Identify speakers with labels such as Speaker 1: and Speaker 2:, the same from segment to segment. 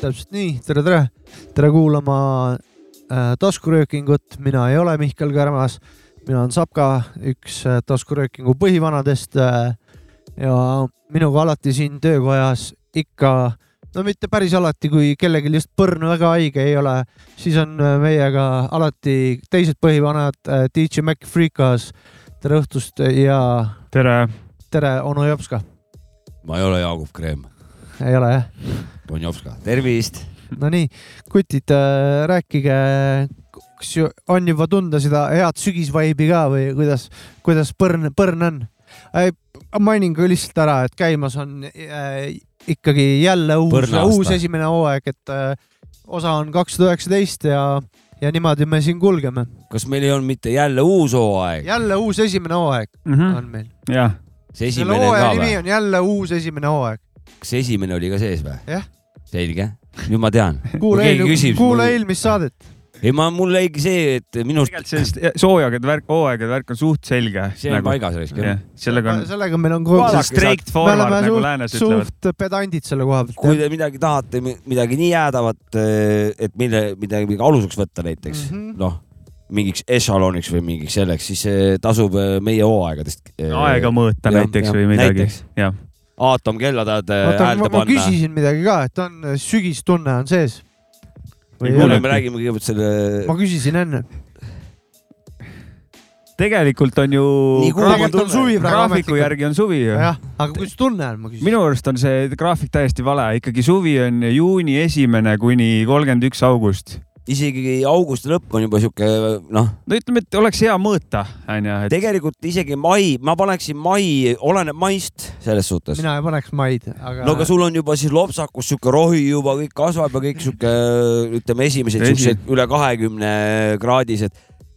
Speaker 1: täpselt nii tere,, tere-tere, tere kuulama äh, taskuröökingut, mina ei ole Mihkel Kärmas, mina olen Sapka, üks äh, taskuröökingu põhivanadest äh,. ja minuga alati siin töökojas ikka, no mitte päris alati, kui kellelgi just põrn väga haige ei ole, siis on äh, meiega alati teised põhivanad äh,, DJ Mac Freekas, tere õhtust ja.
Speaker 2: tere.
Speaker 1: tere, onu Jopska.
Speaker 3: ma ei ole Jaagup Kreem.
Speaker 1: ei ole jah?
Speaker 3: Bonjovska, tervist.
Speaker 1: Nonii, kutid äh,, rääkige, kas on juba tunda seda head sügisvaibi ka või kuidas, kuidas põrn, põrn on? mainin ka lihtsalt ära, et käimas on äh, ikkagi jälle uus, uus esimene hooaeg, et äh, osa on kakssada üheksateist ja, ja niimoodi me siin kulgeme.
Speaker 3: kas meil ei olnud mitte jälle uus hooaeg?
Speaker 1: jälle uus esimene hooaeg mm
Speaker 2: Mhm.
Speaker 1: -hmm. on meil.
Speaker 2: jah.
Speaker 3: see esimene Selle ka või?
Speaker 1: on jälle uus esimene hooaeg
Speaker 3: kas esimene oli ka sees või?
Speaker 1: jah.
Speaker 3: selge, nüüd ma tean.
Speaker 1: kuula eelmist mul... saadet.
Speaker 3: ei, ma, mul jäigi see, et minust.
Speaker 2: sellest soojagade värk, hooaegade värk on suht selge.
Speaker 3: see on nagu... paigas raisk jah.
Speaker 2: sellega on.
Speaker 1: sellega meil on.
Speaker 2: Straight forward nagu läänes ütlevad.
Speaker 1: suht pedandid selle koha pealt.
Speaker 3: kui te midagi tahate, midagi nii jäädavat, eh, et mille, midagi aluseks võtta näiteks
Speaker 1: Mhm.
Speaker 3: mm -hmm., noh mingiks ešaloniks või mingiks selleks, siis eh, tasub meie hooaegadest. eh,
Speaker 2: aega mõõta ja, näiteks ja, või midagi. jah
Speaker 3: aatomkella tahad häälde äh, panna?
Speaker 1: küsisin midagi ka, et on äh, sügistunne on sees.
Speaker 3: kuule, me räägime kõigepealt selle.
Speaker 1: ma küsisin enne.
Speaker 2: tegelikult on ju. graafiku järgi on suvi ju.
Speaker 1: jah, aga kuidas tunne on, ma küsin.
Speaker 2: minu arust on see graafik täiesti vale, ikkagi suvi on juuni esimene kuni kolmkümmend üks august
Speaker 3: isegi augusti lõpp on juba sihuke noh.
Speaker 2: no ütleme, et oleks hea mõõta, onju.
Speaker 3: tegelikult isegi mai, ma paneksin mai, oleneb maist selles suhtes.
Speaker 1: mina ei paneks maid, aga.
Speaker 3: no aga sul on juba siis lopsakus sihuke rohi juba kõik kasvab ja kõik sihuke ütleme, esimesed siuksed üle kahekümne kraadised.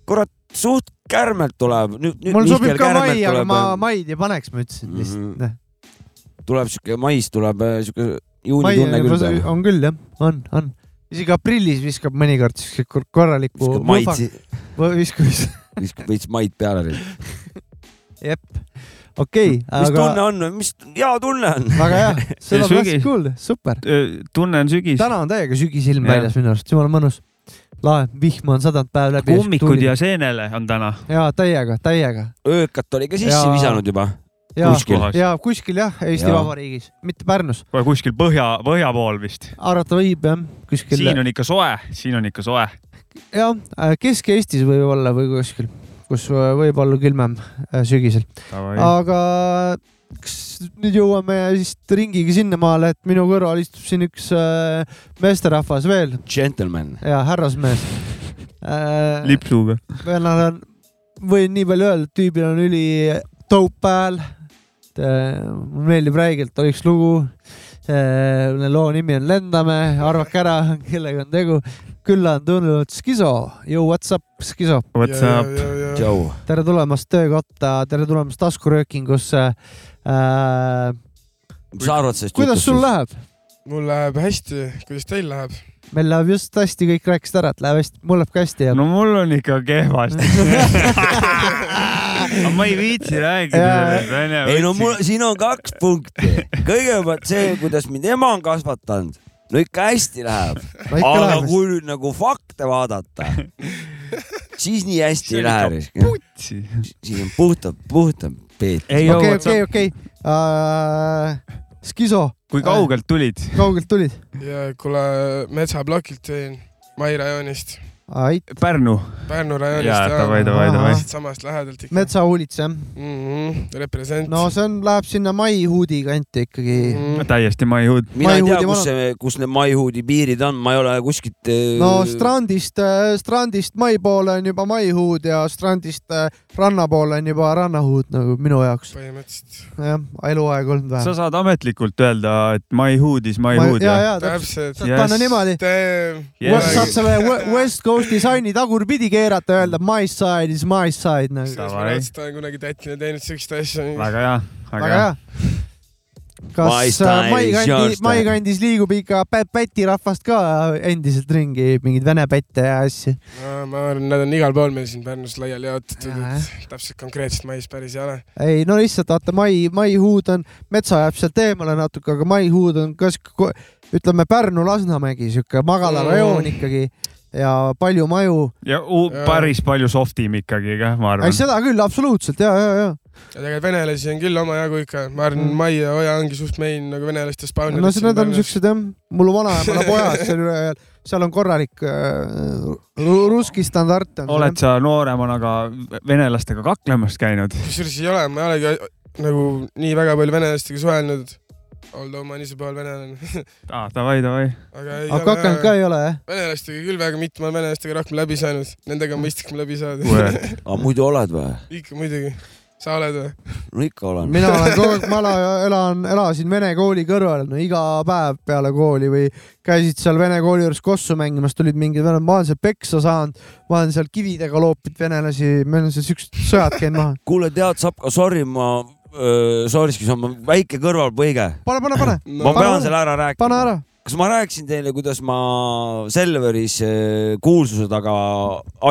Speaker 3: kurat, suht kärmelt tuleb.
Speaker 1: mul sobib ka mai, aga
Speaker 3: eh.
Speaker 1: ma maid ei paneks, ma
Speaker 3: Mhm.
Speaker 1: ütlesin lihtsalt mm.
Speaker 3: -hmm. tuleb sihuke, mais tuleb sihuke juunitunne küll.
Speaker 1: on küll jah, on, on isegi aprillis viskab mõnikord siukse korraliku.
Speaker 3: viskab maid.
Speaker 1: viskus.
Speaker 3: viskab veits maid peale.
Speaker 1: jep, okei okay,.
Speaker 3: mis aga... tunne on, mis hea tunne on?
Speaker 1: väga hea, seda on raske kuulda, super.
Speaker 2: tunne on sügis.
Speaker 1: täna on täiega sügisilm väljas minu arust, jumala mõnus. lae, vihma on sadanud päev läbi.
Speaker 2: kummikud ja seenele on täna.
Speaker 1: ja täiega, täiega.
Speaker 3: öökat oli ka sisse ja... visanud juba
Speaker 1: ja, kuskil. ja kuskil jah, Eesti ja. Vabariigis, mitte Pärnus.
Speaker 2: kuskil põhja, põhja pool vist.
Speaker 1: arvata võib jah, kuskil.
Speaker 2: siin on ikka soe, siin on ikka soe.
Speaker 1: jah, Äh, Kesk-Eestis võib-olla või kuskil, kus äh, võib olla külmem äh, sügisel. aga kas nüüd jõuame siis ringiga sinnamaale, et minu kõrval istub siin üks äh, meesterahvas veel.
Speaker 3: džentelmen.
Speaker 1: ja härrasmees
Speaker 2: äh,. lipsuga.
Speaker 1: vennal on, võin nii palju öelda, et tüübil on üli dope hääl mulle meeldib räigelt, oli üks lugu. Äh, loo nimi on Lendame, arvake ära, kellega on tegu. külla on tulnud Skiso. Yo, what's up, Skiso?
Speaker 2: What's yeah, up?
Speaker 3: Joe.
Speaker 1: tere tulemast töökotta, tere tulemast taskuröökingusse äh,.
Speaker 3: mis sa arvad sellest?
Speaker 1: kuidas sul läheb?
Speaker 4: mul läheb hästi, kuidas teil läheb?
Speaker 1: meil läheb just hästi, kõik rääkisid ära, et läheb hästi, mul läheb ka hästi.
Speaker 2: no mul on ikka kehvasti aga ma ei viitsi rääkida sellest, onju.
Speaker 3: ei no mul, siin on kaks punkti. kõigepealt see, kuidas mind ema on kasvatanud, no ikka hästi läheb. aga läheb. kui nüüd nagu fakte vaadata, siis nii hästi ei lähe. siin on puhtalt, puhtalt peetud.
Speaker 1: okei, okei, Äh, okei. Skiso. Äh,
Speaker 2: kui kaugelt tulid?
Speaker 1: kaugelt tulid?
Speaker 4: kuule, metsablokilt tulin, Mai rajoonist
Speaker 1: Ait.
Speaker 2: Pärnu.
Speaker 4: Pärnu rajoonist.
Speaker 2: davai, davai, davai.
Speaker 4: samast lähedalt ikka.
Speaker 1: metsahuulits jah
Speaker 4: mm -hmm.? Represent.
Speaker 1: no see on, läheb sinna maihuudi kanti ikkagi mm.
Speaker 2: -hmm. täiesti maihuud.
Speaker 3: mina ei tea, kus see, kus need maihuudi piirid on, ma ei ole kuskilt. äh,
Speaker 1: äh, no strandist, strandist mai poole on juba maihuud ja strandist ranna pool on juba rannahuut nagu minu jaoks .
Speaker 4: põhimõtteliselt .
Speaker 1: jah , eluaeg olnud
Speaker 2: sa
Speaker 1: vähem .
Speaker 2: saad ametlikult öelda , et my hood is my
Speaker 1: Ma-
Speaker 2: hood .
Speaker 1: jaa, jaa,
Speaker 4: täpselt .
Speaker 2: Yes.
Speaker 1: panna niimoodi .
Speaker 2: Yes.
Speaker 1: saad selle we- West Coasti saini tagurpidi keerata , öelda my side is my side nagu .
Speaker 4: ma
Speaker 2: Davai.
Speaker 4: raudselt olen kunagi tätina teinud siukest asja .
Speaker 2: väga hea ,
Speaker 1: väga
Speaker 2: väga hea .
Speaker 1: hea .
Speaker 3: My
Speaker 1: kas
Speaker 3: style
Speaker 1: äh, Mai
Speaker 3: is your
Speaker 1: kandi ,
Speaker 3: style.
Speaker 1: Mai kandis liigub ikka pä- päti rahvast ka endiselt ringi , mingeid vene pätte ja asju ?
Speaker 4: ma arvan , nad on igal pool meil siin Pärnus laiali jaotatud
Speaker 1: Jaa, ,
Speaker 4: et täpselt konkreetselt mais päris ei ole .
Speaker 1: ei no lihtsalt vaata , Mai , Mai huud on , metsa jääb sealt eemale natuke , aga Mai huud on kas , ütleme Pärnu-Lasnamägi sihuke magalarajoon
Speaker 4: Mm.
Speaker 1: ikkagi ja palju maju .
Speaker 2: ja u-
Speaker 4: Jaa.
Speaker 2: päris palju soft im ikkagi kah , ma
Speaker 1: ei ,
Speaker 2: arvan .
Speaker 1: seda küll absoluutselt ja , ja , ja .
Speaker 4: ja tegelikult venelasi on küll omajagu ikka , ma arvan
Speaker 1: Mm. ,
Speaker 4: Mai ja Oja ongi suht main nagu venelaste spawnid .
Speaker 1: no see- need on siuksed jah , mul vanaema elab ojas seal üle , seal on korralik äh, ru- ruski standard on .
Speaker 2: oled sa nooremana ka venelastega kaklemas käinud ?
Speaker 4: kusjuures ei ole , ma ei olegi nagu nii väga palju venelastega suhelnud . Although ma olen ise pool venelane ,
Speaker 2: aa , Ah, davai , davai .
Speaker 4: aga ei
Speaker 1: aga kakanud ka
Speaker 4: ole
Speaker 1: ei ole jah ?
Speaker 4: venelastega küll väga mitte , ma olen venelastega rohkem läbi saanud , nendega
Speaker 1: Mm.
Speaker 4: on mõistlikum läbi saada .
Speaker 2: Word.
Speaker 3: aga muidu oled või ?
Speaker 4: ikka muidugi , sa oled või ?
Speaker 3: no ikka olen .
Speaker 1: mina olen kogu aeg , ma ela- elan , elasin vene kooli kõrval , no iga päev peale kooli või käisid seal vene kooli juures kossu mängimas , tulid mingid vene , ma olen seal peksa saanud , ma olen seal kividega loopinud venelasi , meil on seal siuksed sõjad käinud maha .
Speaker 3: kuule , tead , Sapka , sorry , ma , sorry , ma väike kõrvalpõige .
Speaker 1: pane , pane , pane ,
Speaker 3: ma
Speaker 1: Pane
Speaker 3: pean
Speaker 1: ära.
Speaker 3: selle ära
Speaker 1: pane
Speaker 3: rääkima .
Speaker 1: ära .
Speaker 3: kas ma rääkisin teile , kuidas ma Selveris öö, kuulsuse taga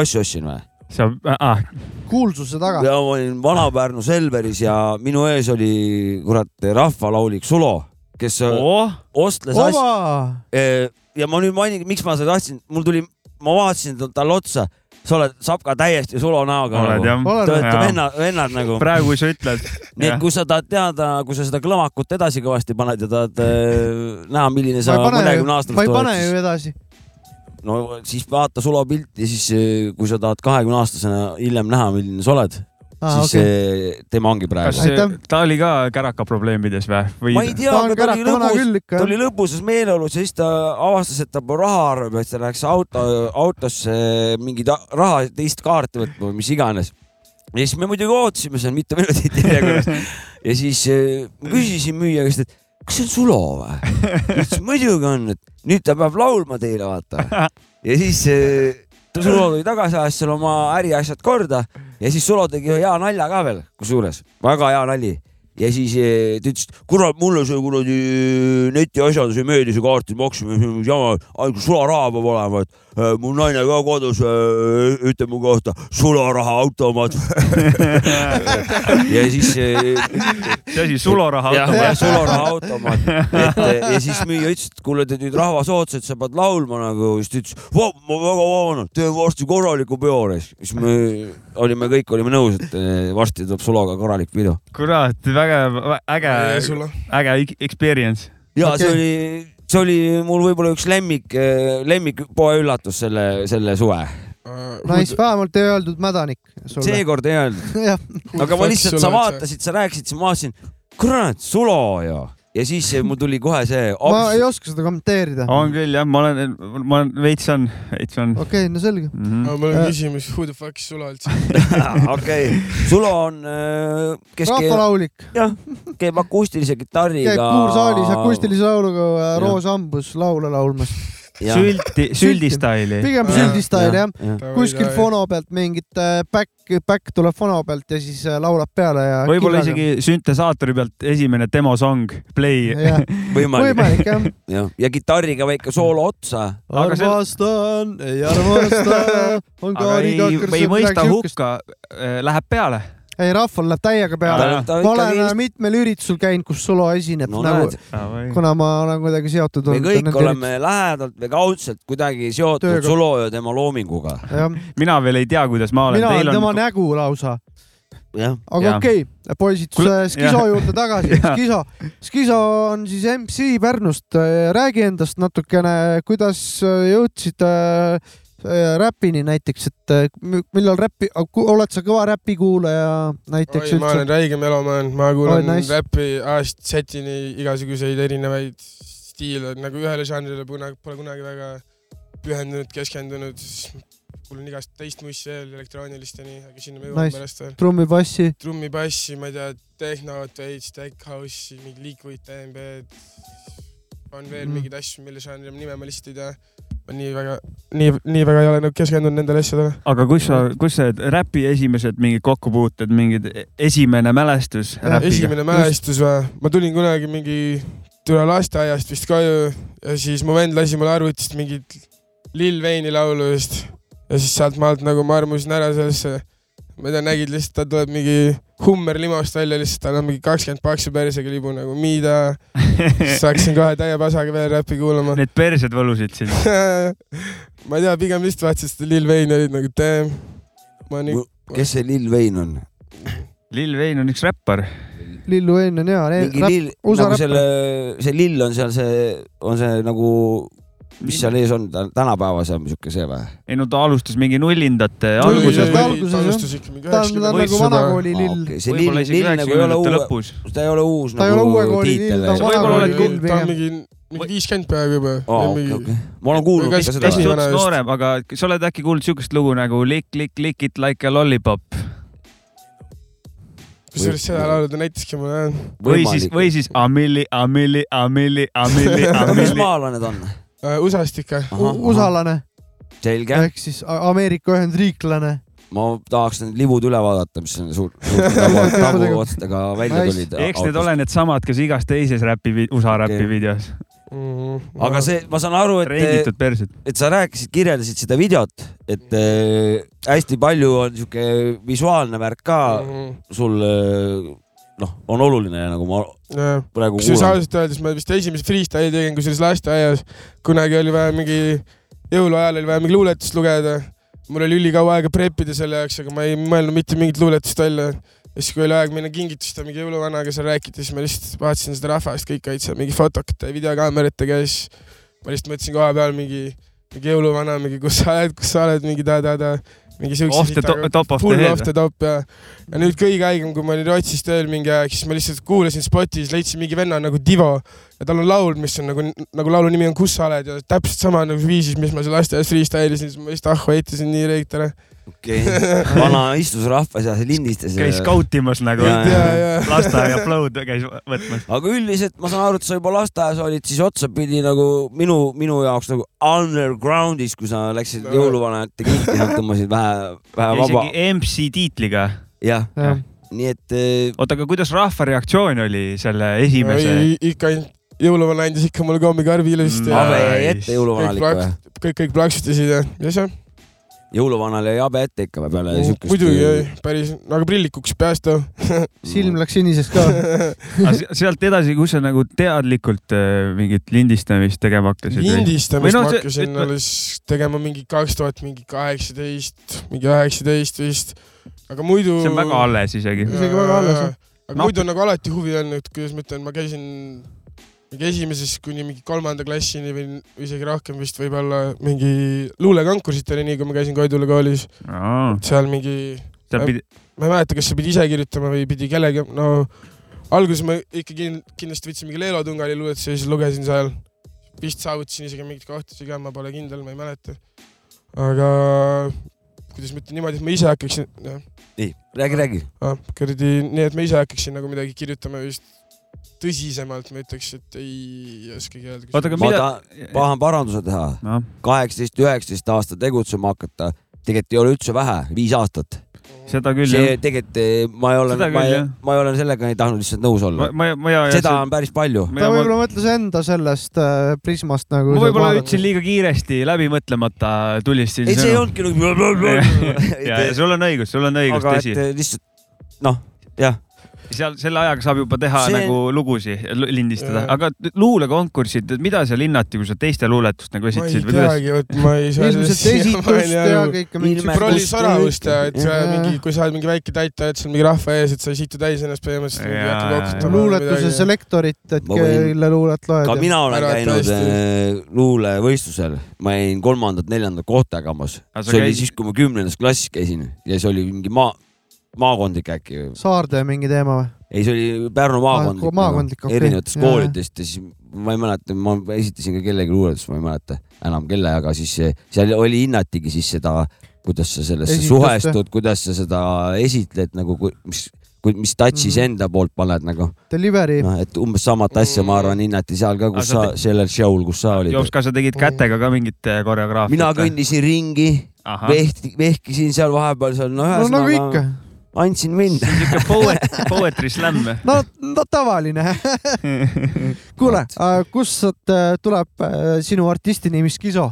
Speaker 3: asju ostsin või ?
Speaker 2: sa , ah ,
Speaker 1: kuulsuse taga .
Speaker 3: ja ma olin Vana-Pärnu Selveris ja minu ees oli kurat rahvalaulik Sulo , kes öö,
Speaker 2: oo ,
Speaker 3: ostles asju .
Speaker 1: oma ,
Speaker 3: ja ma nüüd mainin , miks ma seda tahtsin , mul tuli , ma vaatasin tal- talle otsa , sa oled sapka täiesti sulo näoga .
Speaker 2: oled jah ?
Speaker 1: Olen.
Speaker 3: Te olete
Speaker 2: Jaa.
Speaker 3: vennad , vennad nagu .
Speaker 2: praegu , kui sa ütled .
Speaker 3: nii et kui sa tahad teada , kui sa seda kõlvakut edasi kõvasti paned ja tahad äh, näha , milline
Speaker 1: ma
Speaker 3: sa
Speaker 1: ei pane ju ,
Speaker 3: mõnekümne
Speaker 1: ma
Speaker 3: aastaselt
Speaker 1: ei pane
Speaker 3: oled ,
Speaker 1: ju edasi .
Speaker 3: siis no siis vaata sulo pilti , siis äh, kui sa tahad kahekümne aastasena hiljem näha , milline sa oled , siis
Speaker 1: okei ,
Speaker 3: äh, tema ongi
Speaker 2: kas
Speaker 3: praegu .
Speaker 2: see-
Speaker 1: Aitäh.
Speaker 2: ta oli ka käraka probleemides või ,
Speaker 3: ma
Speaker 2: või
Speaker 3: ei ? tea ,
Speaker 1: ta on
Speaker 3: aga ta oli
Speaker 1: kõraka vana
Speaker 3: lõbus ,
Speaker 1: küll ikka
Speaker 3: ta . oli lõbusas meeleolus ja siis ta avastas , et ta pole raha arvab ja siis ta läks auto , autosse mingeid a- raha , teist kaarti võtma või mis iganes . ja siis me muidugi ootasime seal mitu minutit järjekorras ja siis eh, ma küsisin müüja käest , et kas see on Sulo või ? ta ütles muidugi on , et nüüd ta peab laulma teile , vaata . ja siis eh, ta Sulo tuli tagasi , ajas seal oma äriasjad korda ja siis Sulo tegi ühe hea nalja ka veel , kusjuures väga hea nali ja siis eh, ta ütles , et kurat , mulle see kuradi netiasjandus ei meeldi , see kaarti maksmine , see on jama , ainult sularaha peab olema , et eh, mul naine ka kodus eh, ütleb mu kohta sularaha automaat ja siis eh,
Speaker 2: see asi sularaha
Speaker 3: jah ,
Speaker 2: automaat .
Speaker 3: sularahaautomaat , et eh, ja siis müüja ütles , et kuule , te nüüd rahvasoodsad , sa pead laulma nagu , siis ta ütles , ma väga vabandan , teen varsti korraliku peo , siis me olime kõik olime nõus , et eh, varsti tuleb Suloga korralik pidu .
Speaker 2: kurat , väga äge ,
Speaker 4: sulle .
Speaker 2: äge ik- experience .
Speaker 3: ja
Speaker 1: Okei.
Speaker 3: see oli , see oli mul võib-olla üks lemmik , lemmik poeüllatus selle , selle suve .
Speaker 1: Nice , vähemalt ei öeldud mädanik sulle .
Speaker 3: seekord ei öelnud ,
Speaker 1: jah ,
Speaker 3: aga ma lihtsalt , sa . vaatasid , sa rääkisid , siis ma vaatasin , kurat , Sulo ju . ja siis eh, mul tuli kohe see ,
Speaker 1: ma ei oska seda kommenteerida .
Speaker 2: on küll jah , ma olen , ma olen veits on , veits on . Mhm.
Speaker 1: okei , no selge .
Speaker 4: aga mul
Speaker 1: Äh.
Speaker 4: on küsimus , who the fuck is Sulo üldse ?
Speaker 3: okei , Sulo on , kes keeb ,
Speaker 1: rahvalaulik .
Speaker 3: jah , keeb akustilise kitarriga .
Speaker 1: käib kuursaalis akustilise lauluga äh, Roos Ambus laule laulmas ,
Speaker 2: süldi ,
Speaker 1: Süldi.
Speaker 2: süldistaili .
Speaker 1: pigem
Speaker 4: Jah,
Speaker 1: süldistail jah , kuskilt
Speaker 4: kuskilt .
Speaker 1: fono pealt mingit äh, back , back tuleb fono pealt ja siis äh, laulab peale ja .
Speaker 2: võib-olla . isegi süntesaatori pealt esimene demosong , play .
Speaker 3: võimalik ,
Speaker 1: võimalik jah .
Speaker 3: jah , ja kitarriga väike soolo otsa .
Speaker 2: Aga see-
Speaker 1: armastan , ei armasta , on
Speaker 2: aga
Speaker 1: kaari
Speaker 2: ei ,
Speaker 1: kakras
Speaker 2: ei mõista . hukka , läheb peale .
Speaker 1: ei , rahval läheb täiega peale . ma olen äh, mitmel üritusel käinud , kus Sulo esineb
Speaker 3: no
Speaker 1: nagu
Speaker 3: näed ,,
Speaker 1: kuna ma olen kuidagi seotud
Speaker 3: me
Speaker 1: olnud .
Speaker 3: kõik oleme lähedalt või kaudselt kuidagi seotud
Speaker 1: Tööga.
Speaker 3: Sulo ja tema loominguga .
Speaker 1: jah ,
Speaker 2: mina veel ei tea , kuidas ma olen .
Speaker 1: mina olen tema nägu lausa .
Speaker 3: jah ,
Speaker 1: aga
Speaker 2: Jah.
Speaker 1: okei okay, , poisid ,
Speaker 2: Kuule-
Speaker 1: Skiso
Speaker 2: jah.
Speaker 1: juurde tagasi ,
Speaker 2: Jah.
Speaker 1: Skiso , Skiso on siis MC Pärnust , räägi endast natukene , kuidas äh, jõudsid äh, äh, räpini näiteks , et äh, mi- millal räppi , oled sa kõva räpikuulaja näiteks
Speaker 4: oi , ma olen
Speaker 1: üldse ?
Speaker 4: räige melomaan , ma
Speaker 1: Oi,
Speaker 4: kuulan
Speaker 1: nice.
Speaker 4: räppi A-st Z-ini igasuguseid erinevaid stiile , nagu ühele žanrile puna- pole kunagi väga pühendunud , keskendunud . mul on igast teist mussi veel elektroonilist ja nii , aga sinna me jõuame nice.
Speaker 1: Nice.
Speaker 4: pärast veel .
Speaker 1: trummi , bassi ,
Speaker 4: trummi , bassi , ma ei tea , tehnot , veits , tech house'i , mingi liikuvat DMB-d . on veel
Speaker 1: Mhm.
Speaker 4: mm. mingeid asju , mille žanri nime ma lihtsalt ei tea . ma nii väga , nii , nii väga ei ole nagu keskendunud nendele asjadele .
Speaker 2: aga kus sa , kus see räpi esimesed mingid kokkupuuted , mingid e-, esimene mälestus räpiga ?
Speaker 4: esimene mälestus või ? ma tulin kunagi mingi , tule lasteaiast vist koju ja siis mu vend lasi mulle arvutist mingit Lil Wayne'i laulu vist . ja siis sealt maalt nagu ma armusin ära sellesse , ma ei tea , nägid lihtsalt , ta tuleb mingi hummer limost välja lihtsalt , tal on mingi kakskümmend paksu persega libu nagu , mida , siis hakkasin kohe täie pasaga veel räppi kuulama .
Speaker 2: Need persed võlusid sind .
Speaker 4: ma ei tea , pigem vist vaatasin seda Lil Wayne'i olid nagu damn . ma nii ,
Speaker 3: kes see Lil Wayne on ?
Speaker 2: Lil Wayne on üks räppar .
Speaker 1: Lillu Enn on
Speaker 3: mingi
Speaker 1: hea .
Speaker 3: Lil ,
Speaker 1: USA
Speaker 3: nagu
Speaker 1: räppar.
Speaker 3: selle , see Lil on seal see , on see nagu , mis seal ees on , tänapäevas on siuke see või ?
Speaker 2: ei no ta alustas mingi nullindate
Speaker 1: Nullindate
Speaker 2: alguses .
Speaker 1: alguses, jah.
Speaker 4: alustus ikka mingi
Speaker 1: ta on , ta on
Speaker 4: üheksakümne
Speaker 1: nagu
Speaker 2: Võistsõda.
Speaker 1: vanakooli lill .
Speaker 3: Okay, see Lil
Speaker 2: võib-olla , isegi
Speaker 3: Lil nagu ei ole
Speaker 2: üheksakümnendate
Speaker 3: uue ,
Speaker 2: lõpus .
Speaker 3: ta ei ole uus
Speaker 1: Ta ei ole uue
Speaker 3: nagu
Speaker 1: kooli Lil,
Speaker 3: tiitel
Speaker 1: ta on
Speaker 3: veel.
Speaker 2: Võib-olla
Speaker 1: vana kooli
Speaker 2: oled
Speaker 1: lill
Speaker 4: ta on
Speaker 1: pigem .
Speaker 4: mingi , mingi viiskümmend peaaegu juba
Speaker 3: aa , okei , okei . ma olen kuulnud
Speaker 4: Kas-
Speaker 3: ka seda
Speaker 4: kas
Speaker 2: hästi
Speaker 4: nii- .
Speaker 2: suts
Speaker 4: vana just.
Speaker 2: noorem , aga sa oled äkki kuulnud siukest lugu nagu Lick , lick , lick it like a lollipop
Speaker 4: kusjuures seda laulu ta näitaski mulle jah .
Speaker 2: või siis , või siis Amili , Amili , Amili , Amili ,
Speaker 3: mis
Speaker 2: Amili .
Speaker 3: maalane ta on ?
Speaker 4: Äh, USA-st ikka .
Speaker 1: USA-lane
Speaker 3: selge ,
Speaker 1: ehk siis A- Ameerika Ühendriiklane .
Speaker 3: ma tahaks need livud üle vaadata , mis on suur , tabu otsadega välja
Speaker 1: Nice.
Speaker 3: tulid .
Speaker 2: eks need ole needsamad , kes igas teises räpi , USA räpi
Speaker 3: Okei.
Speaker 2: videos .
Speaker 4: Mhm.
Speaker 3: aga . see , ma saan aru , et ,
Speaker 2: trenditud persed .
Speaker 3: et sa rääkisid , kirjeldasid seda videot , et äh, hästi palju on sihuke visuaalne värk ka
Speaker 1: Mhm.
Speaker 3: sul äh, noh , on oluline , nagu ma praegu
Speaker 4: kusjuures
Speaker 3: kuulan .
Speaker 4: ausalt öeldes ma vist esimese freestyle'i tegin kusjuures lasteaias . kunagi oli vaja mingi , jõuluajal oli vaja mingi luuletust lugeda . mul oli ülikaua aega preppida selle jaoks , aga ma ei mõelnud mitte mingit luuletust välja . ja siis , kui oli aeg minna kingituste mingi jõuluvanaga seal rääkida , siis ma lihtsalt vaatasin seda rahvast kõik olid seal mingi fotokate ja videokaameratega ja siis ma lihtsalt mõtlesin koha peal mingi , mingi jõuluvana , mingi kus sa oled , kus sa oled , mingi ta-ta-ta , mingi siukse
Speaker 2: Off the
Speaker 4: sitaga-
Speaker 2: top , top of the
Speaker 4: full off
Speaker 2: head .
Speaker 4: the top ja , ja nüüd kõige haigem , kui ma olin Rootsis tööl mingi aeg , siis ma lihtsalt kuulasin Spotis , leidsin mingi venna nagu Divo ja tal on laul , mis on nagu , nagu laulu nimi on Kus sa oled ja täpselt sama nagu viisis , mis ma seal lasteaias freestyle isin , siis ma lihtsalt ahhu heitasin nii reikt ära .
Speaker 3: okei okay. , vana istus rahva seas ja lindistas .
Speaker 2: käis skautimas nagu
Speaker 3: Jaa, jaa.
Speaker 2: lasteaia upload käis võtmas .
Speaker 3: aga üldiselt ma saan aru , et sa juba lasteaias olid siis otsapidi nagu minu , minu jaoks nagu underground'is , kui sa läksid
Speaker 4: No.
Speaker 3: jõuluvanate kinni ja tõmbasid vähe , vähe vaba
Speaker 2: isegi . MC tiitliga .
Speaker 3: jah , nii et eh,
Speaker 2: oota , aga kuidas rahva reaktsioon oli selle esimese ?
Speaker 4: ikka ainult- jõuluvana andis ikka mulle kommikarbi ilusti ja
Speaker 3: habe jäi
Speaker 2: Nice.
Speaker 3: ette jõuluvanal
Speaker 4: Kõik
Speaker 3: ikka
Speaker 4: plaks-
Speaker 3: või ?
Speaker 4: kõik , kõik plaksutasid ja , ja see .
Speaker 3: jõuluvanal jäi habe ette ikka või peale Äh, siukest ?
Speaker 4: muidugi jäi päris , aga prillikuks peast too .
Speaker 1: silm läks siniseks ka .
Speaker 2: sealt edasi , kus sa nagu teadlikult äh, mingit lindistamist tegema hakkasid ? Või
Speaker 4: lindistamist
Speaker 2: no
Speaker 4: ma
Speaker 2: see-
Speaker 4: hakkasin
Speaker 2: ütle-
Speaker 4: alles tegema mingi kaks tuhat mingi kaheksateist , mingi üheksateist vist , aga muidu .
Speaker 2: see on väga alles isegi .
Speaker 1: Isegi väga alles, jah. .
Speaker 4: aga
Speaker 2: Nap-
Speaker 4: muidu on nagu alati huvi olnud , kuidas ma ütlen , ma käisin mingi esimeses kuni mingi kolmanda klassini või või isegi rohkem vist võib-olla mingi luulekonkursid oli nii , kui ma käisin Koidula koolis , seal mingi
Speaker 2: seal pidi ,
Speaker 4: ma ei mäleta , kas see pidi ise kirjutama või pidi kellegi , no alguses ma ikkagi kindlasti võtsin mingi Leelo Tungali luuletuse ja siis lugesin seal . vist saavutasin isegi mingeid kohtasid ka , ma pole kindel , ma ei mäleta . aga kuidas ma ütlen niimoodi , et ma ise hakkaksin , jah ,
Speaker 3: nii , räägi , räägi .
Speaker 4: kuradi , nii et ma ise hakkaksin nagu midagi kirjutama vist tõsisemalt ma ütleks , et ei oskagi öelda .
Speaker 2: Oota, aga
Speaker 3: ma
Speaker 2: mida-
Speaker 3: tahan , tahan paranduse teha .
Speaker 2: noh ,
Speaker 3: kaheksateist , üheksateist aastat tegutsema hakata , tegelikult ei ole üldse vähe , viis aastat .
Speaker 2: seda küll
Speaker 3: see
Speaker 2: jah .
Speaker 3: tegelikult eh, ma ei ole
Speaker 2: Seda ,
Speaker 3: ma
Speaker 2: küll,
Speaker 3: ei
Speaker 2: jah. ,
Speaker 3: ma ei ole sellega ei tahtnud lihtsalt nõus
Speaker 2: ma ,
Speaker 3: olla
Speaker 2: ma , ma ja , ja
Speaker 3: seda on päris palju .
Speaker 1: ta võib-olla mõtles enda sellest äh, prismast nagu .
Speaker 2: ma võib-olla ütlesin liiga kiiresti , läbi mõtlemata tulistasin
Speaker 3: ei , see ei . olnudki
Speaker 2: ja , ja
Speaker 3: nagu .
Speaker 2: sul on õigus , sul on õigus ,
Speaker 3: aga
Speaker 2: tõsi
Speaker 3: et . äh, lihtsalt noh , jah ,
Speaker 2: seal selle ajaga saab juba teha
Speaker 3: See-
Speaker 2: see... nagu lugusid , lindistada ,
Speaker 4: Jaa.
Speaker 2: aga t- luulekonkursid , mida seal hinnati , kui sa teiste luuletust nagu
Speaker 4: ma ei
Speaker 2: esitasid või kuidas ?
Speaker 4: teagi , vot ma ei saa .
Speaker 1: ilmselt esitust ja . kõike
Speaker 3: Ilme-
Speaker 1: mingit .
Speaker 4: prolli soravust ja et sa
Speaker 1: Jaa.
Speaker 4: mingi , kui sa oled mingi väike täitja , et sul mingi rahva ees , et sa ei situ täis ennast põhimõtteliselt mingi
Speaker 2: Jaa,
Speaker 4: hakkad
Speaker 2: jaa.
Speaker 4: lokutama või
Speaker 1: luuletuse
Speaker 4: midagi.
Speaker 1: selektorit , et
Speaker 3: Ma võin-
Speaker 1: kelle luulet
Speaker 3: ka
Speaker 1: loed .
Speaker 3: mina olen
Speaker 4: Ära
Speaker 3: käinud
Speaker 4: tõesti.
Speaker 3: äh, luulevõistlusel , ma jäin kolmandat-neljandat kohta jagamas .
Speaker 2: Aga sa
Speaker 3: see oli
Speaker 2: käisid-
Speaker 3: siis , kui ma kümnendas klassis käisin ja see oli mingi maa , maakondlik äkki .
Speaker 1: Saarde mingi teema või ?
Speaker 3: ei , see oli Pärnu maakondlik, nagu,
Speaker 1: maakondlik, okei.
Speaker 3: erinevatest
Speaker 1: Jaa, jaa.
Speaker 3: koolidest ja siis ma ei mäleta , ma esitasin ka kellegi luuletust , ma ei mäleta enam kelle , aga siis eh, seal oli , hinnatigi siis seda kuidas sa sellesse
Speaker 1: Esitust,
Speaker 3: suhestud , kuidas sa seda esitled nagu , mis , mis touch'is
Speaker 1: Mhm.
Speaker 3: enda poolt paned nagu .
Speaker 1: Delivery
Speaker 3: noh , et umbes samat asja , ma arvan , hinnati seal ka , kus
Speaker 2: Aga sa
Speaker 3: sa sellel show'l , kus sa
Speaker 2: Jops ,
Speaker 3: olid .
Speaker 2: kas sa tegid
Speaker 4: Mm.
Speaker 2: kätega ka mingit eh, koreograafiat ?
Speaker 3: mina . kõndisin ringi , vehti- , vehkisin seal vahepeal seal , noh. no
Speaker 1: no nagu ikka
Speaker 3: ühesõnaga , andsin mind .
Speaker 2: niisugune poet , poetry slam .
Speaker 1: no, no tavaline . kuule , kust sealt äh, tuleb äh, sinu artisti nimi Skiso ?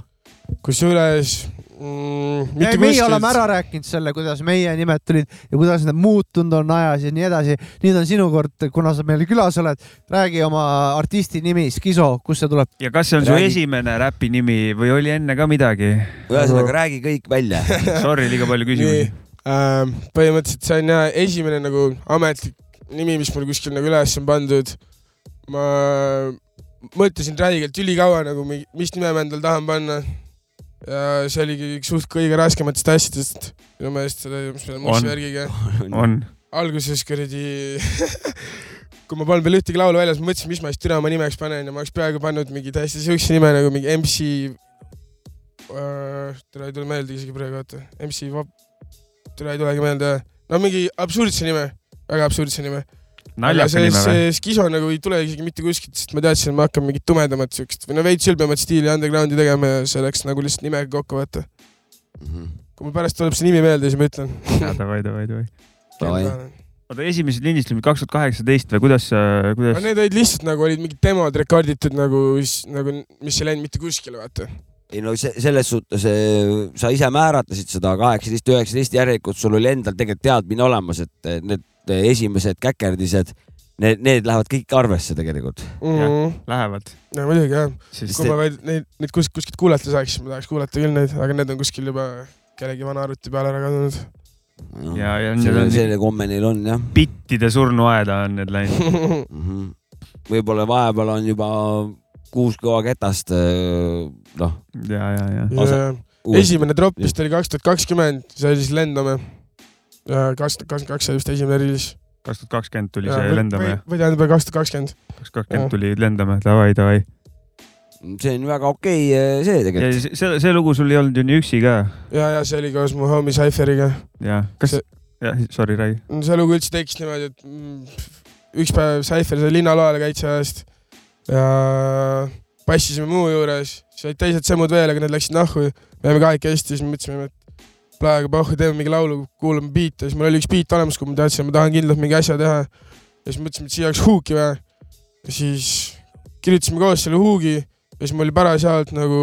Speaker 4: kusjuures mm, mitte
Speaker 1: meie oleme
Speaker 4: kuskilt ,
Speaker 1: ära rääkinud selle , kuidas meie nimed tulid ja kuidas need muutunud on ajas ja nii edasi . nüüd on sinu kord , kuna sa meil külas oled , räägi oma artisti nimi Skiso , kust see tuleb ?
Speaker 2: ja kas see on su
Speaker 3: Räägi-
Speaker 2: esimene räpi nimi või oli enne ka midagi ?
Speaker 3: ühesõnaga räägi kõik välja .
Speaker 2: Sorry , liiga palju
Speaker 4: nii
Speaker 2: küsimusi .
Speaker 4: äh, , põhimõtteliselt see on jah esimene nagu ametlik nimi , mis mul kuskil nagu üles on pandud . ma mõtlesin räigelt ülikaua nagu , mis nime ma endale tahan panna . ja see oligi üks suht kõige raskematest asjadest minu meelest selle , mis meil
Speaker 2: On.
Speaker 4: musta värgiga .
Speaker 2: on .
Speaker 4: alguses kuradi , kui ma polnud veel ühtegi laulu väljas , ma mõtlesin , mis ma siis türa oma nimeks panen ja ma oleks peaaegu pannud mingi täiesti siukse nime nagu mingi MC äh, . türa ei tule meelde isegi praegu , oota , MC Vab- , türa ei tulegi meelde , no mingi absurdse nime , väga absurdse nime .
Speaker 2: naljaka nime või ?
Speaker 4: see skiso nagu ei tule isegi mitte kuskilt , sest ma teadsin , et ma hakkan mingit tumedamat siukest või no veits ülbemat stiili undergroundi tegema ja see läks nagu lihtsalt nimega kokku , vaata . kui mul pärast tuleb see nimi meelde , siis ma ütlen .
Speaker 2: davai , davai , davai .
Speaker 3: Davai.
Speaker 2: oota , esimesed lindistamised kaks tuhat kaheksateist või kuidas ,
Speaker 4: aga
Speaker 2: kuidas ?
Speaker 4: need olid lihtsalt nagu olid mingid demod rekorditud nagu , nagu , mis ei läinud mitte kuskile , vaata .
Speaker 3: ei no see , selles suhtes , sa ise määratlesid seda kaheksateist , üheksateist järelikult sul oli endal tegelikult teadmine olemas , et eh, need eh, esimesed käkerdised , need , need lähevad kõik arvesse tegelikult .
Speaker 4: Mhm. no
Speaker 2: Lähevad ,
Speaker 4: muidugi jah ,
Speaker 2: siis
Speaker 4: kui ma veel neid , neid kus, kuskilt kuulata saaks , ma tahaks kuulata küll neid , aga need on kuskil juba kellegi vana arvuti peal ära kadunud .
Speaker 2: ja , ja need
Speaker 3: selle ,
Speaker 2: on
Speaker 3: selle Noh, komme neil on jah
Speaker 2: bittide surnuaeda on need läinud .
Speaker 3: mm -hmm. . võib-olla vahepeal on juba kuus kõva ketast , noh .
Speaker 2: ja , ja , ja .
Speaker 4: esimene drop vist oli kaks tuhat kakskümmend , see oli siis Lendame . kaks tuhat kakskümmend kaks oli vist esimene reliis .
Speaker 2: kaks tuhat kakskümmend tuli see Lendame ,
Speaker 4: või tähendab kaks tuhat kakskümmend .
Speaker 2: kaks tuhat kakskümmend tuli Lendame , davai , davai .
Speaker 3: see on väga okei
Speaker 4: Äh,
Speaker 3: eh, see
Speaker 2: ja
Speaker 3: tegelikult .
Speaker 2: see , see see lugu sul ei olnud ju nii üksi ka ,
Speaker 4: ja , ja see oli koos mu homie Cypheriga
Speaker 2: ja kas
Speaker 4: See- ,
Speaker 2: jah , sorry , räägi .
Speaker 4: no Mm, see lugu üldse tekkis niimoodi , et mm, üks päev Saifer sai linnaloale kaitse ajast ja passisime muu juures , siis olid teised sõmmud veel , aga need läksid nahku . me jäime kahekesti , siis me mõtlesime , et praegu pohhu , teeme mingi laulu , kuulame biite , siis mul oli üks biit olemas , kui ma teadsin , et ma tahan kindlalt mingi asja teha . ja siis mõtlesime , et siia oleks huuki vaja . ja siis kirjutasime koos selle huugi ja siis mul oli parasjagu nagu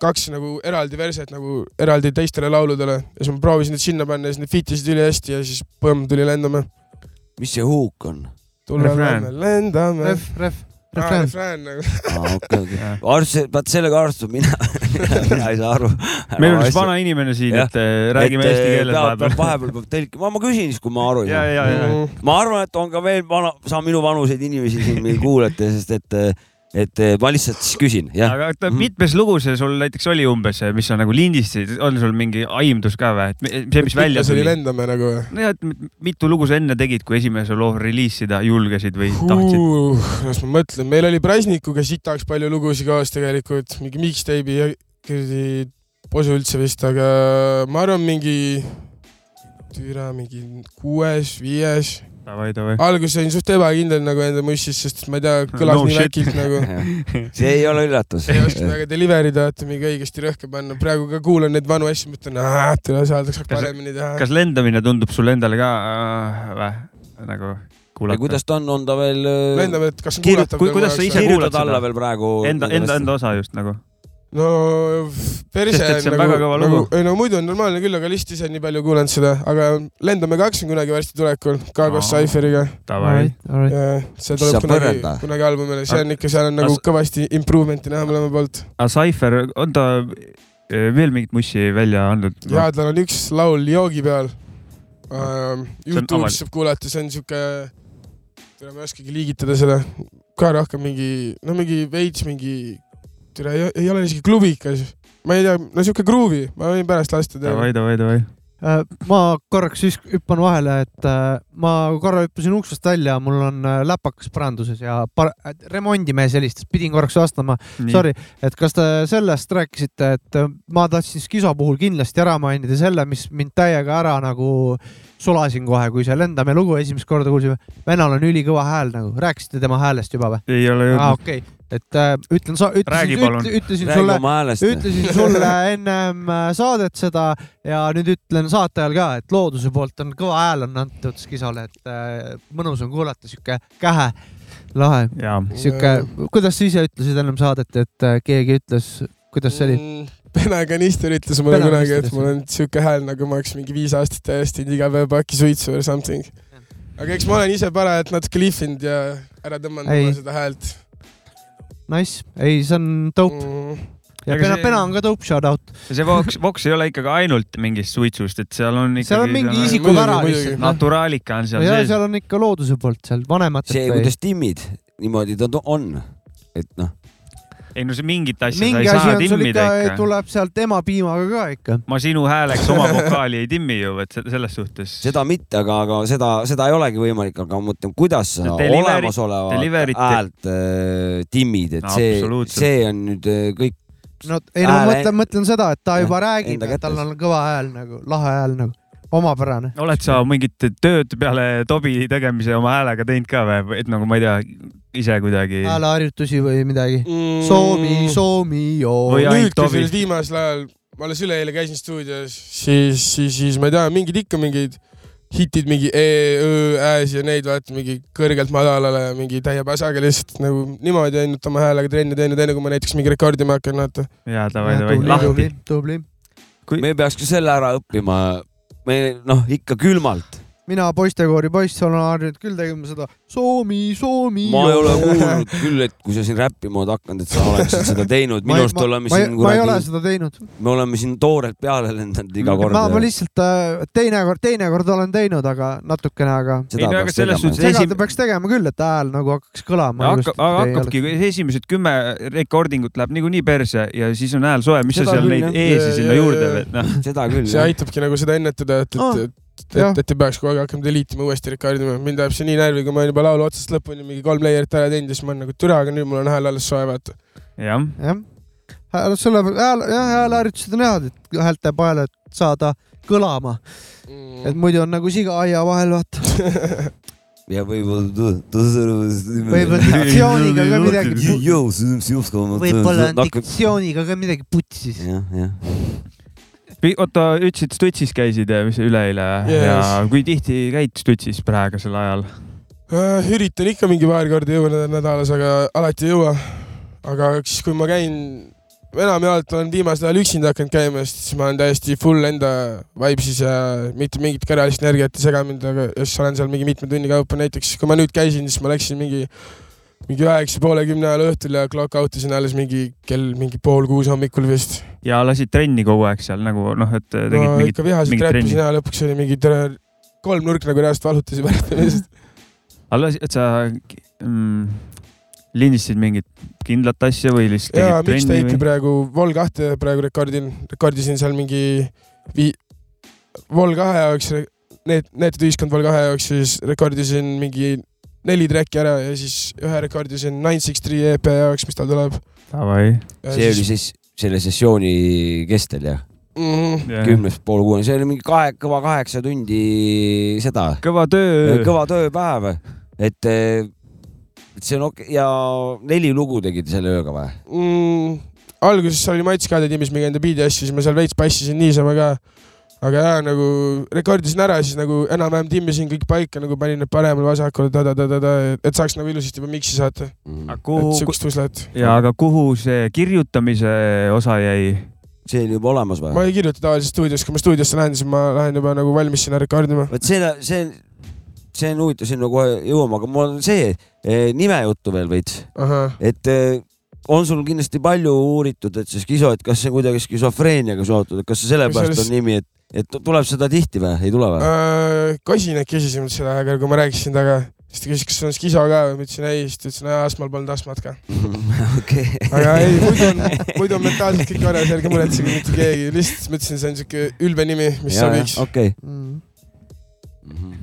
Speaker 4: kaks nagu eraldi verset nagu eraldi teistele lauludele ja siis ma proovisin need sinna panna ja siis need fit isid ülihästi ja siis põmm tuli lendame .
Speaker 3: mis see huuk on ?
Speaker 2: Refrään.
Speaker 4: tuleme , lendame .
Speaker 1: ref , ref , refrään .
Speaker 4: refrään nagu .
Speaker 3: okei , okei . arst , vaat sellega arstun mina , mina ei saa aru .
Speaker 2: meil on üks vana inimene siin ,
Speaker 3: Jah.
Speaker 2: et eh, räägime
Speaker 3: Et,
Speaker 2: eesti
Speaker 3: eh,
Speaker 2: keeles
Speaker 3: peab- peab
Speaker 2: vahepeal .
Speaker 3: vahepeal peab tõlkima , ma küsin siis , kui ma aru ei
Speaker 2: ja ,
Speaker 3: saa .
Speaker 2: ja , ja ,
Speaker 1: Mhm.
Speaker 3: ma arvan , et on ka veel vana , sa minu vanuseid inimesi siin meil kuulete , sest et , et äh, ma lihtsalt siis küsin , jah .
Speaker 2: aga oota ,
Speaker 4: Mhm.
Speaker 2: mitmes lugu see sul näiteks oli umbes , mis sa nagu lindistasid , on sul mingi aimdus ka või , et mi- see , mis välja tuli ?
Speaker 4: tuli . lendame nagu .
Speaker 2: nojah , et mit- mitu lugu sa enne tegid , kui esimese loo reliisida julgesid või tahtsid ?
Speaker 4: las ma mõtlen , meil oli Präsnikuga sitaks palju lugusid koos tegelikult , mingi mixtape'i ja kuradi posu üldse vist , aga ma arvan , mingi türa mingi kuues-viies ,
Speaker 2: davai , davai .
Speaker 4: alguses olin suht ebakindel nagu enda mussis , sest ma ei tea , kõlas
Speaker 2: No
Speaker 4: no, nii
Speaker 2: shit.
Speaker 4: väkilt nagu .
Speaker 3: see ei ole üllatus .
Speaker 4: ei oska väga delivery teha , et mingi õigesti rõhke panna , praegu ka kuulan neid vanu asju , mõtlen , et tule saada , saaks
Speaker 2: Kas-
Speaker 4: paremini teha .
Speaker 2: kas lendamine tundub sulle endale ka äh, vä? nagu kuulata ?
Speaker 3: kuidas ta on , on ta veel ? äh,
Speaker 4: lendame , et kas on
Speaker 2: Kirju-
Speaker 4: kuulatav nagu
Speaker 2: kui- kuidas sa ise-
Speaker 3: kirjutad
Speaker 2: seda?
Speaker 3: alla veel praegu ?
Speaker 2: enda , enda , enda osa just nagu .
Speaker 4: no perse
Speaker 2: Sest et see on
Speaker 4: nagu,
Speaker 2: väga kõva
Speaker 4: nagu,
Speaker 2: lugu.
Speaker 4: ei no muidu on normaalne küll , aga lihtsalt ise nii palju kuulanud seda , aga lendame kaks on kunagi varsti tulekul , ka koos
Speaker 2: Aa.
Speaker 4: Cypheriga .
Speaker 2: Davai .
Speaker 4: see tuleb
Speaker 3: Saab
Speaker 4: kunagi
Speaker 3: võrrelda. ,
Speaker 4: kunagi albumile , see on ikka , seal on
Speaker 2: Aga
Speaker 4: nagu
Speaker 2: s-
Speaker 4: kõvasti improvement'i näha mõlema poolt .
Speaker 2: aga Ah, Cypher , on ta eh, veel mingit mussi välja andnud ? Noh,
Speaker 4: ja tal on üks laul joogi peal .
Speaker 2: on avalik.
Speaker 4: Youtube'is saab kuulata , see on siuke , ma ei oskagi liigitada seda , ka rohkem mingi , no mingi veits mingi , ei ei ole isegi klubikas , ma ei tea , no siuke gruuvi , ma võin pärast lasta teha .
Speaker 2: davai , davai , davai .
Speaker 1: Äh, ma korraks siis hüppan vahele , et äh, ma korra hüppasin uksest välja , mul on äh, läpakas paranduses ja par- äh, remondimees helistas , pidin korraks vastama . Sorry , et kas te sellest rääkisite , et äh, ma tahtsin Skiso puhul kindlasti ära mainida selle , mis mind täiega ära nagu sulasin kohe , kui see Lendame lugu esimest korda kuulsime . vennal on ülikõva hääl nagu , rääkisite tema häälest juba või ?
Speaker 2: ei ole
Speaker 1: aa ,
Speaker 2: jõudnud .
Speaker 1: Ah, okei , et äh, ütlen , sa
Speaker 2: Räägi
Speaker 1: ütlesin ,
Speaker 2: palun.
Speaker 1: ütlesin, ütlesin
Speaker 3: räägi
Speaker 1: sulle
Speaker 3: oma häälest .
Speaker 1: ütlesin sulle ennem äh, saadet seda ja nüüd ütlen saate ajal ka , et looduse poolt on kõva hääl on antud Skisole , et äh, mõnus on kuulata sihuke kähe , lahe ,
Speaker 2: jaa ,
Speaker 1: sihuke , kuidas sa ise ütlesid ennem saadet , et äh, keegi ütles , kuidas see oli ?
Speaker 4: Mm, penaganister ütles mulle kunagi ,
Speaker 1: Penaganister
Speaker 4: et mul on siuke hääl , nagu ma oleks mingi viis aastat täiesti iga päev pakki suitsu or something . aga eks ma olen ise parajalt natuke lihvinud ja ära tõmmanud
Speaker 1: Ei.
Speaker 4: mulle seda häält
Speaker 1: Nice , ei , see on dope
Speaker 4: mm. .
Speaker 1: ja
Speaker 2: Aga
Speaker 1: Pena
Speaker 2: see- ,
Speaker 1: Pena on ka dope shout out ,
Speaker 2: see Vox , Vox ei ole ikkagi ainult mingist suitsust , et seal on ikkagi .
Speaker 1: seal on mingi
Speaker 4: isik-
Speaker 1: isiku vära
Speaker 4: muidugi,
Speaker 1: lihtsalt noh.
Speaker 2: naturaalika on seal
Speaker 1: ja
Speaker 2: sees .
Speaker 1: seal on ikka looduse poolt seal vanematelt
Speaker 3: see ,
Speaker 1: või
Speaker 3: kuidas timmid , niimoodi ta to- on , et noh ,
Speaker 2: ei no see mingit asja sa
Speaker 1: mingi
Speaker 2: ei
Speaker 1: asi
Speaker 2: saa
Speaker 1: on sul
Speaker 2: timmida
Speaker 1: ikka
Speaker 2: ikka ,.
Speaker 1: tuleb sealt ema piimaga ka ikka .
Speaker 2: ma sinu hääleks oma vokaali ei timmi ju , et se- selles suhtes .
Speaker 3: seda mitte , aga , aga seda , seda ei olegi võimalik , aga ma mõtlen , kuidas sa
Speaker 2: No delivery-
Speaker 3: olemasolevat
Speaker 2: delivery't-
Speaker 3: häält äh, timmid , et
Speaker 2: No
Speaker 3: see ,
Speaker 2: absoluutselt.
Speaker 3: see on nüüd äh, kõik ,
Speaker 1: no ei no
Speaker 3: Hääle-
Speaker 1: mõtlen , mõtlen seda , et ta juba
Speaker 3: Jah,
Speaker 1: räägib
Speaker 3: enda ,
Speaker 1: et tal
Speaker 3: kätes.
Speaker 1: on kõva hääl nagu , lahe hääl nagu , omapärane .
Speaker 2: oled sa mingit tööd peale Tobi tegemise oma häälega teinud ka või , et nagu ma ei tea , ise kuidagi ?
Speaker 1: hääleharjutusi või midagi .
Speaker 4: Mm.
Speaker 1: Soomi , Soomi , joo .
Speaker 2: Või- Ja ainult
Speaker 4: nüüd , kui
Speaker 2: Tobi.
Speaker 4: sellel viimasel ajal , ma alles üleeile käisin stuudios , siis , siis , siis ma ei tea , mingid ikka mingid hitid mingi E , Ö , Ä-s ja neid vaata mingi kõrgelt madalale ja mingi täie pasaga lihtsalt nagu niimoodi ainult oma häälega trenni teinud , enne kui ma näiteks mingi rekordima hakkan , vaata .
Speaker 2: jaa , davai , davai ,
Speaker 1: tubli ,
Speaker 2: lahti
Speaker 1: tubli ., tubli .
Speaker 3: me peaks ka selle ära õppima . me noh , ikka külmalt ,
Speaker 1: mina poistekoori poiss olen harjunud küll tegema seda Soomi , Soomi .
Speaker 3: ma ei ole kuulnud küll , et kui sa siin räppi moodi hakanud , et sa oleksid seda teinud , minu arust oleme siin
Speaker 1: ma ei ole
Speaker 3: kuradi ,
Speaker 1: seda teinud .
Speaker 3: me oleme siin toorelt peale lendanud iga kord .
Speaker 1: ma , ma lihtsalt äh, teinekord , teinekord olen teinud , aga natukene , aga
Speaker 2: Ei no aga selles suhtes-
Speaker 1: seda
Speaker 2: Esim-
Speaker 1: ta peaks tegema küll , et hääl nagu hakkaks kõlama .
Speaker 2: hakkab , hakkabki , esimesed kümme rekordingut läheb niikuinii perse ja siis on hääl soe , mis sa
Speaker 3: Seda
Speaker 2: seal
Speaker 3: küll,
Speaker 2: neid
Speaker 3: jah.
Speaker 2: E-si
Speaker 4: Jaa,
Speaker 2: sinna
Speaker 4: jaa,
Speaker 2: juurde
Speaker 4: jaa.
Speaker 2: veel , noh .
Speaker 3: seda küll ,
Speaker 4: see aitabki nagu seda ennetada , et ,
Speaker 1: Ah,
Speaker 4: et , et ,
Speaker 1: jah.
Speaker 4: et , et ei peaks kogu aeg hakkama deliitima , uuesti rekordima . mind ajab see nii närvi , kui ma olen juba laulu otsast lõpuni mingi kolm layer'it ära teinud ja siis ma olen nagu türa , aga nüüd mul on hääl alles soe , vaata .
Speaker 2: jah ,
Speaker 1: jah , hääl , selle hääl , jah , hääleharjutused on head , et häälte peale saada kõlama ,
Speaker 3: Mm.
Speaker 1: et muidu on nagu siga aia vahel , vaata .
Speaker 3: ja võib-olla .
Speaker 1: võib-olla diktsiooniga ka midagi , võib-olla on
Speaker 3: diktsioon .
Speaker 1: diktsiooniga ka midagi putsis .
Speaker 3: jah , jah .
Speaker 2: oota , ütlesid Stutsis käisid , mis üleeile
Speaker 4: Yes.
Speaker 2: ja kui tihti käid Stutsis praegusel ajal ?
Speaker 4: Äh, üritan ikka mingi paar korda jõuda nädalas , aga alati ei jõua . aga siis , kui ma käin , enamjaolt olen viimasel ajal üksinda hakanud käima , siis ma olen täiesti full enda vibe'is ja mitte mingit kõrvalist energiat ei sega mind , aga ja siis olen seal mingi mitme tunni kaupa , näiteks kui ma nüüd käisin , siis ma läksin mingi mingi üheksa poole kümne ajal õhtul ja clock out isin alles mingi kell mingi pool kuus hommikul vist .
Speaker 2: ja lasid trenni kogu aeg seal nagu noh , et tegid
Speaker 4: no
Speaker 2: no, mingit ,
Speaker 4: ikka vihaselt
Speaker 2: mingit trenni.
Speaker 4: räppisin ja lõpuks oli mingi tere kolmnurk nagu reast valutasin pärast ennast .
Speaker 2: aga lasid , et sa mm, lindistasid mingit kindlat asja või lihtsalt
Speaker 4: jaa ,
Speaker 2: tegid trenni
Speaker 4: mixtape'i
Speaker 2: või ?
Speaker 4: praegu , Vol kahte praegu rekordin , rekordisin seal mingi vii- , Vol kahe jaoks , need , Neetud ühiskond Vol kahe jaoks siis rekordisin mingi neli track'i ära ja siis ühe rekordisin Nine Six Three EP jaoks , mis tal tuleb .
Speaker 2: Davai .
Speaker 3: see oli siis selle sessiooni kestel jah ,
Speaker 4: mm, .
Speaker 3: kümnest poole kuueni , see oli mingi kahe , kõva kaheksa tundi seda ,
Speaker 2: kõva töö .
Speaker 3: kõva tööpäev , et eh, et see on okei ja neli lugu tegid selle ööga või ?
Speaker 4: Mm, alguses seal oli Mats ka tiimis mingi enda beat'i asju , siis ma seal veits passisin niisama ka . aga jaa , nagu rekordisin ära , siis nagu enam-vähem timmisin kõik paika , nagu panin need paremal-vasakul ta-ta-ta-ta-ta , et saaks nagu ilusasti juba mix'i saata . et
Speaker 2: kuhu ,
Speaker 4: siukest tuslet .
Speaker 2: ja aga kuhu see kirjutamise osa jäi ?
Speaker 3: see oli juba olemas
Speaker 4: ma
Speaker 3: või ?
Speaker 4: ei kirjuta tavaliselt stuudios , kui ma stuudiosse lähen , siis ma lähen juba nagu valmis sinna rekordima .
Speaker 3: vot see , see , see on huvitav , sinna kohe jõuame , aga mul on see eh, nime juttu veel veits
Speaker 4: ahah ,
Speaker 3: et eh, on sul kindlasti palju uuritud , et see skiso , et kas see kuidagi skisofreeniaga seotud , et kas see sellepärast
Speaker 4: Kusjuures-
Speaker 3: on nimi , et , et tuleb seda tihti või , ei tule või ?
Speaker 4: kasin äkki küsis mind seda , aga kui ma rääkisin temaga , siis ta küsis , kas on skiso ka või , ma ütlesin ei , siis ta ütles , et astmal polnud astmat ka .
Speaker 3: okei .
Speaker 4: aga ei , muidu on , muidu on mentaalselt kõik korras , ärge muretsege mitte keegi , lihtsalt mõtlesin , see on siuke ülbe nimi , mis sobiks .
Speaker 3: okei .
Speaker 1: mm. .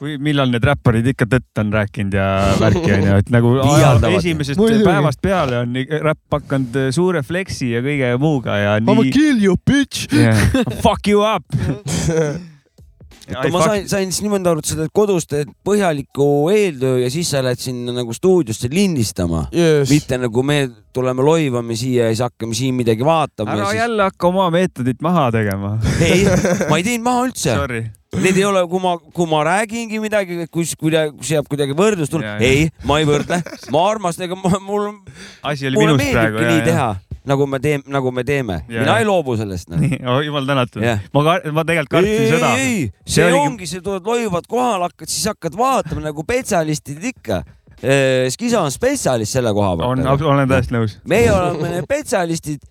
Speaker 2: kui , millal need räpparid ikka tõtt on rääkinud ja värki onju , et nagu
Speaker 3: Liialdavad.
Speaker 2: esimesest
Speaker 1: Muidugi.
Speaker 2: päevast peale on nii- räpp hakanud äh, suure flexi ja kõige muuga ja
Speaker 1: I will
Speaker 2: nii .
Speaker 1: kill you bitch .
Speaker 2: Yeah. Fuck you up .
Speaker 3: oota , ma sain , sain siis niimoodi aru , et sa teed kodus teed põhjaliku eeltöö ja siis sa lähed sinna nagu stuudiosse lindistama .
Speaker 4: jess ,
Speaker 3: mitte nagu me tuleme loivame siia ja siis hakkame siin midagi vaatama .
Speaker 2: ära jälle hakka oma meetodit maha tegema .
Speaker 3: ei , ma ei teinud maha üldse .
Speaker 2: Sorry .
Speaker 3: Need ei ole , kui ma , kui ma räägingi midagi , kus kuidagi , kus jääb kuidagi võrdlus
Speaker 2: Jaa, ,
Speaker 3: tulema
Speaker 2: jaa.
Speaker 3: ei , ma ei võrdle , ma armastan , ega ma- mul ,
Speaker 2: asi oli
Speaker 3: mulle
Speaker 2: minust praegu .
Speaker 3: meeldibki nii teha , nagu me teeme , nagu me teeme ,
Speaker 2: Jaa,
Speaker 3: mina
Speaker 2: jaa.
Speaker 3: ei loobu sellest noh.
Speaker 2: nii , jumal tänatud
Speaker 3: Jah. .
Speaker 2: ma , ma tegelikult
Speaker 3: ei ,
Speaker 2: kartsin
Speaker 3: ei ,
Speaker 2: seda .
Speaker 3: ei ,
Speaker 2: See
Speaker 3: see
Speaker 2: oligi-
Speaker 3: ongi , sa tuled loivad kohale , hakkad , siis hakkad vaatama nagu spetsialistid ikka . äh, Skisa on spetsialist selle koha
Speaker 2: on ,
Speaker 3: peal .
Speaker 2: olen täiesti nõus .
Speaker 3: meie oleme need spetsialistid ,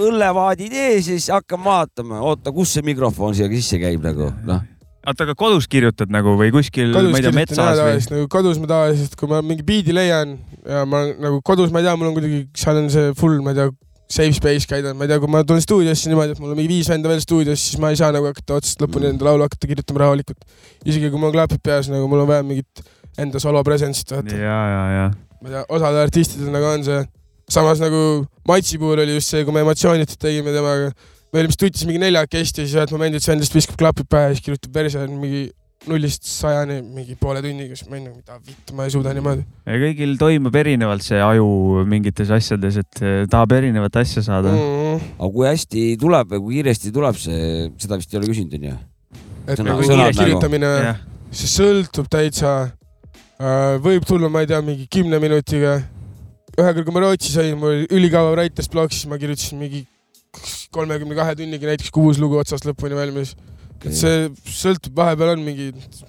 Speaker 3: õllevaadid ees ja siis hakkame vaatama , oota , kus see mikrofon siia sisse käib nagu , noh .
Speaker 2: oota , aga kodus kirjutad nagu või kuskil , ma
Speaker 4: kodus
Speaker 2: ei tea ,
Speaker 4: kirjutan ära
Speaker 2: metsas või ?
Speaker 4: tavaliselt , nagu kodus ma tavaliselt , kui ma mingi biidi leian ja ma nagu kodus ma ei tea , mul on kuidagi , seal on see full , ma ei tea , safe space käidan , ma ei tea , kui ma tulen stuudiosse niimoodi , et mul on mingi viis venda veel stuudios , siis ma ei saa nagu hakata otsast lõpuni
Speaker 2: Mm.
Speaker 4: enda laulu hakata kirjutama rahulikult . isegi kui mul on klapid peas , nagu mul on vaja mingit enda solo presence'it , vaata .
Speaker 2: ja , ja , ja .
Speaker 4: ma ei tea , osad artistidel nagu on see , samas nagu Matsi puhul oli just see , kui me emotsioonitult tegime temaga , me olime stuudios mingi neljakesti ja siis ühel momendil see endast viskab klapid pähe ja siis kirjutab verse mingi nullist sajani mingi poole tunniga , siis ma olin nagu , mida vitt , ma ei suuda niimoodi .
Speaker 2: kõigil toimub erinevalt see aju mingites asjades , et eh, tahab erinevat asja saada mm. .
Speaker 3: aga kui hästi tuleb või kui kiiresti tuleb see , seda vist ei ole küsinud , onju .
Speaker 4: et
Speaker 3: Sõna-
Speaker 4: nagu
Speaker 3: sõnad
Speaker 4: kiire kirjutamine ,
Speaker 2: jah ,
Speaker 4: see sõltub täitsa , võib tulla , ma ei tea , mingi kümne minutiga . ühekord , kui ma Rootsi sain , mul oli ülikaua writer's block , siis ma kirjutasin mingi kolmekümne kahe tunniga näiteks kuus lugu otsast lõpuni valmis . et see sõltub , vahepeal on mingi ,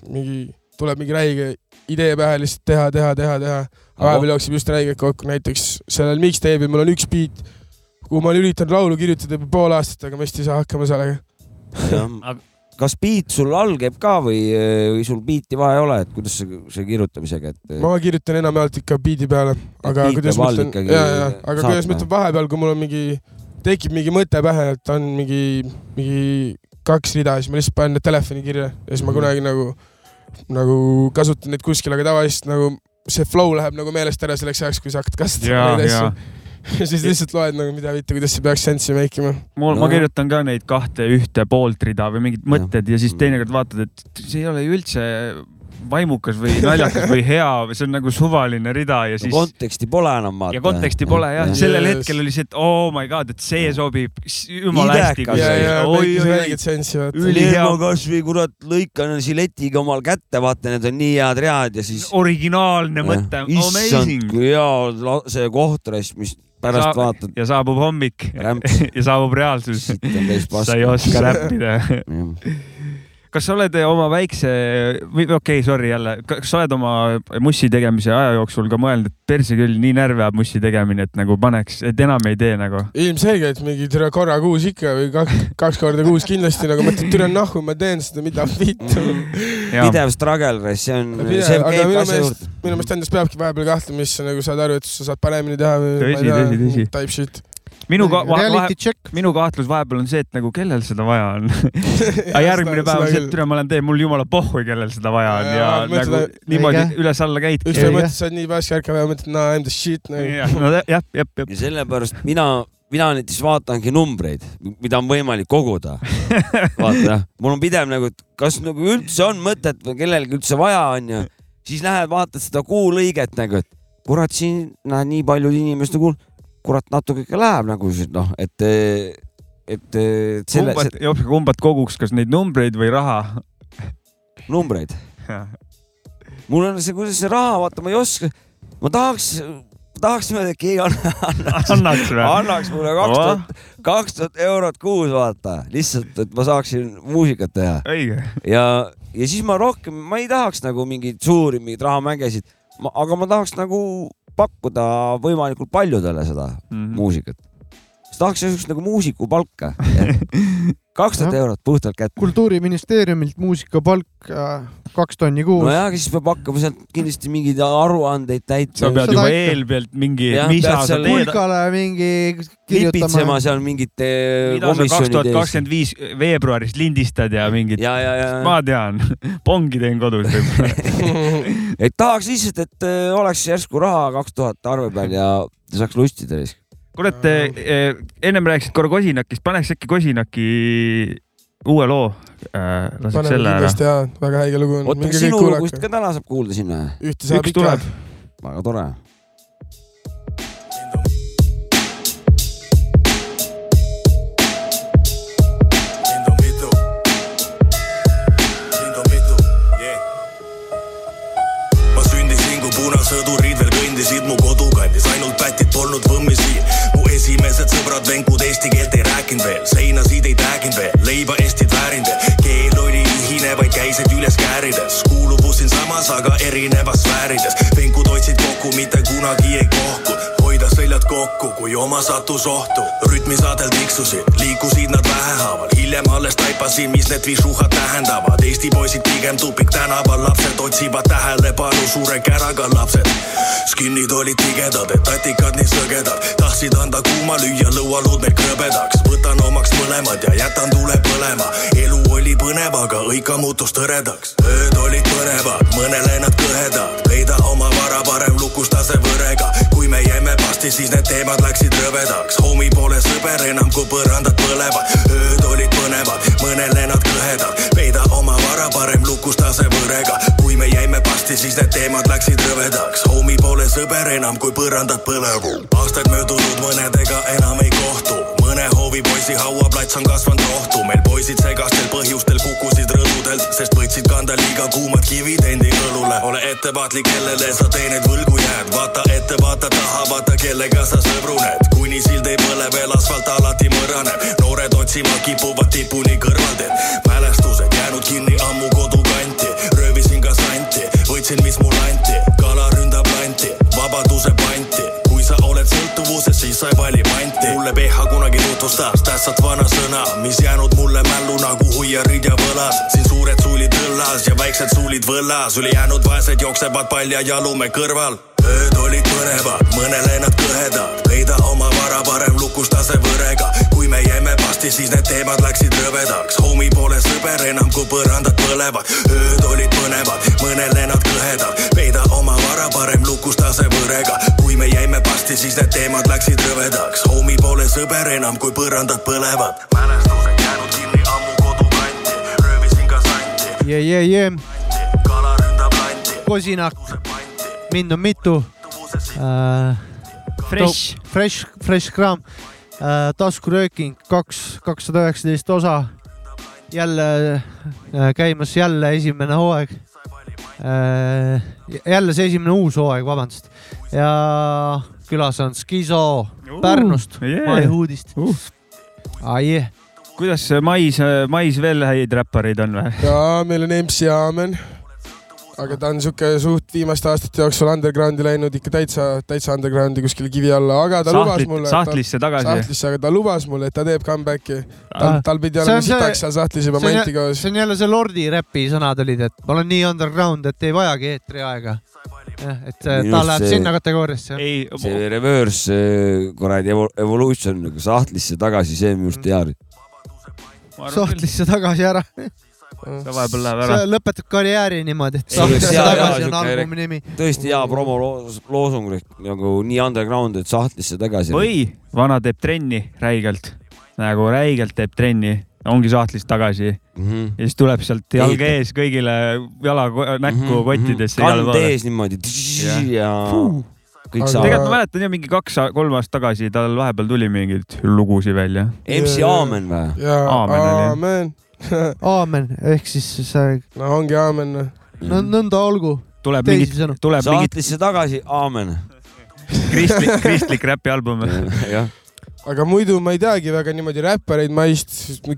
Speaker 4: mingi , tuleb mingi räige idee pähe lihtsalt teha , teha , teha , teha . vahepeal jookseb just räigelt kokku , näiteks sellel mixtape'il mul on üks beat , kuhu ma olen üritanud laulu kirjutada juba pool aastat , aga ma vist ei saa hakkama sellega .
Speaker 2: Aga-
Speaker 3: kas beat sul all käib ka või , või sul beat'i vaja ei ole , et kuidas see, see kirjutamisega , et
Speaker 4: ma kirjutan enamjaolt ikka beat'i peale , aga
Speaker 3: beat
Speaker 4: kuidas
Speaker 3: peab
Speaker 4: ma
Speaker 3: all
Speaker 4: ütlen ,
Speaker 3: ikkagi
Speaker 4: ja , ja , aga
Speaker 3: saatma.
Speaker 4: kuidas ma ütlen vahepeal , kui mul on mingi , tekib mingi mõte pähe , et on mingi , mingi kaks rida , siis ma lihtsalt panen need telefoni kirja ja siis ma
Speaker 3: Mhm.
Speaker 4: kunagi nagu , nagu kasutan neid kuskil , aga tavaliselt nagu see flow läheb nagu meelest ära selleks ajaks , kui sa hakkad
Speaker 2: ja ,
Speaker 4: kasutama neid
Speaker 2: ja
Speaker 4: asju . ja siis lihtsalt loed nagu mida mitte , kuidas see peaks sense'i make ima .
Speaker 2: mul no. , ma
Speaker 3: No.
Speaker 2: kirjutan ka neid kahte ühte poolt rida või mingid mõtted ja siis
Speaker 3: Mm.
Speaker 2: teinekord vaatad , et see ei ole ju üldse vaimukas või naljakas või hea või see on nagu suvaline rida ja
Speaker 3: siis...
Speaker 2: siis
Speaker 3: konteksti pole enam vaata .
Speaker 2: ja konteksti pole jah , sellel
Speaker 4: Yes.
Speaker 2: hetkel oli see , et oh my god , et see sobib s- jumala hästi .
Speaker 3: Idekas.
Speaker 4: ja , ja kõik
Speaker 2: oi-oi-oi ,
Speaker 4: räägid sense'i , vaata .
Speaker 2: ülihea.
Speaker 3: ülihea . ma kasvõi kurat lõikan siletiga omal kätte , vaata , need on nii head read ja siis .
Speaker 2: originaalne mõte ,
Speaker 3: issand ,
Speaker 2: amazing .
Speaker 3: kui hea on la- see kohtrass , mis pärast Sa... vaatad ,
Speaker 2: ja saabub hommik
Speaker 3: rämps ,
Speaker 2: ja saabub reaalsus .
Speaker 3: sitt on täis paska .
Speaker 2: sa ei oska . räppida . kas sa oled eh, oma väikse või okei okay, , sorry jälle , kas sa oled oma mussi tegemise aja jooksul ka mõelnud , et perse küll nii närvi ajab mussi tegemine , et nagu paneks , et enam ei tee nagu ?
Speaker 4: ilmselgelt mingi türa korra kuus ikka või kaks , kaks korda kuus kindlasti , nagu mõtled , türa nahku , ma teen seda , mida vittu .
Speaker 3: pidev struggle , see on ,
Speaker 4: pidev ,
Speaker 3: see
Speaker 4: aga
Speaker 3: käib
Speaker 4: minu
Speaker 3: asja
Speaker 4: meelest
Speaker 3: juurde .,
Speaker 4: minu meelest endast peabki vahepeal kahtlema , siis sa nagu saad aru , et sa saad paremini teha või
Speaker 2: Tõsi, tõsi, tõsi.
Speaker 4: type shit .
Speaker 2: minu ka- , vahe,
Speaker 1: reality check .
Speaker 2: minu kahtlus vahepeal on see , et nagu kellel seda vaja on . aga järgmine päev on see , et . üle ma olen tee , mul jumala pohhui , kellel seda vaja on ja,
Speaker 4: Jaa,
Speaker 2: ja
Speaker 4: mõtled,
Speaker 2: nagu
Speaker 4: et-
Speaker 2: niimoodi
Speaker 1: Õige.
Speaker 2: üles-alla
Speaker 4: üks
Speaker 2: käidki .
Speaker 4: päev
Speaker 1: Õige.
Speaker 4: mõtled , sa oled nii pääske ärkav ja mõtled , nah I am the shit nagu. .
Speaker 2: jah , no jah , jah , jah .
Speaker 3: ja sellepärast mina , mina näiteks vaatangi numbreid , mida on võimalik koguda . vaata , mul on pidev nagu , et kas nagu üldse on mõtet või kellelgi üldse vaja on ju , siis lähed vaatad seda kuu lõiget nagu , et kurat , siin näed nii palju inimeste kuul , kurat , natuke ikka läheb nagu siis, noh , et , et eh, selle ,
Speaker 2: kumbat , jops , kumbat koguks , kas neid numbreid või raha ?
Speaker 3: numbreid , mul on see , kuidas see raha , vaata , ma ei oska , ma tahaks , tahaks niimoodi , et keegi annab
Speaker 2: annaks või ?
Speaker 3: annaks mulle kaks
Speaker 2: Aa.
Speaker 3: tuhat , kaks tuhat eurot kuus , vaata , lihtsalt , et ma saaksin muusikat teha
Speaker 2: õige .
Speaker 3: ja , ja siis ma rohkem , ma ei tahaks nagu mingeid suuri , mingeid rahamängesid ,
Speaker 2: Mhm.
Speaker 3: aga ma tahaks nagu pakkuda võimalikult paljudele seda muusikat . siis tahaks niisugust nagu muusikupalka kaks tuhat eurot puhtalt kätte.
Speaker 1: kultuuriministeeriumilt muusikapalk äh, kaks tonni kuus.
Speaker 3: nojah, aga siis peab hakkama sealt kindlasti mingeid aruandeid täitma.
Speaker 2: sa pead juba eelpealt mingi.
Speaker 1: hulgale mingi
Speaker 3: kirjutama. lipitsema seal mingite
Speaker 2: komisjonide ees. kaks tuhat kakskümmend viis veebruaris lindistad ja mingid. ma tean pongi teen kodus
Speaker 3: et tahaks lihtsalt, et äh, oleks järsku raha kaks tuhat arve peal ja saaks lustida siis
Speaker 2: kurat, eh, ennem rääkisid korra Kosinakist, paneks äkki Kosinaki uue loo äh,?
Speaker 4: paneme kindlasti jaa, väga häige lugu on.
Speaker 3: oota, kas sinu lugust ka täna saab kuulda sinna?
Speaker 4: ühte saab ikka.
Speaker 3: väga tore.
Speaker 5: punasõdurid veel kõndisid mu kodukandis, ainult pätid polnud võmmisi. mu esimesed sõbrad venkud eesti keelt ei rääkinud veel, seinasid ei tääginud veel, leiba Eestit väärinud veel. keel oli ühine, vaid käisid üles käärides, kuuluvus siinsamas, aga erinevas sfäärides. venkud hoidsid kokku, mitte kunagi ei kohku, hoida seljad kokku, kui oma sattus ohtu. rütmisaadel tiksusid, liikusid nad vähehaaval, hiljem alles taipasin, mis need visuhad tähendavad. Eesti poisid pigem tupik tänaval, lapsed otsivad tähelepanu suure käraga lapsed. Skin'id olid tigedad, et tatikad nii sõgedad, tahtsid anda kuuma lüüa, lõualuud meil krõbedaks. võtan omaks mõlemad ja jätan tule põlema. elu oli põnev, aga õika muutus tõredaks. ööd olid põnevad, mõnele nad kõhedad, peida oma vara parem lukustase võrega, kui me jäime pasti, siis need teemad läksid rõvedaks. homi pole sõber enam, kui põrandad põlevad. ööd olid põnevad, mõnele nad kõhedad. peida oma vara parem lukustase võrega. kui me jäime pasti, siis need teemad läksid rõvedaks. homi pole sõber enam, kui põrandad põlevad. aastaid möödunud, mõnedega enam ei kohtu. mõne hoovi poisi hauaplats on kasvanud rohtu. meil poisid segastel põhjustel kukkusid rõdudelt, sest võtsid kanda liiga kuumad kivid endi õlule. ole ettevaatlik, kellele sa teeneid võlgu jääd. vaata ette, vaata taha, vaata kellega sa sõbruned, kuni sild ei põle veel, asfalt alati mõraneb. noored otsima kipuvad tipuni kõrvalt, et mälestused jäänud kinni ammu kodukanti. röövisin ka santi, võtsin, mis mulle anti, kala ründab lanti, vabaduse panti. kui sa oled sõltuvuses, siis sa ei vali manti. mulle PH kunagi tutvustas tähtsat vanasõna, mis jäänud mulle mällu nagu hoiarid ja võlas. siin suured suulid õllas ja väiksed suulid võllas, ülejäänud vaesed jooksevad palja jalume kõrval ööd olid põnevad, mõnele nad kõhedad, leida oma vara parem lukustase võrega. kui me jäime pasti, siis need teemad läksid rõvedaks, homi pole sõber enam, kui põrandad põlevad. ööd olid põnevad, mõnele nad kõhedad, leida oma vara parem lukustase võrega. kui me jäime pasti, siis need teemad läksid rõvedaks, homi pole sõber enam, kui põrandad põlevad. mälestused jäänud kinni ammu kodukanti, röövisin ka santi.
Speaker 1: jee, jee, jee.
Speaker 5: kala ründab lanti.
Speaker 1: kosinak mind on mitu äh,.
Speaker 2: Fresh.
Speaker 1: Fresh, fresh kraam äh,. taskurööking kaks, kakssada üheksateist osa. jälle äh, käimas, jälle esimene hooaeg äh,. jälle see esimene uus hooaeg, vabandust. ja külas on Skiso Pärnust uh,, yeah. Mai uudist uh.. Ah, yeah.
Speaker 2: kuidas eh, mais, mais veel häid räppareid on või?
Speaker 4: jaa, meil on MC Aamen aga ta on sihuke suht viimaste aastate jooksul undergroundi läinud ikka täitsa, täitsa undergroundi kuskile kivi alla, aga ta Sahtlit, lubas mulle.
Speaker 2: sahtlisse tagasi. Ah.
Speaker 4: sahtlisse, aga ta lubas mulle, et ta teeb comeback'i.
Speaker 1: Ah.
Speaker 4: tal, tal pidi olema sitaks seal sahtlis juba manti koos.
Speaker 1: see on jälle see Lordi räpi sõnad olid, et ma olen nii underground, et ei vajagi eetriaega. et ta Just läheb see, sinna kategooriasse.
Speaker 3: see reverse äh, kuradi evolution nagu sahtlisse tagasi, see on minu arust
Speaker 2: Mm.
Speaker 3: hea.
Speaker 1: sahtlisse tagasi ära
Speaker 2: ta vahepeal läheb ära.
Speaker 1: lõpetab karjääri niimoodi, et sahtlisse tagasi on albumi nimi.
Speaker 3: tõesti hea promoloosung nagu nii underground, et sahtlisse tagasi.
Speaker 2: või vana teeb trenni räigelt, nagu räigelt teeb trenni, ongi sahtlist tagasi mm. -hmm. ja siis tuleb sealt jalg ees kõigile jala näkku mm -hmm. kottidesse.
Speaker 3: Mhm, kand ees niimoodi. ja, ja...
Speaker 2: kõik saavad. tegelikult ma mäletan jah, mingi kaks-kolm aastat tagasi tal vahepeal tuli mingeid lugusid välja.
Speaker 3: MC Aamen või?
Speaker 4: Aamen oli
Speaker 1: aamen ehk siis see.
Speaker 4: no ongi aamen noh. no..
Speaker 1: no nõnda olgu.
Speaker 2: tuleb mingit, tuleb mingit.
Speaker 3: saatlisse tagasi, aamen.
Speaker 2: kristlik, kristlik räpialbum
Speaker 4: aga muidu ma ei teagi väga niimoodi räppareid maist,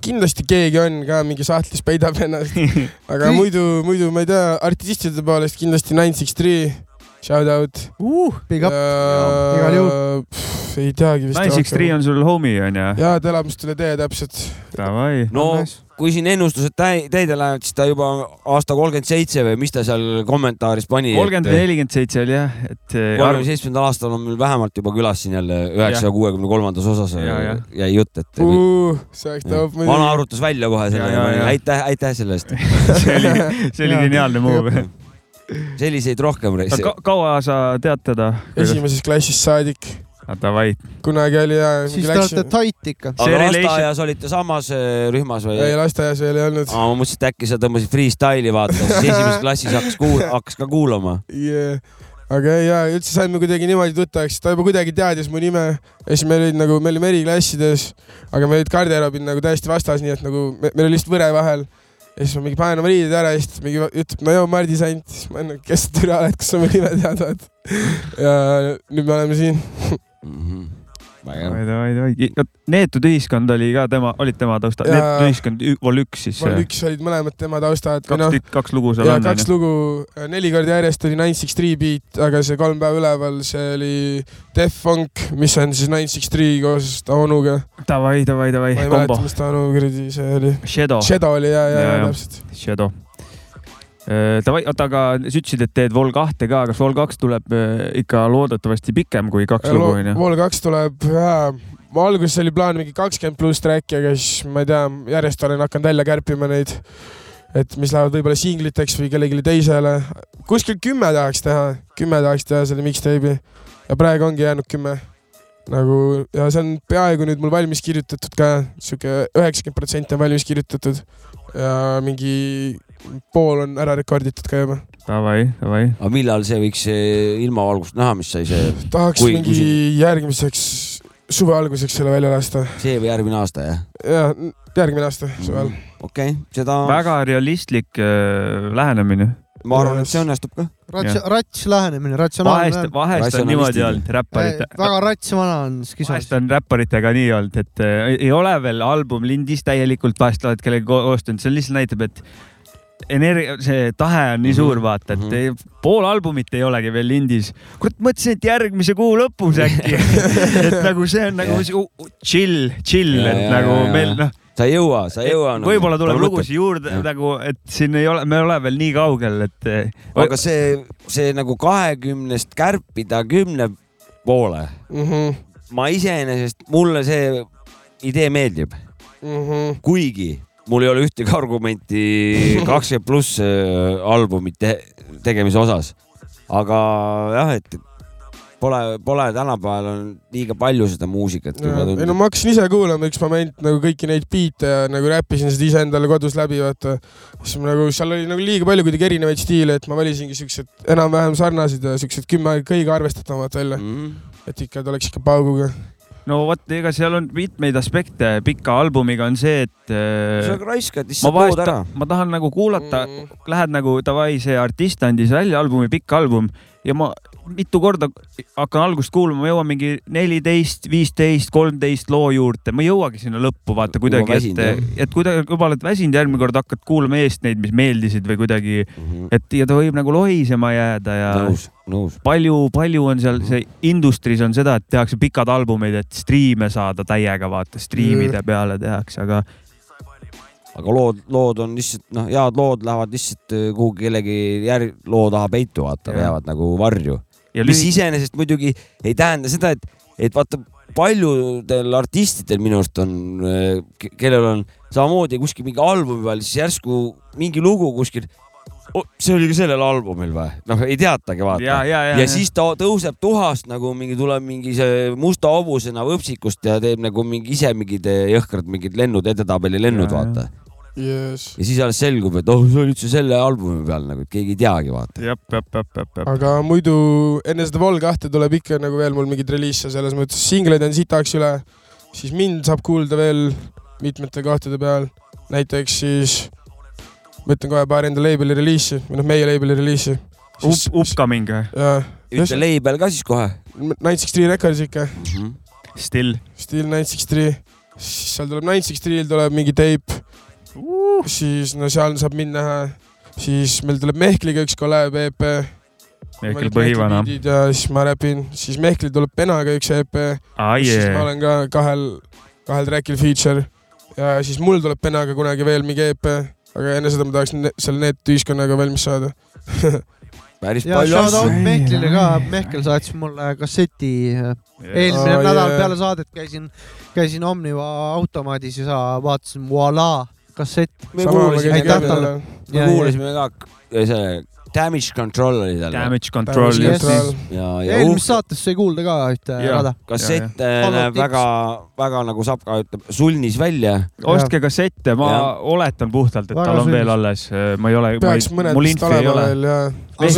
Speaker 4: kindlasti keegi on ka mingi sahtlis peidab ennast, aga muidu, muidu ma ei tea, artistide poolest kindlasti Nine Six Three, shout out
Speaker 1: uh,. Big up uh,, igal juhul
Speaker 4: ei teagi vist .
Speaker 2: Nine Six Three on sul homie onju ?
Speaker 4: jaa , ta elab vist üle tee täpselt .
Speaker 2: Davai .
Speaker 3: no kui siin ennustused täi- täide lähevad , siis ta juba aasta kolmkümmend seitse või mis ta seal kommentaaris pani ?
Speaker 2: kolmkümmend , nelikümmend seitse oli jah , et . äh,
Speaker 3: kolmekümne seitsmendal aastal on meil vähemalt juba külas siin jälle üheksasaja kuuekümne kolmandas osas
Speaker 2: Ja, ja.
Speaker 3: jäi jutt , et
Speaker 4: see oleks
Speaker 3: Jah.
Speaker 4: tahab
Speaker 3: vana arvutas välja kohe selle
Speaker 2: Ja, ja, ja. ,
Speaker 3: aitäh , aitäh selle eest .
Speaker 2: see oli , see oli
Speaker 4: Jaa.
Speaker 2: geniaalne move .
Speaker 3: selliseid rohkem .
Speaker 2: kaua sa tead teda ?
Speaker 4: esimesest klassist saadik ,
Speaker 2: Davai ,
Speaker 4: kunagi oli jaa .
Speaker 1: siis te olete tait ikka .
Speaker 2: see
Speaker 3: aga
Speaker 2: relation-
Speaker 3: lasteaias olite samas äh, rühmas või ?
Speaker 4: ei , lasteaias veel ei olnud .
Speaker 3: ma mõtlesin , et äkki sa tõmbasid freestyle'i vaata , siis esimeses klassis hakkas kuul- , hakkas ka kuulama .
Speaker 4: yeah. aga ei jaa , üldse saime kuidagi niimoodi tuttavaks , ta juba kuidagi teadis mu nime ja siis meil olid nagu , me olime eriklassides , aga meil olid garderoobid nagu täiesti vastas , nii et nagu me, meil oli lihtsalt võre vahel . ja siis ma mingi panen oma riided ära ja siis mingi va- ütleb , no joo , Mardis ainult , siis ma olen , kes sa türa oled , kas sa mu nime tead oled . ja nüüd me oleme siin .
Speaker 3: Mhm. väga hea .
Speaker 2: davai , davai , davai . neetud ühiskond oli ka tema , olid tema taustal ,
Speaker 4: Jaa.
Speaker 2: neetud ühiskond ü- vol üks siis . äh, kaks
Speaker 4: üks olid mõlemad tema taustad .
Speaker 2: tükk , kaks lugu seal
Speaker 4: ja
Speaker 2: on .
Speaker 4: kaks lugu , neli korda järjest oli Nine Six Three beat , aga see kolm päeva üleval , see oli Def Funk , mis on siis Nine Six Three koos Taunuga .
Speaker 2: davai , davai , davai
Speaker 4: ma ei , mäleta
Speaker 2: kombo ,.
Speaker 4: mis Taunu kuradi see oli .
Speaker 2: Shadow ,
Speaker 4: Shadow oli ja , ja ,
Speaker 2: Jaa,
Speaker 4: ja
Speaker 2: jaa.
Speaker 4: täpselt .
Speaker 2: Shadow . Davai , oota , aga sa ütlesid , et teed vol kahte ka , kas vol kaks tuleb öö, ikka loodetavasti pikem kui
Speaker 4: Äh,
Speaker 2: kaks lugu onju ?
Speaker 4: Wall kaks tuleb , ma alguses oli plaan mingi kakskümmend pluss track'i , aga siis ma ei tea , järjest olen hakanud välja kärpima neid , et mis lähevad võib-olla singliteks või kellelegi teisele . kuskil kümme tahaks teha , kümme tahaks teha selle mixtape'i ja praegu ongi jäänud kümme nagu ja see on peaaegu nüüd mul valmis kirjutatud ka , sihuke üheksakümmend protsenti on valmis kirjutatud ja mingi pool on ära rekorditud ka juba .
Speaker 2: Davai , davai .
Speaker 3: aga millal see võiks eh, ilmavalgust näha , mis sai see ,
Speaker 4: tahaks
Speaker 3: Kui-
Speaker 4: kui, mingi kui... järgmiseks suve alguseks selle välja lasta .
Speaker 3: see või järgmine aasta jah ?
Speaker 4: ja n- järgmine aasta suvel .
Speaker 3: okei okay, , seda
Speaker 2: väga realistlik öö, lähenemine .
Speaker 3: ma arvan , et see õnnestub ka .
Speaker 1: rats
Speaker 2: Jah. ,
Speaker 1: rats lähenemine , ratsionaalne
Speaker 2: vahest ,. vahest on niimoodi
Speaker 3: Ratsionalistid.
Speaker 2: olnud räpparite .
Speaker 1: väga rats vana on skisos
Speaker 2: vahest . on räpparitega nii olnud , et äh, ei ole veel album lindis täielikult , vahest oled kellegagi koostanud , see lihtsalt näitab , et energia , see tahe on nii suur , vaata , et
Speaker 3: Mhm.
Speaker 2: ei- pool albumit ei olegi veel lindis . kurat , mõtlesin , et järgmise kuu lõpus äkki , et nagu see on nagu
Speaker 3: Jah.
Speaker 2: sihu- chill , chill ,
Speaker 3: Ja,
Speaker 2: et
Speaker 3: ja,
Speaker 2: nagu
Speaker 3: ja, ja.
Speaker 2: meil noh ,
Speaker 3: sa ei jõua , sa ei jõua . noh.
Speaker 2: võib-olla tuleb lugusid juurde
Speaker 3: Jah.
Speaker 2: nagu , et siin ei ole , me ei ole veel nii kaugel , et eh,
Speaker 3: aga see , see nagu kahekümnest kärpida kümne poole ,
Speaker 4: Mhm.
Speaker 3: ma iseenesest , mulle see idee meeldib ,
Speaker 4: Mhm.
Speaker 3: kuigi mul ei ole ühtegi argumenti kakskümmend pluss äh, albumi te tegemise osas . aga jah , et pole , pole tänapäeval on liiga palju seda muusikat juba
Speaker 4: ei no
Speaker 3: tundub .
Speaker 4: ma hakkasin ise kuulama üks moment nagu kõiki neid biite ja nagu räppisin seda iseendale kodus läbi , vaata . siis ma nagu seal oli nagu liiga palju kuidagi erinevaid stiile , et ma valisingi siuksed enam-vähem sarnased ja siuksed kümme kõige arvestatavamad välja ,
Speaker 3: Mm.
Speaker 4: et ikka ta oleks ikka pauguga .
Speaker 2: no vot , ega seal on mitmeid aspekte , pika albumiga on see , et äh,
Speaker 3: sa raiskad
Speaker 2: ma
Speaker 3: lihtsalt
Speaker 2: vahest
Speaker 3: pood ära ., Mm.
Speaker 2: ma tahan nagu kuulata , lähed nagu davai , see artist andis välja albumi , pikk album ja ma mitu korda hakkan algust kuulama , ma jõuan mingi neliteist , viisteist , kolmteist loo juurde , ma ei jõuagi sinna lõppu vaata
Speaker 3: Juba
Speaker 2: kuidagi ,
Speaker 3: väsinud,
Speaker 2: et , et kuidagi juba oled väsinud , järgmine kord hakkad kuulama eest neid , mis meeldisid või kuidagi , et ja ta võib nagu lohisema jääda ja
Speaker 3: Mhm. nõus , nõus . Mhm.
Speaker 2: palju-palju on seal see industry's on seda , et tehakse pikad albumid , et striime saada täiega vaata ,
Speaker 3: Mhm.
Speaker 2: striimide peale tehakse , aga
Speaker 3: aga lood , lood on lihtsalt noh , head lood lähevad lihtsalt äh, kuhugi kellegi järg- , loo taha peitu vaata ,
Speaker 2: Jah.
Speaker 3: jäävad nagu varju .
Speaker 2: ja
Speaker 3: mis iseenesest muidugi ei tähenda seda , et , et vaata , paljudel artistidel minu arust on , kellel on samamoodi kuskil mingi albumi peal , siis järsku mingi lugu kuskil oh, , see oli ka sellel albumil või ? noh , ei teatagi vaata .
Speaker 2: ja , ja , ja,
Speaker 3: ja siis ta tõuseb tuhast nagu mingi , tuleb mingi see musta hobusena võpsikust ja teeb nagu mingi ise mingid eh, jõhkrad mingid lennud , edetabeli lennud ,
Speaker 2: Jaa, jaa.
Speaker 3: vaata .
Speaker 4: jess .
Speaker 3: ja siis alles selgub , et oh , see oli üldse selle albumi peal nagu , et keegi ei teagi vaata .
Speaker 2: jah , jah , jah , jah , jah .
Speaker 4: aga muidu enne seda Vol kahte tuleb ikka nagu veel mul mingeid reliise , selles mõttes singleid on sitaks üle , siis mind saab kuulda veel mitmete kohtade peal , näiteks siis ma ütlen kohe paar enda label'i reliisi või noh , meie label'i reliisi .
Speaker 2: Upcoming ,
Speaker 4: jaa ,
Speaker 3: ütle label ka siis kohe
Speaker 4: Nine Six Three Records ikka ,
Speaker 3: mm . -hmm.
Speaker 2: still .
Speaker 4: Still Nine Six Three , siis seal tuleb Nine Six Three'l tuleb mingi teip , siis no seal saab mind näha , siis meil tuleb Mehkliga üks kolläeb EP ,
Speaker 2: Mehkel Põhivana .
Speaker 4: E ja siis ma räpin , siis Mehklil tuleb Penaga üks EP
Speaker 2: Aa,
Speaker 4: kus siis
Speaker 2: jee.
Speaker 4: ma olen ka kahel , kahel track'il feature ja siis mul tuleb Penaga kunagi veel mingi EP , aga enne seda ma tahaks ne- selle NET-ühiskonnaga valmis saada .
Speaker 3: päris
Speaker 1: ja shout out Mehklile ka , Mehkel saatis mulle kasseti . eelmine
Speaker 4: Aa,
Speaker 1: nädal
Speaker 4: jaa.
Speaker 1: peale saadet käisin , käisin Omniva automaadis ja sa- vaatasin , voilà , kassett .
Speaker 3: me kuulasime
Speaker 1: aitäh
Speaker 3: ka-
Speaker 1: talle .
Speaker 3: me kuulasime ka k- see Damage Control oli tal .
Speaker 2: Damage Control ,
Speaker 1: Damage
Speaker 2: just
Speaker 1: Control.
Speaker 2: nii .
Speaker 3: ja , ja
Speaker 1: eelmises
Speaker 3: uhke
Speaker 1: saates sai kuulda ka ühte
Speaker 2: Jaa.
Speaker 1: rada .
Speaker 3: kassett äh,
Speaker 1: Follow
Speaker 3: näeb
Speaker 1: tips.
Speaker 3: väga-väga nagu Sapka ütleb , sulnis välja .
Speaker 2: ostke kassette , ma
Speaker 3: Jah.
Speaker 2: oletan puhtalt , et
Speaker 1: Väga
Speaker 2: tal on
Speaker 1: sündis.
Speaker 2: veel alles , ma ei ole ,
Speaker 4: peaks mõned
Speaker 2: mul
Speaker 4: vist
Speaker 2: infi ei
Speaker 4: olema
Speaker 2: ole .
Speaker 4: veel ja .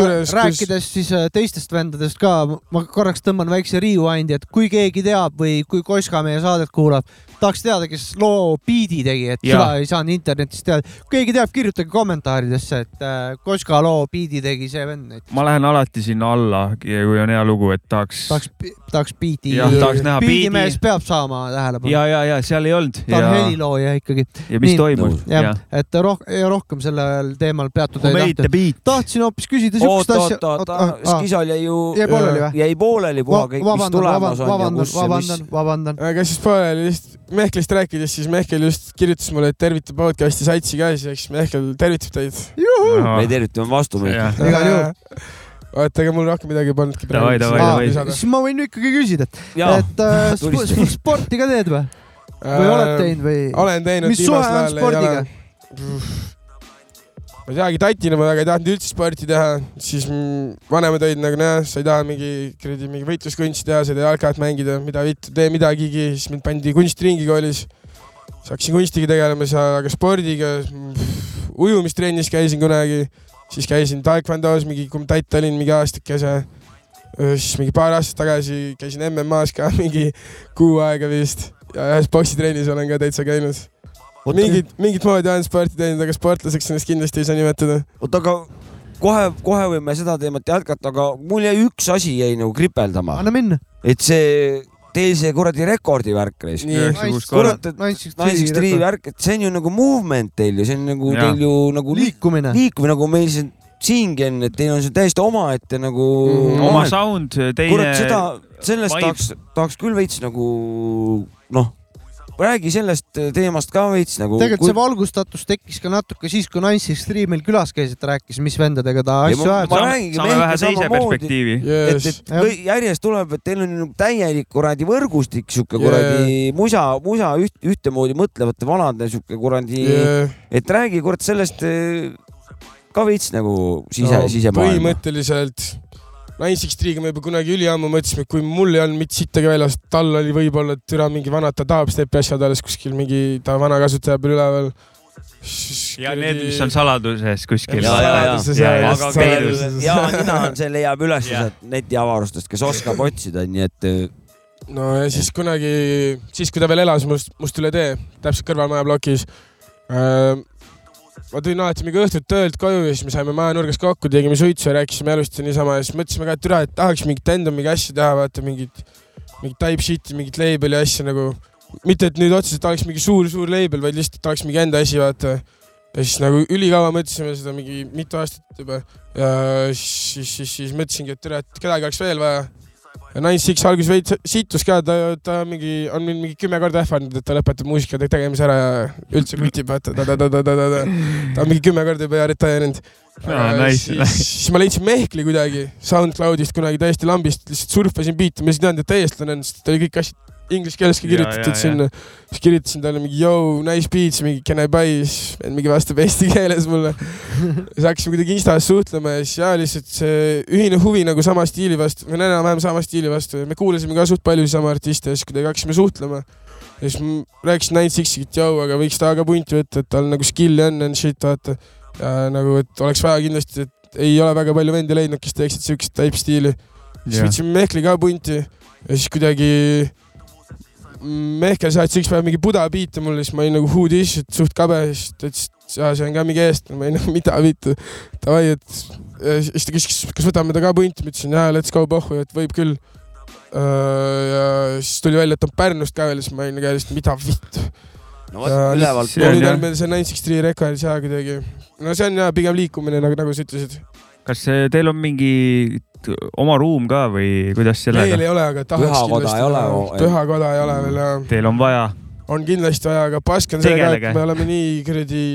Speaker 1: rääkides siis äh, teistest vendadest ka , ma korraks tõmban väikse rewind'i , et kui keegi teab või kui Koska meie saadet kuulab , tahaks teada , kes loo biidi tegi , et
Speaker 2: Jaa.
Speaker 1: seda ei saanud internetist teada . kui keegi teab , kirjutage kommentaaridesse , et äh, Koska loo biidi tegi see vend , et
Speaker 2: ma lähen alati sinna alla , kui on hea lugu , et tahaks ,
Speaker 1: tahaks , tahaks biiti .
Speaker 2: jah , tahaks näha
Speaker 1: biidimees
Speaker 2: biidi
Speaker 1: peab saama tähelepanu .
Speaker 2: ja , ja , ja seal ei olnud
Speaker 1: ta on
Speaker 2: ja ,
Speaker 1: helilooja ikkagi .
Speaker 2: ja mis
Speaker 1: Nii.
Speaker 2: toimus ,
Speaker 1: jah
Speaker 2: jah .
Speaker 1: et roh- , rohkem sellel teemal peatuda ei
Speaker 2: Made the
Speaker 1: tahtnud .
Speaker 2: beat .
Speaker 1: tahtsin hoopis küsida
Speaker 3: oot ,
Speaker 1: siukest
Speaker 3: oot ,
Speaker 1: asja ah,
Speaker 3: oot ,.
Speaker 2: ah,
Speaker 3: oot , Skisol jäi ju ,
Speaker 1: Jäi pooleli või?
Speaker 3: jäi pooleli puha kõik , mis tulemas on ja
Speaker 1: vabandan
Speaker 3: kus , ja mis
Speaker 1: vabandan , vabandan .
Speaker 4: aga siis pooleli lihtsalt Mehklist rääkides , siis Mehkel just kirjutas mulle , et tervitab podcast'i satsi ka , siis eks Mehkel tervitab teid .
Speaker 3: me tervitame vastu meid .
Speaker 1: Igal juhul.
Speaker 4: vaata , ega mul rohkem midagi ei pannudki .
Speaker 2: Davai, davai, davai.
Speaker 1: siis Ah, ma võin ikkagi küsida ,
Speaker 3: jaa ,
Speaker 1: et äh, sp-
Speaker 3: tulista.
Speaker 1: sporti ka teed või , või oled ? teinud või ?
Speaker 4: Äh, olen teinud .
Speaker 1: mis suhe on spordiga ??
Speaker 4: ma ei teagi , tatina ma väga ei tahtnud üldse sporti teha , siis mm, vanemad olid nagu näe , sa ei taha mingi kuradi mingi võitluskunsti teha , sa ei taha jalkat mängida , mida vittu , tee midagigi , siis mind pandi kunstiringi koolis . siis hakkasin kunstiga tegelema , siis aga spordiga , ujumistrennis käisin kunagi , siis käisin taekwondo's mingi , kui ma tatt olin , mingi aastakese . siis mingi paar aastat tagasi käisin MM-as ka mingi kuu aega vist ja ühes boksitrennis olen ka täitsa käinud . mingit , mingit moodi olen sporti teinud , aga sportlaseks ennast kindlasti ei saa nimetada .
Speaker 3: oot , aga kohe , kohe võime seda teemat jätkata , aga mul jäi üks asi jäi nagu kripeldama ,
Speaker 1: anna minna .
Speaker 3: et see , teil see kuradi rekordi värk reis .
Speaker 4: nii ,
Speaker 3: kurat , et Nine Six Three
Speaker 1: liikumine .
Speaker 3: värk , et see on ju nagu movement teil ju , see on nagu
Speaker 2: Jaa.
Speaker 3: teil ju nagu liik- , liikumine nagu meil siin siingi on , et teil on see täiesti omaette nagu
Speaker 4: Mhm.
Speaker 2: oma sound ,
Speaker 3: kurat ,
Speaker 2: teine
Speaker 3: seda , sellest
Speaker 2: vibe.
Speaker 3: tahaks , tahaks küll veits nagu noh , räägi sellest teemast ka veits nagu .
Speaker 1: tegelikult see valgustatus tekkis ka natuke siis , kui Nancy Streamil külas käis , et rääkis , mis vendadega ta asju
Speaker 3: ma-
Speaker 1: ajab .
Speaker 3: ma-
Speaker 2: saame,
Speaker 3: räägin,
Speaker 2: saame
Speaker 3: Mehkel
Speaker 2: vähe teise
Speaker 3: samamoodi.
Speaker 2: perspektiivi .
Speaker 3: et ,
Speaker 4: jess .
Speaker 3: et kõi- järjest tuleb , et teil on nagu täielik kuradi võrgustik , sihuke kuradi musa , musa üht , ühtemoodi mõtlevate vanade sihuke kuradi yeah. , et räägi kurat sellest eh, ka veits nagu sise no, , sisemaailma .
Speaker 4: põhimõtteliselt Nine Six Three'ga me juba kunagi üliammu mõtlesime , et kui mul ei olnud mitte sittagi väljas , tal oli võib-olla türa mingi vana , ta tahab stepi asjad alles kuskil mingi , ta vana kasutaja peal üleval .
Speaker 2: ja need , mis on saladuses kuskil .
Speaker 3: Ja, ja, ja.
Speaker 2: Ja, ja,
Speaker 3: aga
Speaker 2: peidus.
Speaker 3: veel hea nina on , see leiab üles
Speaker 2: Jah.
Speaker 3: sealt netiavarustest , kes oskab otsida , nii et eh,
Speaker 4: no ja siis kunagi , siis kui ta veel elas must , must üle tee , täpselt kõrvalmaja plokis äh, . ma tulin alati mingi õhtut töölt koju ja siis me saime maja nurgas kokku , tegime suitsu ja rääkisime elust ja niisama ja siis mõtlesime ka , et türa , et tahaks mingit random'i asja teha , vaata mingit , mingit type shit'i , mingit label'i asja nagu . mitte , et nüüd otseselt oleks mingi suur-suur label , vaid lihtsalt oleks mingi enda asi , vaata . ja siis nagu ülikaua mõtlesime seda mingi mitu aastat juba ja siis , siis , siis mõtlesingi , et türa , et kedagi oleks veel vaja ja Nine Six alguses veits situs ka , ta , ta mingi , on mind mingi kümme korda ähvardanud , et ta lõpetab muusika te- tegemise ära ja üldse kutib , vaata ta , ta , ta , ta , ta , ta , ta , ta on mingi kümme korda juba retireerinud .
Speaker 2: Aa, nice,
Speaker 4: siis, siis ma leidsin Mehkli kuidagi SoundCloudist kunagi täiesti lambist , lihtsalt surfasin biite , ma ei teadnud , et ta eestlane on , sest ta oli kõik asjad inglise keeleski
Speaker 2: Ja, ja,
Speaker 4: kirjutatud
Speaker 2: ja.
Speaker 4: sinna . siis kirjutasin talle mingi yo , nice beats , mingi can I buy , siis vend mingi vastab eesti keeles mulle . siis hakkasime kuidagi Instas suhtlema ja siis jaa , lihtsalt see ühine huvi nagu sama stiili vastu , või no enam-vähem sama stiili vastu ja me kuulasime ka suht palju sama artiste ja siis kuidagi hakkasime suhtlema . ja siis ma rääkisin Nine Sixiga , et jõu , aga võiks ta ka punti võtta , et tal nagu skill'i on and shit , vaata . ja nagu , et oleks vaja kindlasti , et ei ole väga palju vendi leidnud , kes teeksid siukest type stiili . siis võtsime Mehkli ka punti ja siis kuidagi mm, Mehkel saatis ükspäev mingi Buda biite mulle , siis ma olin nagu who this , et suht kabe , siis ta ütles , et jaa, see on ka mingi eestlane , ma olin nagu mida vittu , davai , et ja siis ta küsis , kas võtame ta ka punti , ma ütlesin jaa , let's go pohhu , et võib küll . ja siis tuli välja , et ta on Pärnust ka veel , siis ma olin nagu järjest mida vittu .
Speaker 3: no vot
Speaker 4: Ja
Speaker 3: ülevalt
Speaker 2: see
Speaker 4: ja
Speaker 2: on
Speaker 4: nüüd
Speaker 2: jah.
Speaker 4: on meil see Nine Six Three rekord ja kuidagi , no see on jaa , pigem liikumine nagu , nagu sa ütlesid .
Speaker 2: kas eh, teil on mingi t- oma ruum ka või kuidas
Speaker 4: meil
Speaker 2: sellega ?
Speaker 4: ei ole , aga tahaks
Speaker 3: Pühakoda ei ole, oo-
Speaker 4: kindlasti . pühakoda ei ole veel jah .
Speaker 2: Teil on vaja ,
Speaker 4: on kindlasti vaja , aga pask on see ka ,
Speaker 2: Tegelege.
Speaker 4: et me oleme nii kuradi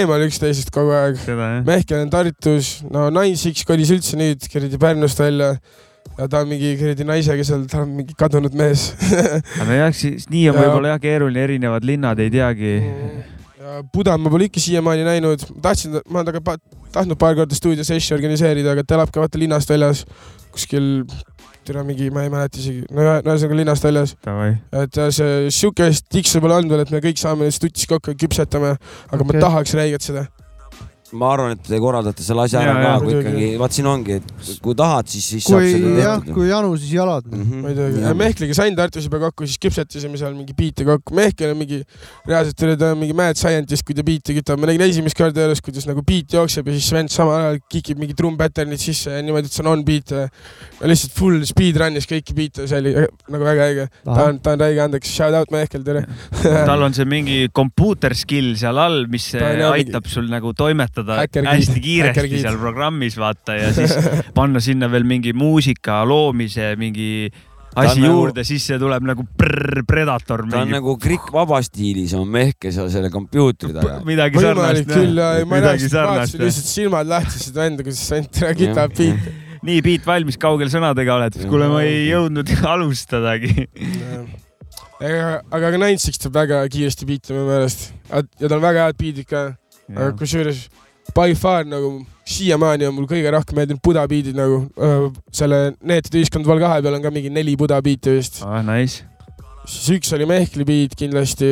Speaker 4: eemal üksteisest kogu aeg .
Speaker 2: seda jah ?
Speaker 4: Mehkel on Tartus , no naisiks kolis üldse nüüd kuradi Pärnust välja ja ta on mingi kuradi naisega seal , ta on mingi kadunud mees
Speaker 2: aga jah , siis nii on
Speaker 4: Ja-
Speaker 2: võib-olla jah keeruline , erinevad linnad ei teagi .
Speaker 4: Mm-hmm. ja Äh, Buda ma pole ikka siiamaani näinud , tahtsin , ma olen temaga pa- tahtnud paar korda stuudios asju organiseerida , aga ta elab ka vaata linnast väljas kuskil , türa mingi , ma ei mäleta isegi , no ühe- no ühesõnaga linnast väljas ,
Speaker 2: Davai ,
Speaker 4: et äh, see siukest tiksu pole olnud veel , et me kõik saame nüüd stutis kokku ja küpsetame , aga okay.
Speaker 1: Okei.
Speaker 4: ma tahaks räiget seda .
Speaker 3: ma arvan , et te korraldate selle asja
Speaker 2: Jaa,
Speaker 3: ära ka
Speaker 2: jaa, ,
Speaker 3: kui
Speaker 4: muidugi.
Speaker 3: ikkagi , vaat siin ongi , et kui tahad , siis , siis saab
Speaker 1: kui
Speaker 3: seda
Speaker 1: jah ,
Speaker 3: tehtud . Mhm.
Speaker 1: kui janu , siis jalad .
Speaker 4: ma ei tea , Mehkliga sain Tartus juba kokku , siis küpsetasime seal mingi biite kokku , Mehkel on mingi reaalselt oli ta on mingi mad scientist , kui ta biite kütab , ma nägin esimest korda elus , kuidas nagu biit jookseb ja siis Sven samal ajal kikib mingi trumm pattern'id sisse ja niimoodi , et see on on beat ja ja lihtsalt full speedrun'is kõiki biite , see oli äh, nagu väga äge , ta on , ta on räige andeks , shout out Mehkel , tere .
Speaker 2: tal on see mingi computer skill seal all , mis
Speaker 4: äh, Ta on jah
Speaker 2: aitab sul nagu toimetada
Speaker 4: Häkkergiid,
Speaker 2: hästi kiiresti
Speaker 4: häkkergiid.
Speaker 2: seal programmis vaata ja siis panna sinna veel mingi muusika loomise mingi
Speaker 3: on
Speaker 2: asi
Speaker 3: nagu-
Speaker 2: juurde , siis see tuleb nagu prrr, predator
Speaker 3: ta on
Speaker 2: mingi ,
Speaker 3: nagu Krikk Vaba stiilis on Mehkel seal selle kompuutri taga .
Speaker 2: midagi
Speaker 4: võimalik
Speaker 2: sarnast .
Speaker 4: küll ja ma
Speaker 2: midagi
Speaker 4: rääkisin , vaatasin
Speaker 2: sarnast .
Speaker 4: lihtsalt silmad lahti seda enda , kuidas Sven tere kitab
Speaker 3: Jah.
Speaker 4: biite .
Speaker 2: nii , Piet , valmis , kaugel sõnadega oled ? kuule , ma ei jõudnud alustadagi .
Speaker 4: aga , aga ka Nantsiks teeb väga kiiresti biite minu meelest ja tal on väga head biidid ka aga kusjuures by far nagu siiamaani on mul kõige rohkem meeldinud Buda beat'id nagu öö, selle Neetud ühiskond Vol kahe peal on ka mingi neli Buda beat'i vist .
Speaker 2: ah , nice .
Speaker 4: siis üks oli Mehkli beat kindlasti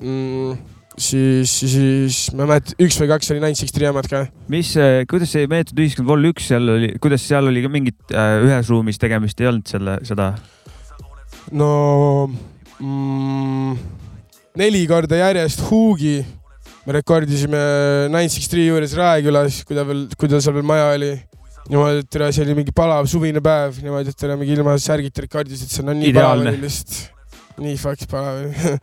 Speaker 4: mm, , siis , siis ma ei mäleta , üks või kaks oli Nine Sixty omad ka .
Speaker 2: mis , kuidas see meetod ühiskond Vol üks seal oli , kuidas seal oli ka mingit äh, ühes ruumis tegemist ei olnud selle , seda ?
Speaker 4: no mm, neli korda järjest Hugi me rekordisime Nine Sixty juures Raekülas , kui ta veel , kui ta seal veel maja oli niimoodi , et tere , see oli mingi palav suvine päev niimoodi , et tere , mingi ilma särgita rekordisid , see on nii palav
Speaker 2: Ideaalne.
Speaker 4: oli lihtsalt , nii fucking palav oli .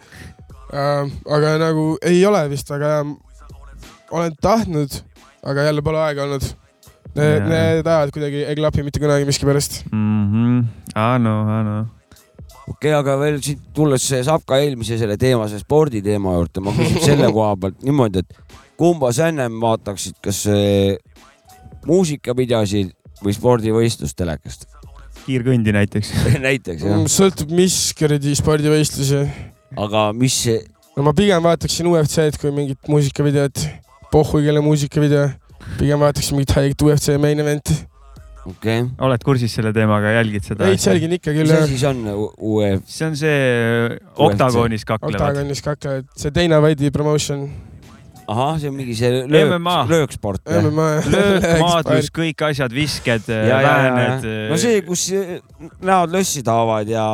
Speaker 4: aga nagu ei ole vist väga hea . olen tahtnud , aga jälle pole aega olnud . Need
Speaker 2: Jaa. ,
Speaker 4: need ajad kuidagi ei klapi mitte kunagi miskipärast .
Speaker 2: Mhm. aa no , aa no .
Speaker 3: okei , aga veel siit tulles see saab ka eelmise selle teema , see sporditeema juurde , ma küsin selle koha pealt niimoodi , et kumba sa ennem vaataksid , kas eh, muusikapidasid või spordivõistlust telekast
Speaker 2: kiirkõndi näiteks . Mm,
Speaker 3: näiteks jah ,
Speaker 4: Mm, sõltub , mis kuradi spordivõistlusi
Speaker 3: aga mis see
Speaker 4: no ma pigem vaataksin UFC-d kui mingit muusikavideot , pohhui kelle muusikavideo , pigem vaataksin mingit haiget UFC main event'i .
Speaker 3: okei okay. ,
Speaker 2: oled kursis selle teemaga , jälgid seda ?
Speaker 4: veits jälgin ikka küll
Speaker 3: mis
Speaker 4: jah ,
Speaker 3: asi see on U- UEF ?
Speaker 2: see äh, on see oktagoonis kaklevad .
Speaker 4: Octagonis kaklevad , see Dana White'i promotion ,
Speaker 3: ahah , see on mingi see löök
Speaker 2: MMA. ,
Speaker 3: lööksport jah ?
Speaker 4: MMA .
Speaker 2: löök , maadlus , kõik asjad , visked , äh,
Speaker 3: ja , ja , ja
Speaker 2: lääned .,
Speaker 3: no see , kus
Speaker 2: äh,
Speaker 3: eh, näod lössi tahavad ja ,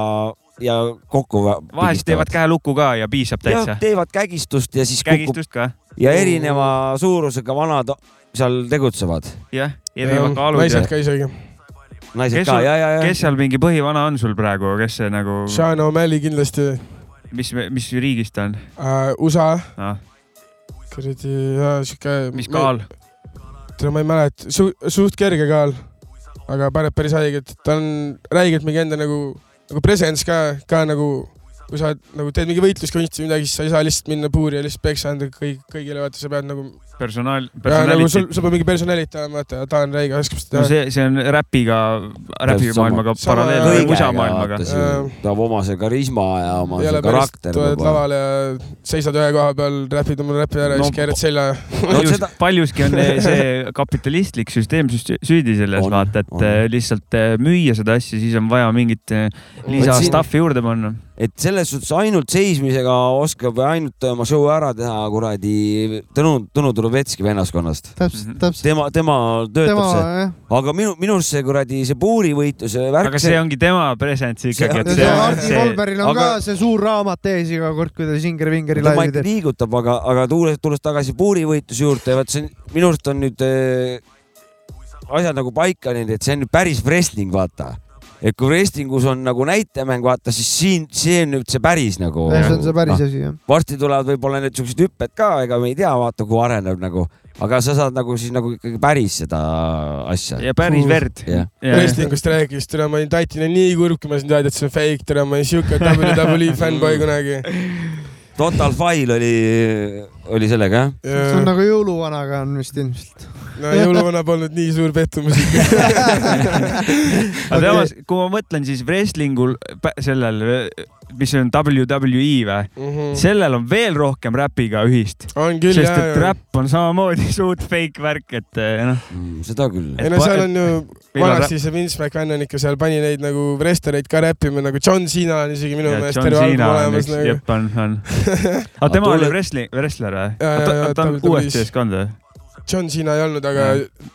Speaker 3: ja kokku .
Speaker 2: vahest teevad käe lukku ka ja piisab täitsa
Speaker 3: jah ,. teevad kägistust ja siis kukub
Speaker 2: kägistust ka ,
Speaker 3: ja erineva suurusega vanad seal tegutsevad ,
Speaker 2: jah , erinevad kaalud ja
Speaker 4: naised ka isegi .
Speaker 3: naised
Speaker 2: Kes
Speaker 3: ka
Speaker 2: on- ,
Speaker 3: ja , ja , ja
Speaker 2: kes . seal mingi põhivana on sul praegu , kes see nagu ,
Speaker 4: Sean O'Malley kindlasti uh, ,
Speaker 2: mis , mis riigist ta on
Speaker 4: USA ,
Speaker 2: ah, ?
Speaker 4: kuradi jaa, sihuke .
Speaker 2: mis ? kaal ?
Speaker 4: tead , ma ei mäleta Su , suht kerge kaal , aga paneb päris haiget , ta on räigelt mingi enda nagu , nagu presence ka , ka nagu , kui sa oled- nagu teed mingi võitluskunsti või midagi , siis sa ei saa lihtsalt minna puuri ja lihtsalt peksa anda kõik , kõigile , vaata , sa pead nagu ,
Speaker 2: personaal ,
Speaker 4: nagu sul
Speaker 2: personality ,?
Speaker 4: sul peab mingi personalit olema , vaata , ta on räige , oskab seda
Speaker 2: no
Speaker 4: teha .
Speaker 2: see , see on räpiga , räpimaailmaga
Speaker 4: Sama-
Speaker 2: paralleelne või
Speaker 4: Kõigega,
Speaker 2: musamaailmaga .
Speaker 3: ta on oma see karisma ja oma
Speaker 4: ei
Speaker 3: see
Speaker 4: ole päris ,
Speaker 3: karakter nagu-
Speaker 4: tuled . lavale ja seisad ühe koha peal , räpid oma räpi ära ja
Speaker 2: No,
Speaker 4: siis keerad selja .
Speaker 3: no
Speaker 2: Paljus,
Speaker 3: seda ,
Speaker 2: paljuski on see kapitalistlik süsteem süst- süüdi selles ,
Speaker 3: On,
Speaker 2: vaata , et
Speaker 3: on.
Speaker 2: eh, lihtsalt eh, müüa seda asja , siis on vaja mingit eh, lisa
Speaker 3: Vot siin-
Speaker 2: stuff'i juurde panna .
Speaker 3: et selles suhtes ainult seismisega oskab või ainult oma show ära teha kuradi Tõnu , Tõnu Turuvetski vennaskonnast .
Speaker 1: täpselt ,
Speaker 2: Mhm.
Speaker 1: täpselt .
Speaker 3: tema , tema töötab
Speaker 1: tema
Speaker 3: tema... see ,
Speaker 1: jah ,
Speaker 3: aga minu , minu arust see kuradi see puurivõitluse värk
Speaker 2: aga , see ongi tema presence ikkagi ,
Speaker 1: ja
Speaker 2: et
Speaker 3: See-
Speaker 1: see
Speaker 2: see ,
Speaker 1: Hardi
Speaker 2: see ,
Speaker 1: Kolberil on
Speaker 3: aga-
Speaker 1: ka see suur raamat ees iga kord , kui ta Singer-Vingeri
Speaker 3: tema
Speaker 1: laivi
Speaker 3: ikka
Speaker 1: teeb .
Speaker 3: liigutab , aga , aga tulles , tulles tagasi puurivõitluse juurde , vot see on , minu arust on nüüd äh, asjad nagu paika läinud , et see on nüüd päris wrestling , vaata . et kui wrestlingus on nagu näitemäng , vaata siis siin , see on nüüd see päris nagu .
Speaker 1: see on see päris asi jah .
Speaker 3: varsti tulevad võib-olla need siuksed hüpped ka , ega me ei tea , vaata kui areneb nagu , aga sa saad nagu siis nagu ikkagi päris seda asja .
Speaker 2: ja päris verd .
Speaker 3: jah ,
Speaker 4: wrestlingust rääkides , täna ma olin tatine nii kurb , kui ma sain teada , et see on fake , täna ma olin siuke WWE fännboi kunagi .
Speaker 3: Total File oli , oli sellega jah ?
Speaker 1: see on nagu jõuluvanaga on vist ilmselt .
Speaker 4: no jõuluvana polnud nii suur pettumus ikka .
Speaker 2: aga samas , kui ma mõtlen , siis wrestlingul pä- sellel , mis on WWE või , sellel on veel rohkem räpiga ühist ,
Speaker 4: Mhm. on küll
Speaker 2: sest
Speaker 4: jah
Speaker 2: et . räpp on samamoodi suurt fake värk , et eh, noh ,
Speaker 3: Mm, seda küll .
Speaker 4: ei no seal on ju ,
Speaker 2: Meil on
Speaker 4: vanasti see Vince McMahon on ikka seal pani neid nagu wrestlereid ka räppima , nagu John Cena on isegi minu
Speaker 2: ja
Speaker 4: meelest
Speaker 2: John
Speaker 4: terve album
Speaker 2: Cena on
Speaker 4: olemas
Speaker 2: üks ,
Speaker 4: nagu .
Speaker 2: jep , on , on . aga tema
Speaker 3: tule-
Speaker 2: oli wrestling , wrestler või ?
Speaker 4: Jaa, jaa, jaa,
Speaker 2: ta on
Speaker 4: ta oli
Speaker 2: UFC-s ka olnud või ?
Speaker 4: John Cena ei olnud , aga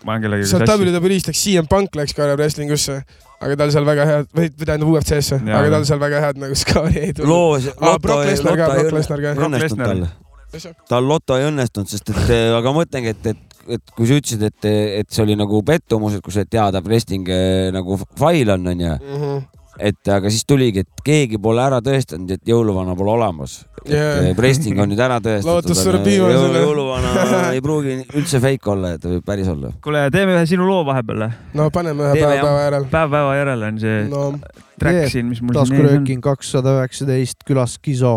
Speaker 2: ma olen kellegagi
Speaker 4: sealt WWE-st läks CM Punk läks ka wrestlingusse , aga tal seal väga head , või või tähendab UFC-sse ,
Speaker 2: Jaa.
Speaker 4: aga tal seal väga head nagu skaali ei tulnud .
Speaker 3: loos ,
Speaker 4: Aa,
Speaker 3: loto
Speaker 4: Brock
Speaker 3: ei ,
Speaker 4: Lesnar ka ,
Speaker 3: loto ei
Speaker 4: Brock
Speaker 3: õnne-
Speaker 4: Lesnar ka .
Speaker 2: Brock
Speaker 3: õnnestunud
Speaker 2: Lesnar.
Speaker 3: tal . tal loto ei õnnestunud , sest et eh, aga ma mõtlengi , et , et , et kui sa ütlesid , et , et see oli nagu pettumus , et kui sa tead , et wrestling eh, nagu fail on , onju ,
Speaker 4: Mhm.
Speaker 3: et aga siis tuligi , et keegi pole ära tõestanud , et jõuluvana pole olemas .
Speaker 4: Jaa.
Speaker 3: Wrestling on nüüd ära tõestatud .
Speaker 4: Lootus sureb viimasena.
Speaker 3: jõuluvana ei pruugi üldse fake olla , et ta võib päris olla .
Speaker 2: kuule , teeme ühe sinu loo vahepeal ,
Speaker 4: no paneme ühe
Speaker 3: Teeme,
Speaker 4: päeva
Speaker 3: jah.
Speaker 4: päeva järel .
Speaker 2: päev päeva järel on see
Speaker 4: no
Speaker 1: Jep,
Speaker 2: track siin , mis mul siin ees on .
Speaker 1: taskurööking kakssada üheksateist külas Kiso .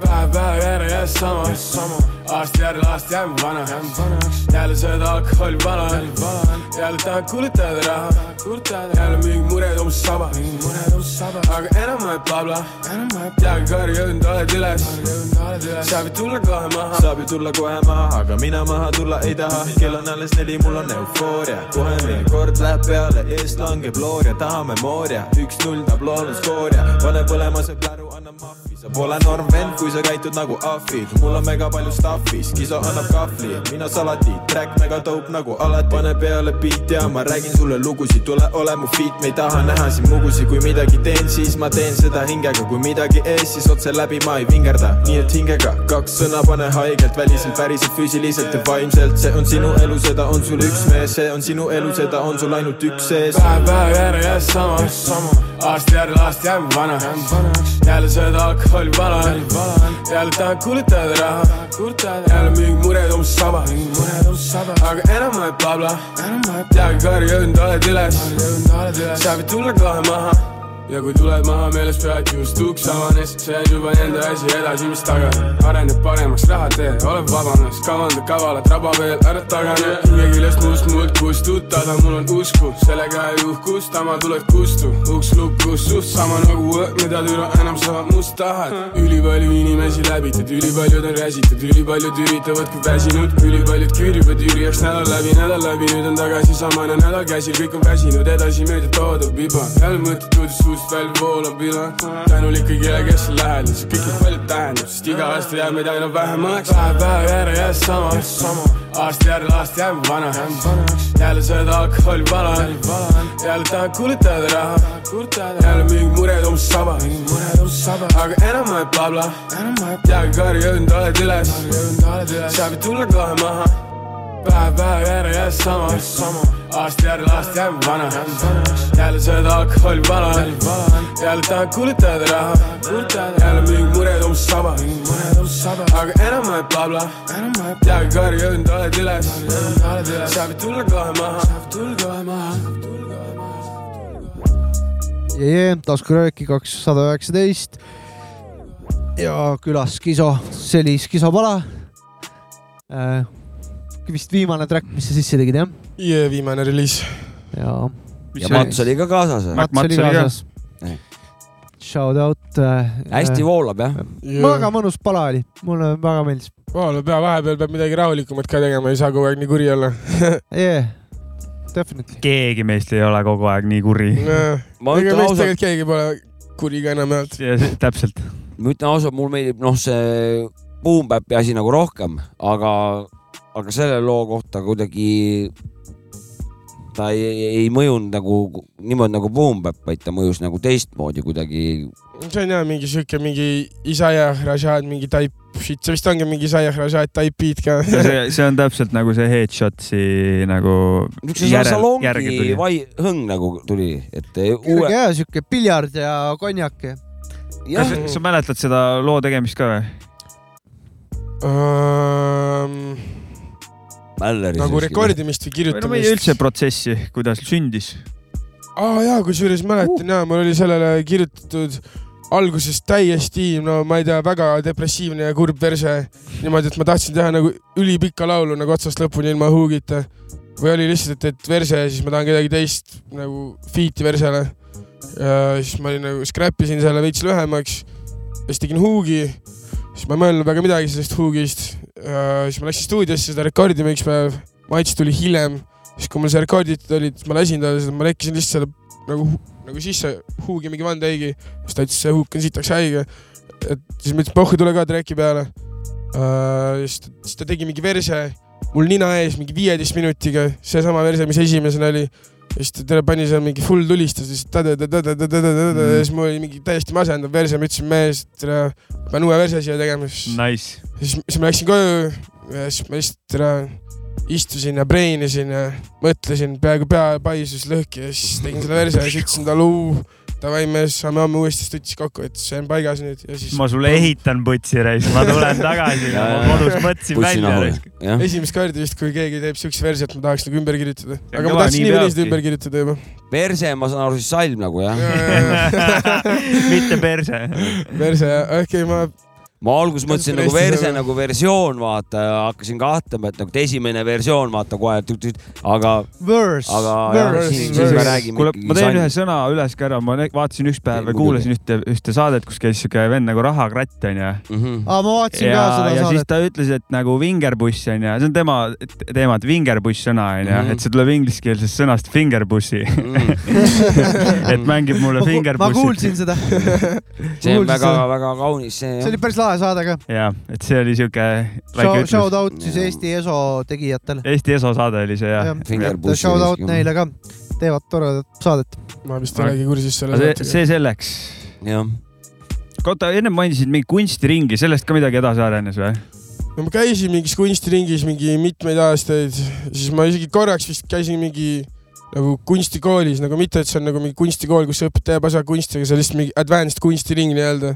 Speaker 6: päev päev järel jah sama , aasta järel aasta jääme vanaks , jälle sööd alkoholi vana , jälle tahan kulutada raha , jälle mingi mured on saba , aga enam ma ei blabla , teagi karju jõudnud oled üles , sa võid tulla kohe maha ,
Speaker 7: saab ju tulla kohe maha , aga mina maha tulla ei taha . kell on alles neli , mul on eufooria , kohe meie kord läheb peale , eest langeb looria , tahame mooria , üks-null tablool on skooria , pane põlema see pläru , anna mahvi , sa pole norm vend , kui sa käitud nagu ahvid , mul on mega palju stuff'i , skiso annab kahvli , mina salati , track mega dope nagu alati , pane peale beat'i ja ma räägin sulle lugusid , tule ole mu feat , me ei taha näha siin mugusid , kui midagi teen , siis ma teen seda hingega , kui midagi ees , siis otse läbi ma ei vingerda , nii et hingega kaks sõna pane haigelt , väliselt , päriselt , füüsiliselt ja vaimselt , see on sinu elu , seda on sul üks mees , see on sinu elu , seda on sul ainult üks sees .
Speaker 6: päev päev järel jah sama , aasta järel aasta jääme vanaks , jälle sööd alkoholi vana , jälle tahan kulutada raha , jälle mingi mured on saba , aga enam ma ei blabla , teagi karju jõudnud oled üles , sa võid tulla kohe maha ja kui tuled maha meeles pead just uks avanes , see on juba enda asi edasi , mis tagane , areneb paremaks , raha tee , ole vabanes , kavanda kavalat raba veel , ära tagane , hingeküljest must muld kustutada , mul on usku , sellega ei uhkusta , ma tulen kustu , uks lukus , suht sama nagu õhk , mida türa enam sa must tahad , ülipalju inimesi läbitud , ülipaljud on räsitud , ülipaljud üritavadki väsinud , ülipaljud küürivad jürijaks nädal läbi , nädal läbi , nüüd on tagasi samane nädal käsil , kõik on väsinud , edasi mööda toodab iba , jälle mõttetud suust välja voolab ila , tänulik kõigile , kes on lähedal , see kõik on palju tähendab , sest iga aasta jääb meid aina vähemaks , päev päeva järel jääb sama , aasta järel aasta jääb vanaks , jälle sööd alkoholi vana , jälle tahad kulutada raha , jälle mingi mured on saba , aga enam ma ei blabla , teagi karju jõudnud oled üles , sa võid tulla kohe maha päev päev järel jääb sama , aasta järel aasta jääb vanaks , jälle sööd alkoholi vana , jälle tahad kulutada raha , jälle mingi mured on saba , aga enam ma ei blabla , teagi karju jõudnud oled üles , sa võid tulla kohe maha .
Speaker 1: jee , taskurööki kakssada üheksateist ja külas Kiso , see oli Kiso pala äh, . vist viimane track , mis sa sisse tegid jah ?
Speaker 4: ja viimane reliis .
Speaker 1: ja
Speaker 3: ja Mats oli ka kaasas .
Speaker 2: Mats
Speaker 1: Mats oli
Speaker 2: oli ka.
Speaker 1: kaasas . Shout out äh, .
Speaker 3: hästi voolab jah ?
Speaker 1: väga mõnus pala oli , mulle väga meeldis .
Speaker 4: vahel pea vahepeal peab midagi rahulikumat ka tegema , ei saa kogu aeg nii kuri olla .
Speaker 1: Yeah, definitely .
Speaker 2: keegi meist ei ole kogu aeg nii kuri .
Speaker 3: ma
Speaker 4: ega
Speaker 3: ütlen
Speaker 4: meist
Speaker 3: ausalt ,
Speaker 4: tegelikult keegi pole kuri ka enamjaolt .
Speaker 2: täpselt .
Speaker 3: ma ütlen ausalt , mul meeldib noh , see Boompäppi asi nagu rohkem , aga , aga selle loo kohta kuidagi ta ei, ei, ei mõjunud nagu niimoodi nagu Boom Bap , vaid ta mõjus nagu teistmoodi kuidagi .
Speaker 4: see on jah mingi siuke mingi Isaiah Rashad mingi type shit , see vist ongi mingi Isaiah Rashad type beat ka .
Speaker 2: see , see on täpselt nagu see Headshotsi nagu .
Speaker 3: niisuguse salongi vai- , hõng nagu tuli , et
Speaker 1: kerge
Speaker 3: uue .
Speaker 1: ja siuke piljard ja konjak .
Speaker 2: kas sa- sa mäletad seda loo tegemist ka või ?
Speaker 4: Ehm, nagu rekordimist või
Speaker 2: või no meie
Speaker 4: kirjutamist .
Speaker 2: üldse protsessi , kuidas sündis .
Speaker 4: aa jaa , kusjuures mäletan jaa , mul oli sellele kirjutatud alguses täiesti , no ma ei tea , väga depressiivne ja kurb verse . niimoodi , et ma tahtsin teha nagu ülipikka laulu nagu otsast lõpuni ilma huugita . või oli lihtsalt , et , et verse ja siis ma tahan kedagi teist nagu feat'i versele . ja siis ma olin nagu , scrap isin selle veits lühemaks . ja siis tegin huugi . siis ma ei mõelnud väga midagi sellest huugist . siis ma läksin stuudiosse seda rekordima üks päev . Maits tuli hiljem siis kui mul see rekorditud oli , siis ma lasin talle seda , ma lekkisin lihtsalt selle nagu , nagu sisse huugi mingi One Day'gi , siis ta ütles , see huuk on sitaks haige . et siis ma ütlesin , pohhu , tule ka tracki peale uh, . siis ta , siis ta tegi mingi verse mul nina ees mingi viieteist minutiga , seesama verse , mis esimesena oli . ja siis ta tule- pani seal mingi full tulistus , siis ta-ta-ta-ta-ta-ta-ta-ta ja siis mul oli mingi täiesti masendav verse , ma ütlesin , mees , pean uue verse siia tegema , siis
Speaker 2: Nice .
Speaker 4: siis , siis ma läksin koju ja siis ma lihtsalt ära istusin ja breenisin ja mõtlesin , peaaegu pea paisus lõhki ja siis tegin selle verse ja siis ütlesin talle , davai mees , saame homme uuesti studios kokku , et see on paigas nüüd ja siis .
Speaker 2: ma sulle . ehitan putsi reis , ma tulen tagasi , ma kodus mõtlesin välja reis .
Speaker 3: jah .
Speaker 4: esimest korda vist , kui keegi teeb siukse versi , et ma tahaks nagu ümber kirjutada ,
Speaker 2: on
Speaker 4: aga
Speaker 2: kõva,
Speaker 4: ma tahtsin
Speaker 2: nii
Speaker 4: nii või teisiti
Speaker 2: peabki.
Speaker 4: ümber kirjutada juba .
Speaker 3: perse , ma saan aru , siis salm nagu jah ?
Speaker 2: mitte perse .
Speaker 4: verse , okei , ma ,
Speaker 3: ma alguses mõtlesin nagu
Speaker 4: Tõesti,
Speaker 3: verse
Speaker 4: nagu-
Speaker 3: nagu versioon , vaata , hakkasin kahtlema , et nagu et esimene versioon , vaata kohe , aga ,
Speaker 1: Verse ,
Speaker 3: aga jah ,
Speaker 1: verse ,
Speaker 3: siin , siis me
Speaker 1: verse .
Speaker 3: räägime
Speaker 2: kuule , ma teen ühe
Speaker 3: ikkagi .
Speaker 2: sõna üles ka ära , ma ne- vaatasin üks päev
Speaker 3: Ei,
Speaker 2: ja kuulasin ühte , ühte saadet , kus käis siuke vend nagu Rahakratt onju .
Speaker 3: Mhm.
Speaker 1: aa , ma vaatasin
Speaker 2: ja
Speaker 1: ka , seda
Speaker 2: ja siis
Speaker 1: saadet .
Speaker 2: ta ütles , et nagu vingerbuss onju , see on tema t- teema , et vingerbuss sõna onju
Speaker 3: Mhm. ,
Speaker 2: et see tuleb ingliskeelsest sõnast fingerbussi ,
Speaker 3: Mhm.
Speaker 2: et mängib mulle
Speaker 1: ma
Speaker 2: fingerbussi .
Speaker 1: kuulsin seda ,
Speaker 3: see on
Speaker 1: kuulsin seda.
Speaker 3: väga-väga kaunis , see
Speaker 1: see oli päris lahe saade ka .
Speaker 2: ja , et see oli siuke väike
Speaker 1: Shout
Speaker 2: ütlus .
Speaker 1: out siis Eesti ESO tegijatele .
Speaker 2: Eesti ESO saade oli see jah .
Speaker 3: Fingerbussi
Speaker 1: Shout out
Speaker 3: isegi.
Speaker 1: neile ka , teevad toredat saadet .
Speaker 4: ma vist ei olegi kursis selle
Speaker 2: see , see selleks .
Speaker 3: jah ,
Speaker 2: oota , ennem mainisid mingi kunstiringi , sellest ka midagi edasi arenes või ?
Speaker 4: no ma käisin mingis kunstiringis mingi mitmeid aastaid , siis ma isegi korraks vist käisin mingi nagu kunstikoolis , nagu mitte , et see on nagu mingi kunstikool , kus sa õpid teeb osa kunsti , aga see on lihtsalt mingi advanced kunstiring nii-öelda .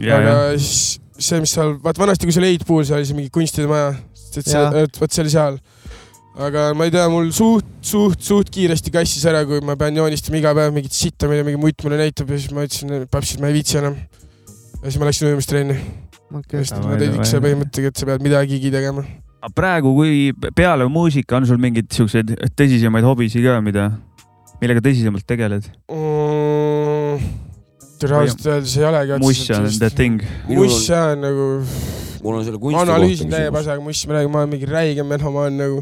Speaker 2: ja ,
Speaker 4: aga
Speaker 2: ja ,
Speaker 4: siis see , mis seal , vaat vanasti , kui see oli Eightpool , seal oli see mingi kunstide maja , et see
Speaker 1: Jaa. ,
Speaker 4: et vot see oli seal . aga ma ei tea , mul suht , suht , suht kiiresti kassis ära , kui ma pean joonistama iga päev mingit sitta , mida mingi mutt mulle näitab ja siis ma ütlesin , papsid , ma ei viitsi enam . ja siis ma läksin ujumistrenni ,
Speaker 1: okei ,
Speaker 4: sest ma tegin selle põhimõttega , et sa pead midagigi tegema .
Speaker 2: praegu , kui peale muusika on sul mingeid siukseid tõsisemaid hobisid ka , mida , millega tõsisemalt tegeled ?
Speaker 4: mm, . tere ausalt öeldes ei olegi .
Speaker 2: muss on the . thing .
Speaker 3: minul
Speaker 4: muss
Speaker 3: on ,
Speaker 4: on nagu ,
Speaker 3: mul on selle
Speaker 4: ma
Speaker 3: kunsti
Speaker 4: analüüsin täie
Speaker 3: kohta küsimus .
Speaker 4: pasaga mussi , ma räägin , ma olen mingi räige menomaan nagu .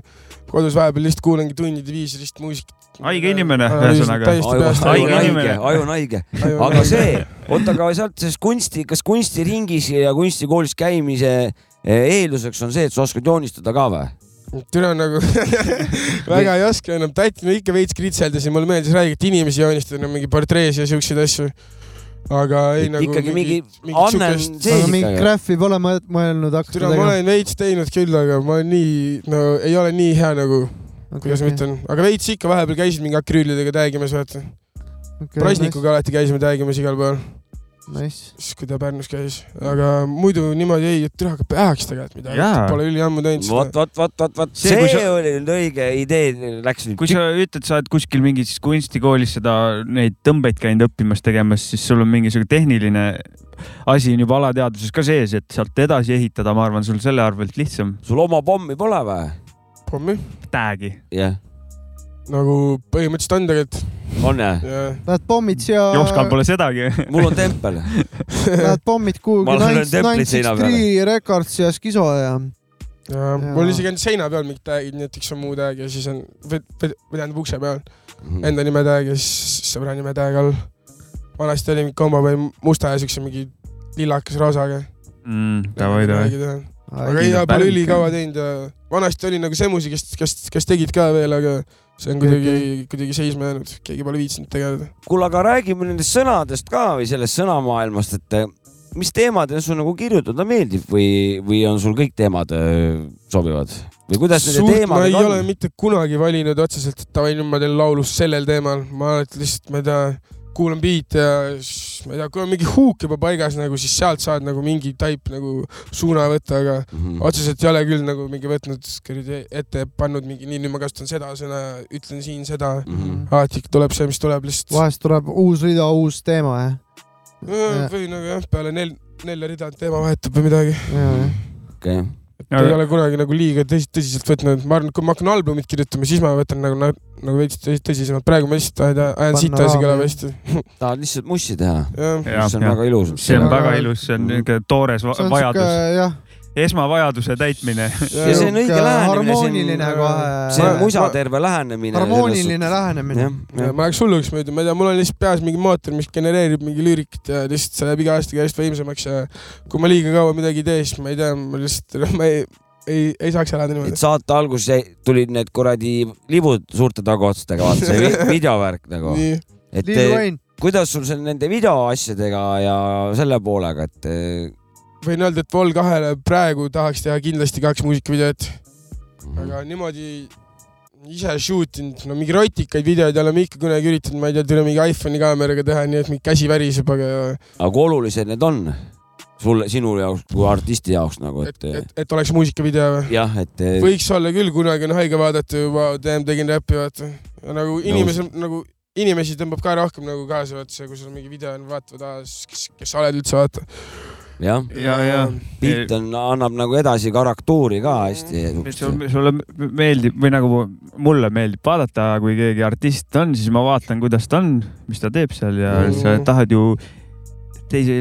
Speaker 4: kodus vahepeal lihtsalt kuulangi tundide viisi lihtsalt muusikat .
Speaker 2: Haige inimene, ühesõnaga.
Speaker 4: täiesti
Speaker 3: aju
Speaker 4: peast
Speaker 2: haige
Speaker 3: aju on
Speaker 4: ära.
Speaker 3: haige
Speaker 2: inimene. ,
Speaker 3: aju on haige , aga . see , oota , aga sealt sellest kunsti , kas kunstiringis ja kunstikoolis käimise eh, eelduseks on see , et sa oskad joonistada ka või ?
Speaker 4: türa nagu väga ei oska enam , tatin ikka veits kritseldasin , mulle meeldis räägida , et inimesi joonistada , no mingi portreesid ja siukseid asju . aga ei
Speaker 3: et
Speaker 4: nagu .
Speaker 3: ikkagi mingi anne on sees
Speaker 1: aga mingi
Speaker 3: ikkagi .
Speaker 1: graffi pole mõ- mõelnud hakata
Speaker 4: türa , ma olen veits teinud küll , aga ma nii , no ei ole nii hea nagu kuidas ma
Speaker 1: tegema .
Speaker 4: ütlen , aga veits ikka vahepeal käisid mingi akrüülidega täägimas , vaata . Prasnikuga alati käisime täägimas igal pool ,
Speaker 1: Nice .
Speaker 4: siis kui ta Pärnus käis , aga muidu niimoodi ei , et tüha hakkab päevaks tegelikult midagi
Speaker 2: Jaa. ,
Speaker 4: pole üliammu teinud
Speaker 3: vot ,
Speaker 4: seda .
Speaker 3: vot , vot , vot , vot
Speaker 2: See, kui
Speaker 3: see
Speaker 2: sa-
Speaker 3: oli nüüd õige idee , läks nüüd
Speaker 2: kui . sa ütled , sa oled kuskil mingis kunstikoolis seda , neid tõmbeid käinud õppimas tegemas , siis sul on mingisugune tehniline asi on juba alateadvuses ka sees , et sealt edasi ehitada , ma arvan , sul selle arvelt lihtsam .
Speaker 3: sul oma pommi pole või ?
Speaker 4: pommi ,
Speaker 2: Tag'i .
Speaker 3: jah ,
Speaker 4: nagu põhimõtteliselt on tegelikult
Speaker 3: on jah ?
Speaker 4: ja
Speaker 1: Lähed pommid siia ,
Speaker 2: Jopskal
Speaker 1: Äh,
Speaker 2: pole sedagi .
Speaker 3: mul on tempel .
Speaker 1: lähed pommid kuhugi
Speaker 3: Ma löön templit seina peale.
Speaker 1: 963 Records ja Schizo ja
Speaker 4: ja
Speaker 1: Jaa.
Speaker 4: mul isegi on seina peal mingid täägid , nii et üks on muu tääg ja siis on , või või- või tähendab ukse peal enda nime tääg ja siis sõbra nime tääg all . vanasti oli mingi kombo või musta ja siukse mingi lillakas roosaga .
Speaker 2: Mm, Davai , davai .
Speaker 4: aga
Speaker 1: Ai,
Speaker 4: ei ,
Speaker 2: kindlalt
Speaker 4: pole
Speaker 2: pärnik,
Speaker 4: ülikaua
Speaker 2: jah.
Speaker 4: teinud ja vanasti oli nagu semusi , kes , kes , kes tegid ka veel , aga see on kuidagi , kuidagi seisma jäänud , keegi pole viitsinud tegeleda .
Speaker 3: kuule , aga räägime nendest sõnadest ka või sellest sõnamaailmast , et eh, mis teemadel sul nagu kirjutada meeldib või , või on sul kõik teemad eh, sobivad või kuidas nende
Speaker 4: suht ma ei
Speaker 3: teemadega
Speaker 4: ole
Speaker 3: on ?
Speaker 4: mitte kunagi valinud otseselt , et davai , nüüd ma teen laulu sellel teemal , ma alati lihtsalt , ma ei tea , kuulan biite ja siis ma ei tea , kui on mingi huuk juba paigas nagu , siis sealt saad nagu mingi taip nagu suuna võtta , aga
Speaker 3: Mhm.
Speaker 4: otseselt ei ole küll nagu mingi võtnud kuradi ette , pannud mingi nii , nüüd ma kasutan seda sõna , ütlen siin seda mm .
Speaker 3: Mhm.
Speaker 4: -hmm. alati tuleb see , mis tuleb lihtsalt .
Speaker 1: vahest tuleb uus rida , uus teema , jah . Äh.
Speaker 4: või nagu jah , peale nel- , nelja rida teema vahetub või midagi .
Speaker 3: okei ,
Speaker 4: et ei ole kunagi nagu liiga tõsi , tõsiselt võtnud , ma arvan , et kui ma hakkan albumit kirjutama , siis ma võtan nagu , nagu veits tõs- tõsisemalt , praegu ma lihtsalt ajan , ajan
Speaker 1: Panna
Speaker 4: sita asi
Speaker 1: raami.
Speaker 4: kõlava hästi .
Speaker 3: tahad lihtsalt mussi teha ?
Speaker 4: jah ,
Speaker 2: Jah,
Speaker 3: see on
Speaker 2: jah.
Speaker 3: väga ilus .
Speaker 2: see on väga ilus , see on niisugune toores va-
Speaker 1: see on
Speaker 2: vajadus ,
Speaker 1: siuke jah ,
Speaker 2: esmavajaduse täitmine .
Speaker 3: ja see on õige lähenemine , see
Speaker 1: harmooniline
Speaker 3: on , see
Speaker 1: kohe ,
Speaker 3: on musaterve lähenemine .
Speaker 1: harmooniline lähenemine .
Speaker 4: ma läheks hulluks muidu , ma ei tea , mul on lihtsalt peas mingi mootor , mis genereerib mingi lüürikat ja lihtsalt see läheb iga aastaga järjest võimsamaks ja kui ma liiga kaua midagi ei tee , siis ma ei tea , ma lihtsalt , ma ei , ei , ei saaks elada
Speaker 3: et
Speaker 4: niimoodi .
Speaker 3: saate alguses jäi- tulid need kuradi libud suurte taguotsadega , vaata see vi- videovärk nagu .
Speaker 4: nii ,
Speaker 3: et
Speaker 1: Lil
Speaker 3: eh,
Speaker 1: Wayne ,
Speaker 3: kuidas sul seal nende videoasjadega ja selle poolega , et eh,
Speaker 4: võin öelda , et Vol kahele praegu tahaks teha kindlasti kaks muusikavideot aga niimoodi ise shoot inud , no mingi rotikaid videoid oleme ikka kunagi üritanud , ma ei tea , tule mingi iPhone'i kaameraga teha , nii et mingi käsi väriseb , aga
Speaker 3: aga kui olulised need on sulle , sinu jaoks kui artisti jaoks nagu ,
Speaker 4: et ,
Speaker 3: et eh,
Speaker 4: et , et oleks muusikavideo või ?
Speaker 3: jah , et eh,
Speaker 4: võiks olla küll , kunagi on haige vaadata juba , damn , tegin räppi , vaata . nagu inimesel , nagu inimesi tõmbab ka rohkem nagu kaasa , vaata see , kui sul on mingi video , vaatavad , aa , kes , kes sa oled üldse , vaata .
Speaker 3: jah ,
Speaker 2: ja , ja .
Speaker 3: pilt on , annab nagu edasi karaktuuri ka hästi .
Speaker 2: sulle , sulle meeldib või nagu mulle meeldib vaadata , kui keegi artist on , siis ma vaatan , kuidas ta on , mis ta teeb seal ja
Speaker 4: Mm.
Speaker 2: mm. sa tahad ju teise ,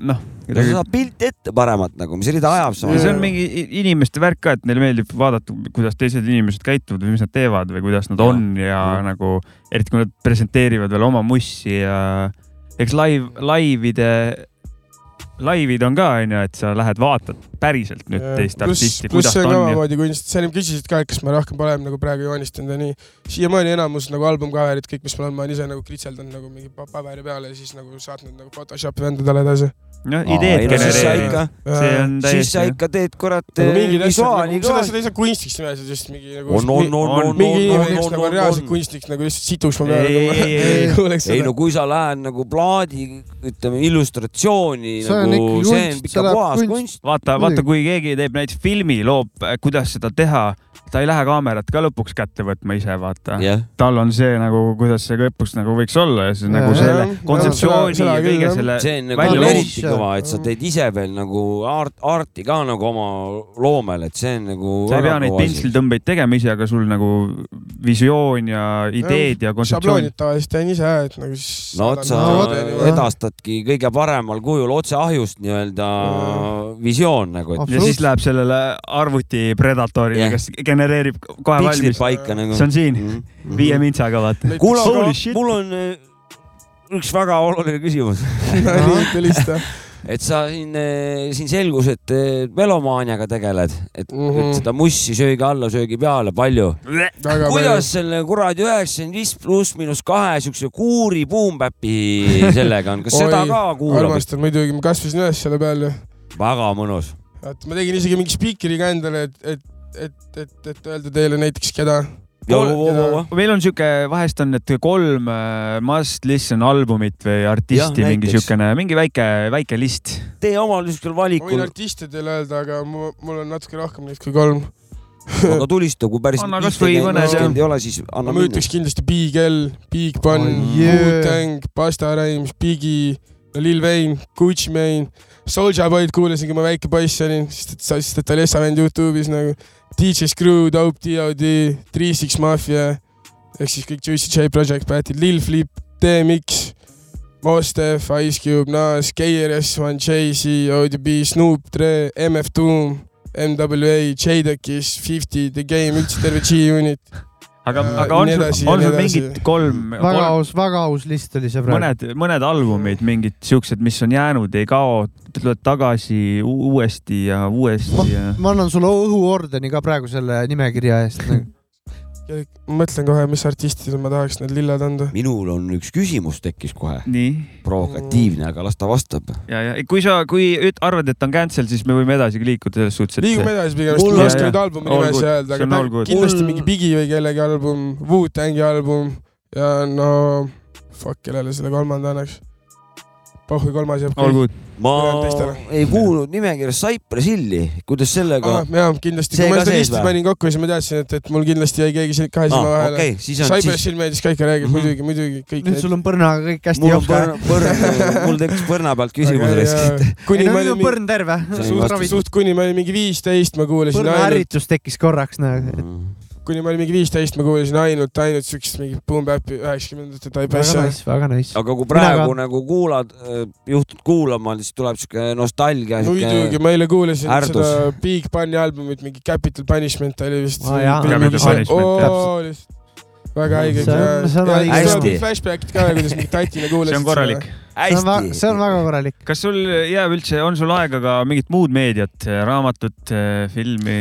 Speaker 2: noh .
Speaker 3: sa
Speaker 2: see
Speaker 3: saad pilti ette paremat nagu , mis rida ajab sa .
Speaker 4: Ja
Speaker 2: on mingi i- inimeste värk ka , et neile meeldib vaadata , kuidas teised inimesed käituvad või mis nad teevad või kuidas nad
Speaker 3: Jaa.
Speaker 2: on ja, ja
Speaker 3: Mm.
Speaker 2: nagu eriti kui nad presenteerivad veel oma mussi ja eks live , laivide , laivid on ka onju , et sa lähed vaatad päriselt nüüd teist artisti , kuidas ta on ja
Speaker 4: samamoodi kunst , sa ennem küsisid ka , et kas ma rohkem pole nagu praegu joonistanud ja nii . siiamaani enamus nagu album cover'id , kõik , mis ma olen , ma olen ise nagu kritseldanud nagu mingi pa- paberi peale ja siis nagu saatnud nagu Photoshopi vendadele edasi .
Speaker 2: noh , ideed genereerivad .
Speaker 3: ikka ,
Speaker 2: see on
Speaker 3: siis sa
Speaker 2: täiesti ,
Speaker 3: ikka teed kurat
Speaker 4: nagu mingid asjad
Speaker 3: visuaali ,
Speaker 4: seda ,
Speaker 3: ka .
Speaker 4: seda ei saa kunstiks nimetada , just mingi nagu
Speaker 3: on , on , on ,
Speaker 2: on-
Speaker 3: on ,
Speaker 4: mingi inimene ,
Speaker 3: on ,
Speaker 4: kes nagu on
Speaker 3: on
Speaker 4: reaalselt , kunstnik nagu lihtsalt situks ma nagu-
Speaker 2: Ei, ei, ei,
Speaker 4: peale
Speaker 2: ei.
Speaker 4: kuuleks
Speaker 3: ei
Speaker 4: seda
Speaker 3: no . kui sa lähed nagu plaadi , ütleme illustratsiooni
Speaker 1: See on
Speaker 3: nagu
Speaker 1: ikkagi ,
Speaker 3: see on
Speaker 1: kunst,
Speaker 3: ikka
Speaker 1: see läheb
Speaker 3: puhas
Speaker 1: kunst.
Speaker 3: kunst .
Speaker 2: vaata , vaata , kui keegi teeb näiteks filmi , loob , kuidas seda teha , ta ei lähe kaamerat ka lõpuks kätte võtma ise , vaata .
Speaker 3: jah ,
Speaker 2: tal on see nagu , kuidas see lõpuks nagu võiks olla ja siis nagu
Speaker 1: Jaa.
Speaker 2: selle
Speaker 4: Jaa. Seda-
Speaker 2: kontseptsiooni
Speaker 4: seda
Speaker 2: ja
Speaker 4: küll,
Speaker 2: kõige
Speaker 4: jah.
Speaker 2: selle
Speaker 3: see on nagu
Speaker 2: välja
Speaker 3: eriti
Speaker 1: loobida.
Speaker 3: kõva , et sa teed ise veel nagu art , arti ka nagu oma loomel , et see on nagu .
Speaker 2: sa ei pea neid . pintslitõmbeid tegema ise , aga sul nagu visioon ja ideed ja kontseptsioon
Speaker 4: šabloonid . tavaliselt teen ise , et nagu siis .
Speaker 3: no vot , sa
Speaker 1: No vot,
Speaker 3: edastadki kõige paremal kujul otse ahjust nii-öelda visioon nagu , et
Speaker 2: ja siis
Speaker 1: absoluutselt ,
Speaker 2: läheb sellele arvuti predatorile
Speaker 3: Jah.
Speaker 2: yeah. , kes genereerib kohe
Speaker 3: pikslid
Speaker 2: valmis .
Speaker 3: paika nagu
Speaker 2: see . on siin , viie
Speaker 3: minuti .
Speaker 2: mintsaga , vaata .
Speaker 3: kuule ,
Speaker 2: Holy
Speaker 3: aga
Speaker 2: shit.
Speaker 3: mul on äh, üks väga oluline küsimus .
Speaker 4: minutit helista .
Speaker 3: et sa siin , siin selgus , et eh, melomaaniaga tegeled , et mm , -hmm.
Speaker 4: Mhm.
Speaker 3: et seda mussi söögi alla , söögi peale , palju .
Speaker 4: väga palju .
Speaker 3: kuidas selle kuradi üheksakümmend viis pluss miinus kahe siukse kuuri boom-bap'i sellega on , kas
Speaker 4: Oi,
Speaker 3: seda ka kuulab ?
Speaker 4: armastan muidugi , ma kasvasin üles selle peal ju .
Speaker 3: väga mõnus .
Speaker 4: et ma tegin isegi mingi spiikriga endale , et , et , et , et , et öelda teile näiteks keda .
Speaker 2: meil on sihuke , vahest on need kolm äh, must listen albumit või artisti
Speaker 3: Jah,
Speaker 2: ja, mingi
Speaker 3: näiteks.
Speaker 2: siukene , mingi väike , väike list .
Speaker 3: tee omal niisugusel
Speaker 4: ma võin
Speaker 3: valikul ,
Speaker 4: artistidele öelda , aga mu- mul on natuke rohkem neid kui kolm .
Speaker 3: aga tulista , kui päris
Speaker 2: Anna kasvõi mõned, jah.
Speaker 3: ei ole , siis anna
Speaker 4: ma
Speaker 3: minna .
Speaker 4: ütleks kindlasti Big L , Big Pun
Speaker 1: Oh,
Speaker 4: oh, ,
Speaker 1: yeah.
Speaker 4: yeah. Wu-Tang , Pasta Rhymes , Biggie , Lil Wayne , Gucci Mane , Soulja Boyd kuulasin , kui ma väike poiss olin , sest et , sest et ta oli Essa vend Youtube'is nagu . DJ Screw , Dope DOD , Three Six Mafia ehk siis kõik Juicy J Project Batid , Lil Flip , DMX , Mos Def , Ice Cube , Nas , KRS-One , Jay-Z , ODB , Snoop , Dre , MF Doom , MWA , J-Dekis , Fifty , The Game , üldse terve G-Unit .
Speaker 2: aga ,
Speaker 4: Äh,
Speaker 2: aga on
Speaker 4: nii edasi
Speaker 2: sul ,
Speaker 4: ja
Speaker 2: on
Speaker 4: nii
Speaker 2: sul
Speaker 4: edasi.
Speaker 2: mingid kolm ,
Speaker 1: väga aus , väga aus list oli see praegu .
Speaker 2: mõned , mõned albumid , mingid siuksed , mis on jäänud , ei kao , tulevad tagasi u- uuesti ja uuesti ja .
Speaker 1: nagu- ma annan sulle õhuordeni ka praegu selle nimekirja eest .
Speaker 4: ma mõtlen kohe , mis artistidele ma tahaks need lilled anda .
Speaker 3: minul on üks küsimus tekkis kohe ,
Speaker 2: nii ,
Speaker 3: provokatiivne , aga las ta vastab .
Speaker 2: ja , ja kui sa , kui üt- arvad , et on cancel , siis me võime edasigi liikuda selles suhtes , et .
Speaker 4: liigume edasi
Speaker 2: Mul-
Speaker 4: pigem , sest ma ei oska
Speaker 2: jaa,
Speaker 4: nüüd
Speaker 2: jaa.
Speaker 4: albumi
Speaker 2: All
Speaker 4: nimesi
Speaker 2: good.
Speaker 4: öelda ,
Speaker 2: See on
Speaker 4: aga ta
Speaker 2: all good.
Speaker 4: on kindlasti
Speaker 1: Mul-
Speaker 4: mingi Bigi või kellegi album , Wu-Tangi album ja no fuck , kellele selle kolmanda annaks . Pohhu kolmas jääb
Speaker 2: All . good .
Speaker 3: ma
Speaker 4: Ülejäänud teistele.
Speaker 3: ei kuulnud nimekirjas Cypress Hilli , kuidas sellega
Speaker 4: Ah, ? jaa , kindlasti ,
Speaker 3: See
Speaker 4: kui ma
Speaker 3: ka
Speaker 4: seda
Speaker 3: sees
Speaker 4: listi
Speaker 3: või?
Speaker 4: panin kokku , siis ma teadsin , et , et mul kindlasti jäi keegi siin kahe silma
Speaker 3: aa ,
Speaker 4: vahele
Speaker 3: okei , siis on , siis
Speaker 4: Cypressil meeldis ka ikka räägida ,
Speaker 3: Mhm.
Speaker 4: muidugi , muidugi kõik
Speaker 1: nüüd . sul on põrnaga kõik hästi
Speaker 3: mul on
Speaker 1: jooksev .
Speaker 3: põrna , põrna , mul tekkis põrna pealt küsimus lihtsalt .
Speaker 1: ei
Speaker 4: kuni
Speaker 1: no
Speaker 4: ma
Speaker 1: nüüd
Speaker 4: olin
Speaker 1: on
Speaker 4: mingi ,
Speaker 1: põrn terve .
Speaker 3: See on
Speaker 1: suht
Speaker 3: vastus.
Speaker 1: ravitud .
Speaker 4: suht kuni ma olin mingi viisteist , ma kuulasin
Speaker 1: põrna
Speaker 4: ainult , Mm.
Speaker 1: ärritus tekkis korraks , näed .
Speaker 4: kuni ma olin mingi viisteist , ma kuulasin ainult , ainult siukest mingit boom bap'i üheksakümnendate type
Speaker 1: väga
Speaker 4: asja .
Speaker 1: nice , väga nice .
Speaker 3: aga kui
Speaker 1: Mina
Speaker 3: praegu nagu kuulad , juhtud kuulama , siis tuleb siuke nostalgia .
Speaker 4: muidugi , ma eile kuulasin
Speaker 3: Ärdus.
Speaker 4: seda Big Bunny albumit , mingi Capital Punishment oli vist
Speaker 1: Aa, jaa.
Speaker 2: Capital Punishment,
Speaker 4: väga õige .
Speaker 1: See on- see on õige.
Speaker 3: Hästi.
Speaker 4: flashback'id ka , kuidas mingi tatina kuulasid .
Speaker 2: see on korralik .
Speaker 1: see on väga , see on
Speaker 3: hästi .
Speaker 1: väga korralik .
Speaker 2: kas sul jääb üldse , on sul aega ka mingit muud meediat , raamatut , filmi ?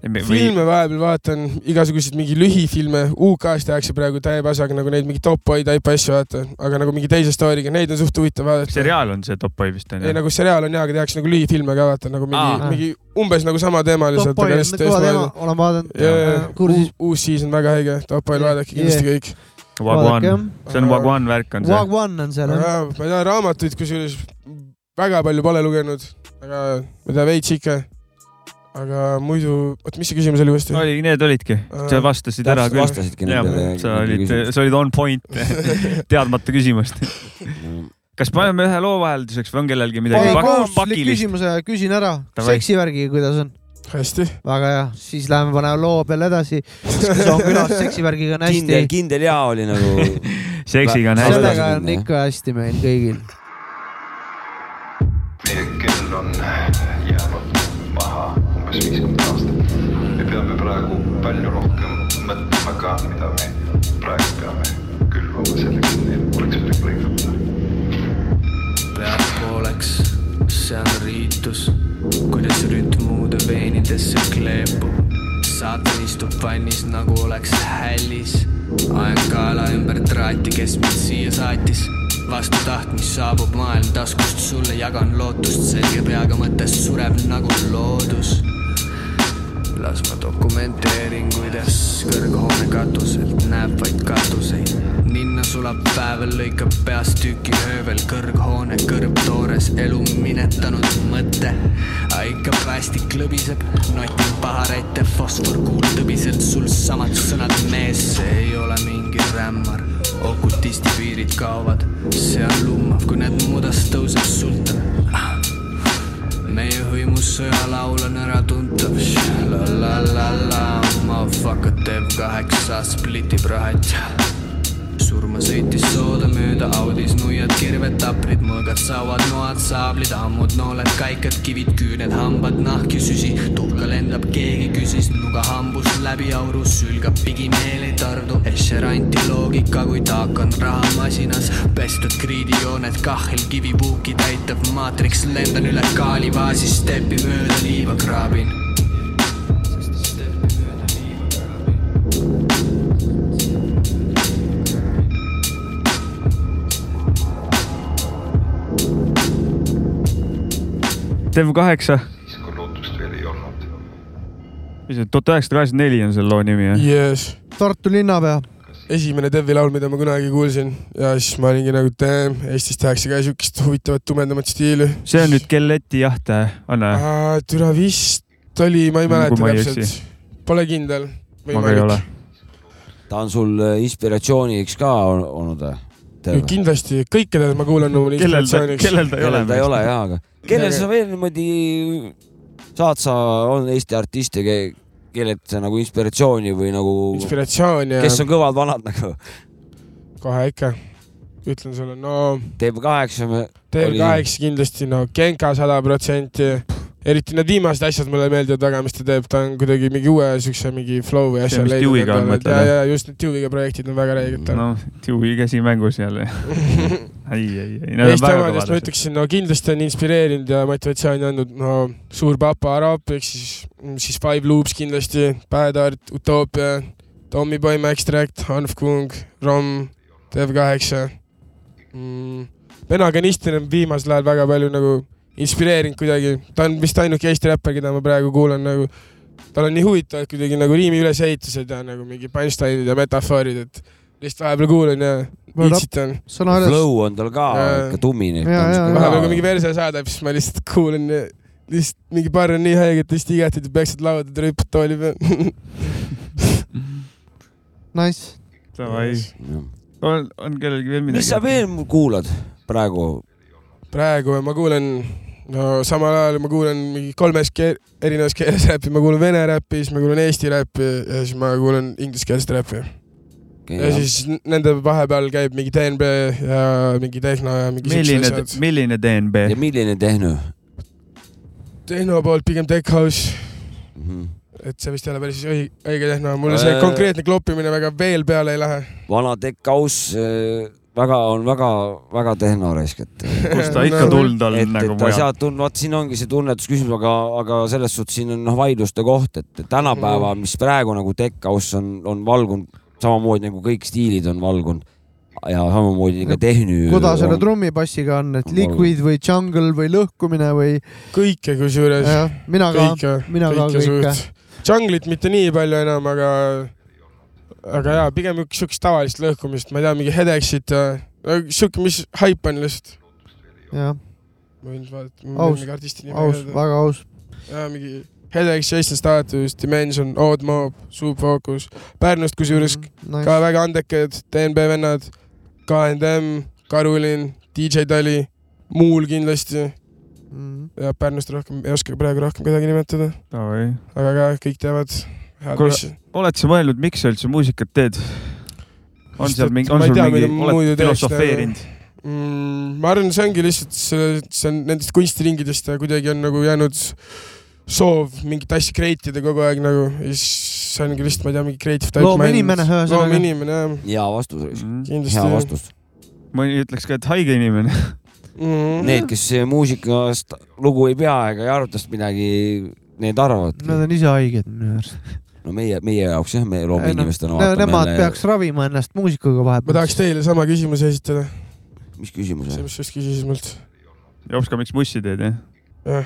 Speaker 4: filme vahepeal vaatan , igasuguseid mingi lühifilme , UK-s tehakse praegu täie pasaga nagu neid mingi Top Boy type asju vaata , aga nagu mingi teise story'ga , neid on suht huvitav vaadata .
Speaker 2: seriaal on see Top Boy vist
Speaker 4: ei
Speaker 2: onju ?
Speaker 4: nagu seriaal on jaa , aga tehakse nagu lühifilme ka vaata nagu mingi
Speaker 1: Aa. ,
Speaker 4: mingi umbes nagu
Speaker 1: Top
Speaker 4: samateemaliselt ,
Speaker 1: Boy
Speaker 4: aga
Speaker 1: on
Speaker 4: lihtsalt
Speaker 1: kõva
Speaker 4: teist
Speaker 1: teema
Speaker 4: moodi .,
Speaker 1: olen vaadanud
Speaker 4: Jaa. .
Speaker 1: kursis .
Speaker 4: uus season väga õige , Top Boy
Speaker 1: Yeah.
Speaker 4: vaadake kindlasti kõik .
Speaker 2: Wagwan , see on
Speaker 4: Aga-
Speaker 2: Wagwan värk on see .
Speaker 1: Wag One on seal
Speaker 4: aga
Speaker 1: jah .
Speaker 4: jaa, ma ei tea , raamatuid kusjuures väga palju pole lugenud , aga ma ei tea , veits ikka . aga muidu , oot , mis see küsimus oli uuesti ?
Speaker 2: oli , need olidki ,
Speaker 4: Äh,
Speaker 2: sa vastasid ära
Speaker 3: täpselt
Speaker 2: küll .
Speaker 3: vastasidki
Speaker 2: jah
Speaker 3: nendele .,
Speaker 2: sa olid , sa olid on point teadmata küsimust . kas paneme ühe loo vahelduseks või on kellelgi midagi
Speaker 1: panen
Speaker 2: pak-
Speaker 1: kohustuslik
Speaker 2: pakilist ?
Speaker 1: küsimuse , küsin ära .
Speaker 2: Davai.
Speaker 1: seksivärgiga , kuidas on ?
Speaker 4: hästi .
Speaker 1: väga hea , siis läheme paneme loo peale edasi . siis on külas seksivärgiga on hästi
Speaker 3: kindel ,. kindel jaa oli nagu .
Speaker 2: seksiga on hästi .
Speaker 1: sellega on
Speaker 3: Jah.
Speaker 1: ikka hästi meil kõigil .
Speaker 8: kell on jäänud maha umbes viiskümmend aastat . me peame praegu palju rohkem mõtlema ka , mida me praegu peame külvama selleks , et neil oleks midagi lõigata .
Speaker 9: pealtpooleks , see on riitus , kuidas rütm muude veenidesse kleepub . saatan istub vannis nagu oleks hällis , aeg kaela ümber traati , kes mind siia saatis . vastu tahtmist saabub maailm taskust , sulle jagan lootust , selge peaga mõttes sureb nagu loodus las ma dokumenteerin , kuidas kõrghoone katuselt näeb vaid katuseid . ninna sulab päeval , lõikab peast tüki höövel , kõrghoone kõrvtoores elu minetanud mõte . aga ikka päästik lõbiseb , notin paharette , fosforkuul tõbiselt , sul samad sõnad mees , see ei ole mingi rämmar . okutisti piirid kaovad , see on lummav , kui need mudast tõuseb sultan meie hõimussõja laul on äratuntav . la la la la , motherfucker teeb kaheksa , splitib rahet . surma sõitis sooda mööda audis , nuiad , kirved , taprid , mõõgad , sauad , noad , saablid , ammud , nooled , kaikad , kivid , küüned , hambad , nahk ja süsi . tuhka lendab , keegi küsis , nuga hambust läbi auru , sülgab pigi , meel ei tardu , ešeranti loogika , kui taak on rahamasinas . pestud kriidijooned , kahel kivipuuki täitev maatriks , lendan üle kaalivaasi , stepi mööda liiva kraabin
Speaker 2: Dev kaheksa ,
Speaker 8: siis kui lootust veel ei olnud .
Speaker 2: mis see tuhat üheksasada kaheksakümmend neli on selle loo nimi jah ?
Speaker 4: Yes
Speaker 1: Tartu linnapea .
Speaker 4: esimene Devi laul , mida ma kunagi kuulsin ja siis ma olingi nagu damn , Eestis tehakse ka siukest huvitavat tumedamat stiili .
Speaker 2: see on nüüd Kelleti jahte , on või ?
Speaker 4: Äh, türa vist oli , ma ei
Speaker 2: Kui
Speaker 4: mäleta
Speaker 2: ma ei
Speaker 4: täpselt , pole kindel .
Speaker 2: ma ka ei ole .
Speaker 3: ta on sul äh, inspiratsiooniks ka ol- olnud äh, või ?
Speaker 4: kindlasti kõikidel ma kuulan oma
Speaker 2: kellel ta ,
Speaker 4: inspiratsiooniks .
Speaker 2: kellel ta ei ole
Speaker 3: kellel ? ta ei ole jaa , aga kellel sa veel niimoodi saad , sa on Eesti artiste , kellelt sa nagu inspiratsiooni või nagu ,
Speaker 4: inspiratsioon ja
Speaker 3: kes on kõvad vanad nagu ?
Speaker 4: kohe ikka ütlen sulle , no
Speaker 3: teeb kaheksa , Oli-
Speaker 4: TV8 kindlasti , no Genka sada protsenti , eriti need viimased asjad mulle meeldivad väga , mis ta teeb , ta on kuidagi mingi uue siukse mingi flow või
Speaker 2: See,
Speaker 4: asja
Speaker 2: mis Dewey'ga on,
Speaker 4: leidnud .
Speaker 2: mõtled,
Speaker 4: ja ,
Speaker 2: jah?
Speaker 4: ja just need Dewey'ga projektid on väga räiged tal .
Speaker 2: noh , Dewey käsi mängus jälle . ei , ei , ei , need on
Speaker 4: Eesti
Speaker 2: väga
Speaker 4: omadest ma
Speaker 2: kõvad .
Speaker 4: ütleksin , no kindlasti on inspireerinud ja motivatsiooni andnud , no mm, Suur Papa Arab ehk siis , siis Five Loops kindlasti , Bad Art , Utopia , Tommyboy , Max Tract , Hanf Kung , Rom , Dev8 mm, . Vena Kanistel on viimasel ajal väga palju nagu inspireerinud kuidagi , ta on vist ainuke Eesti räppar , keda ma praegu kuulan nagu , tal on nii huvitavad kuidagi nagu riimi ülesehitused ja nagu mingi punchline'id ja metafoorid , et lihtsalt vahepeal kuulan ja
Speaker 1: Ma rap-
Speaker 4: viitsitan .
Speaker 1: sõnaüles-
Speaker 3: Flow on tal ka
Speaker 4: Jaa.
Speaker 3: ikka tumine .
Speaker 1: Jaa, jaa, jaa.
Speaker 4: vahepeal , kui mingi verse saadab , siis ma lihtsalt kuulan ja lihtsalt mingi paar on nii haige , et lihtsalt igatpidi peaksid lauda trüpp tooli peal .
Speaker 1: Nice .
Speaker 2: Davai , on , on kellelgi veel midagi ?
Speaker 3: mis sa veel mu- kuulad praegu ?
Speaker 4: praegu ma kuulen , no samal ajal ma kuulan mingi kolmes keel , erinevas keeles räppi , ma kuulan vene räppi , siis ma kuulan eesti räppi ja siis ma kuulan ingliskeelset räppi . ja siis n- nende vahepeal käib mingi DNB ja mingi tehno ja mingi siuksed
Speaker 2: milline ,
Speaker 4: asjad .
Speaker 2: milline DNB ?
Speaker 3: ja milline tehno ?
Speaker 4: tehno poolt pigem tech house , et see vist ei ole päris õi- õige tehno , mulle see
Speaker 3: Äh.
Speaker 4: konkreetne kloppimine väga veel peale ei lähe .
Speaker 3: vana tekkaus äh, väga , on väga-väga tehnoraisk , et ,
Speaker 2: kus ta ikka tuld on
Speaker 3: et ,
Speaker 2: nagu
Speaker 3: et ta
Speaker 2: mujal ?
Speaker 3: sealt on , vot siin ongi see tunnetusküsimus , aga , aga selles suhtes siin on noh , vaidluste koht , et tänapäeva ,
Speaker 2: Mm.
Speaker 3: mis praegu nagu tekkaus on , on valgunud samamoodi nagu kõik stiilid on valgunud ja samamoodi ka tehnü .
Speaker 1: kuidas selle trummipassiga on , et liquid või jungle või lõhkumine või
Speaker 4: kõike kusjuures ,
Speaker 1: jah , mina ka ,
Speaker 4: kõike ,
Speaker 1: mina ka
Speaker 4: kõike
Speaker 1: kõike .
Speaker 4: suht . Junglit mitte nii palju enam , aga , aga jaa , pigem üks siukest tavalist lõhkumist , ma ei tea , mingi Hedexit ja no siuke , mis haip on lihtsalt .
Speaker 1: jah ,
Speaker 4: ma võin vaadata ,
Speaker 1: Aus,
Speaker 4: mingi artisti nimi
Speaker 1: aus ,
Speaker 4: öelda .
Speaker 1: väga aus .
Speaker 4: jaa , mingi Hedex , Jason Status , Dimension , Odd Mob , Subfocus , Pärnust kusjuures ka
Speaker 1: Mhm, nice. .
Speaker 4: väga andekad DNB vennad , KNM , Karulin , DJ Tali , Muul kindlasti
Speaker 1: Mhm.
Speaker 4: ja Pärnust rohkem ei oska praegu rohkem kedagi nimetada ,
Speaker 2: davai .
Speaker 4: aga ka kõik teavad .
Speaker 2: Kuule, oled sa mõelnud , miks sa üldse muusikat teed ? on
Speaker 4: Sest
Speaker 2: seal
Speaker 4: et
Speaker 2: mingi ,
Speaker 4: ma
Speaker 2: on
Speaker 4: ei
Speaker 2: sul
Speaker 4: tea,
Speaker 2: mingi
Speaker 4: mida , ma muidu
Speaker 2: oled
Speaker 4: teeks, äh,
Speaker 2: filosofeerinud ?
Speaker 4: mm, . ma arvan , see ongi lihtsalt see , see on nendest kunstiringidest ja kuidagi on nagu jäänud soov mingit asja create ida kogu aeg nagu ja siis see ongi lihtsalt , ma ei tea , mingi creative type .
Speaker 1: loomeinimene , ühesõnaga .
Speaker 4: loomeinimene jah ,
Speaker 3: hea vastus ,
Speaker 4: kindlasti
Speaker 3: hea . vastus .
Speaker 2: mõni Mhm. ütleks ka , et haige inimene .
Speaker 4: Mhm.
Speaker 3: Need , kes muusikast lugu ei pea ega ei aruta sest midagi , need
Speaker 1: Nad
Speaker 3: arvavadki .
Speaker 1: on ise haiged minu arust .
Speaker 3: no meie , meie jaoks jah , me loomeinimestena
Speaker 1: Nemad
Speaker 3: vaatame
Speaker 1: peaks
Speaker 3: jälle ,
Speaker 1: ravima ennast muusikaga
Speaker 4: ma tahaks
Speaker 1: vahepeal .
Speaker 4: teile sama küsimuse esitada ,
Speaker 3: mis küsimus
Speaker 4: see ,
Speaker 3: on ?
Speaker 4: mis sa just küsisid mult .
Speaker 2: Jopska , miks mussi teed , jah ?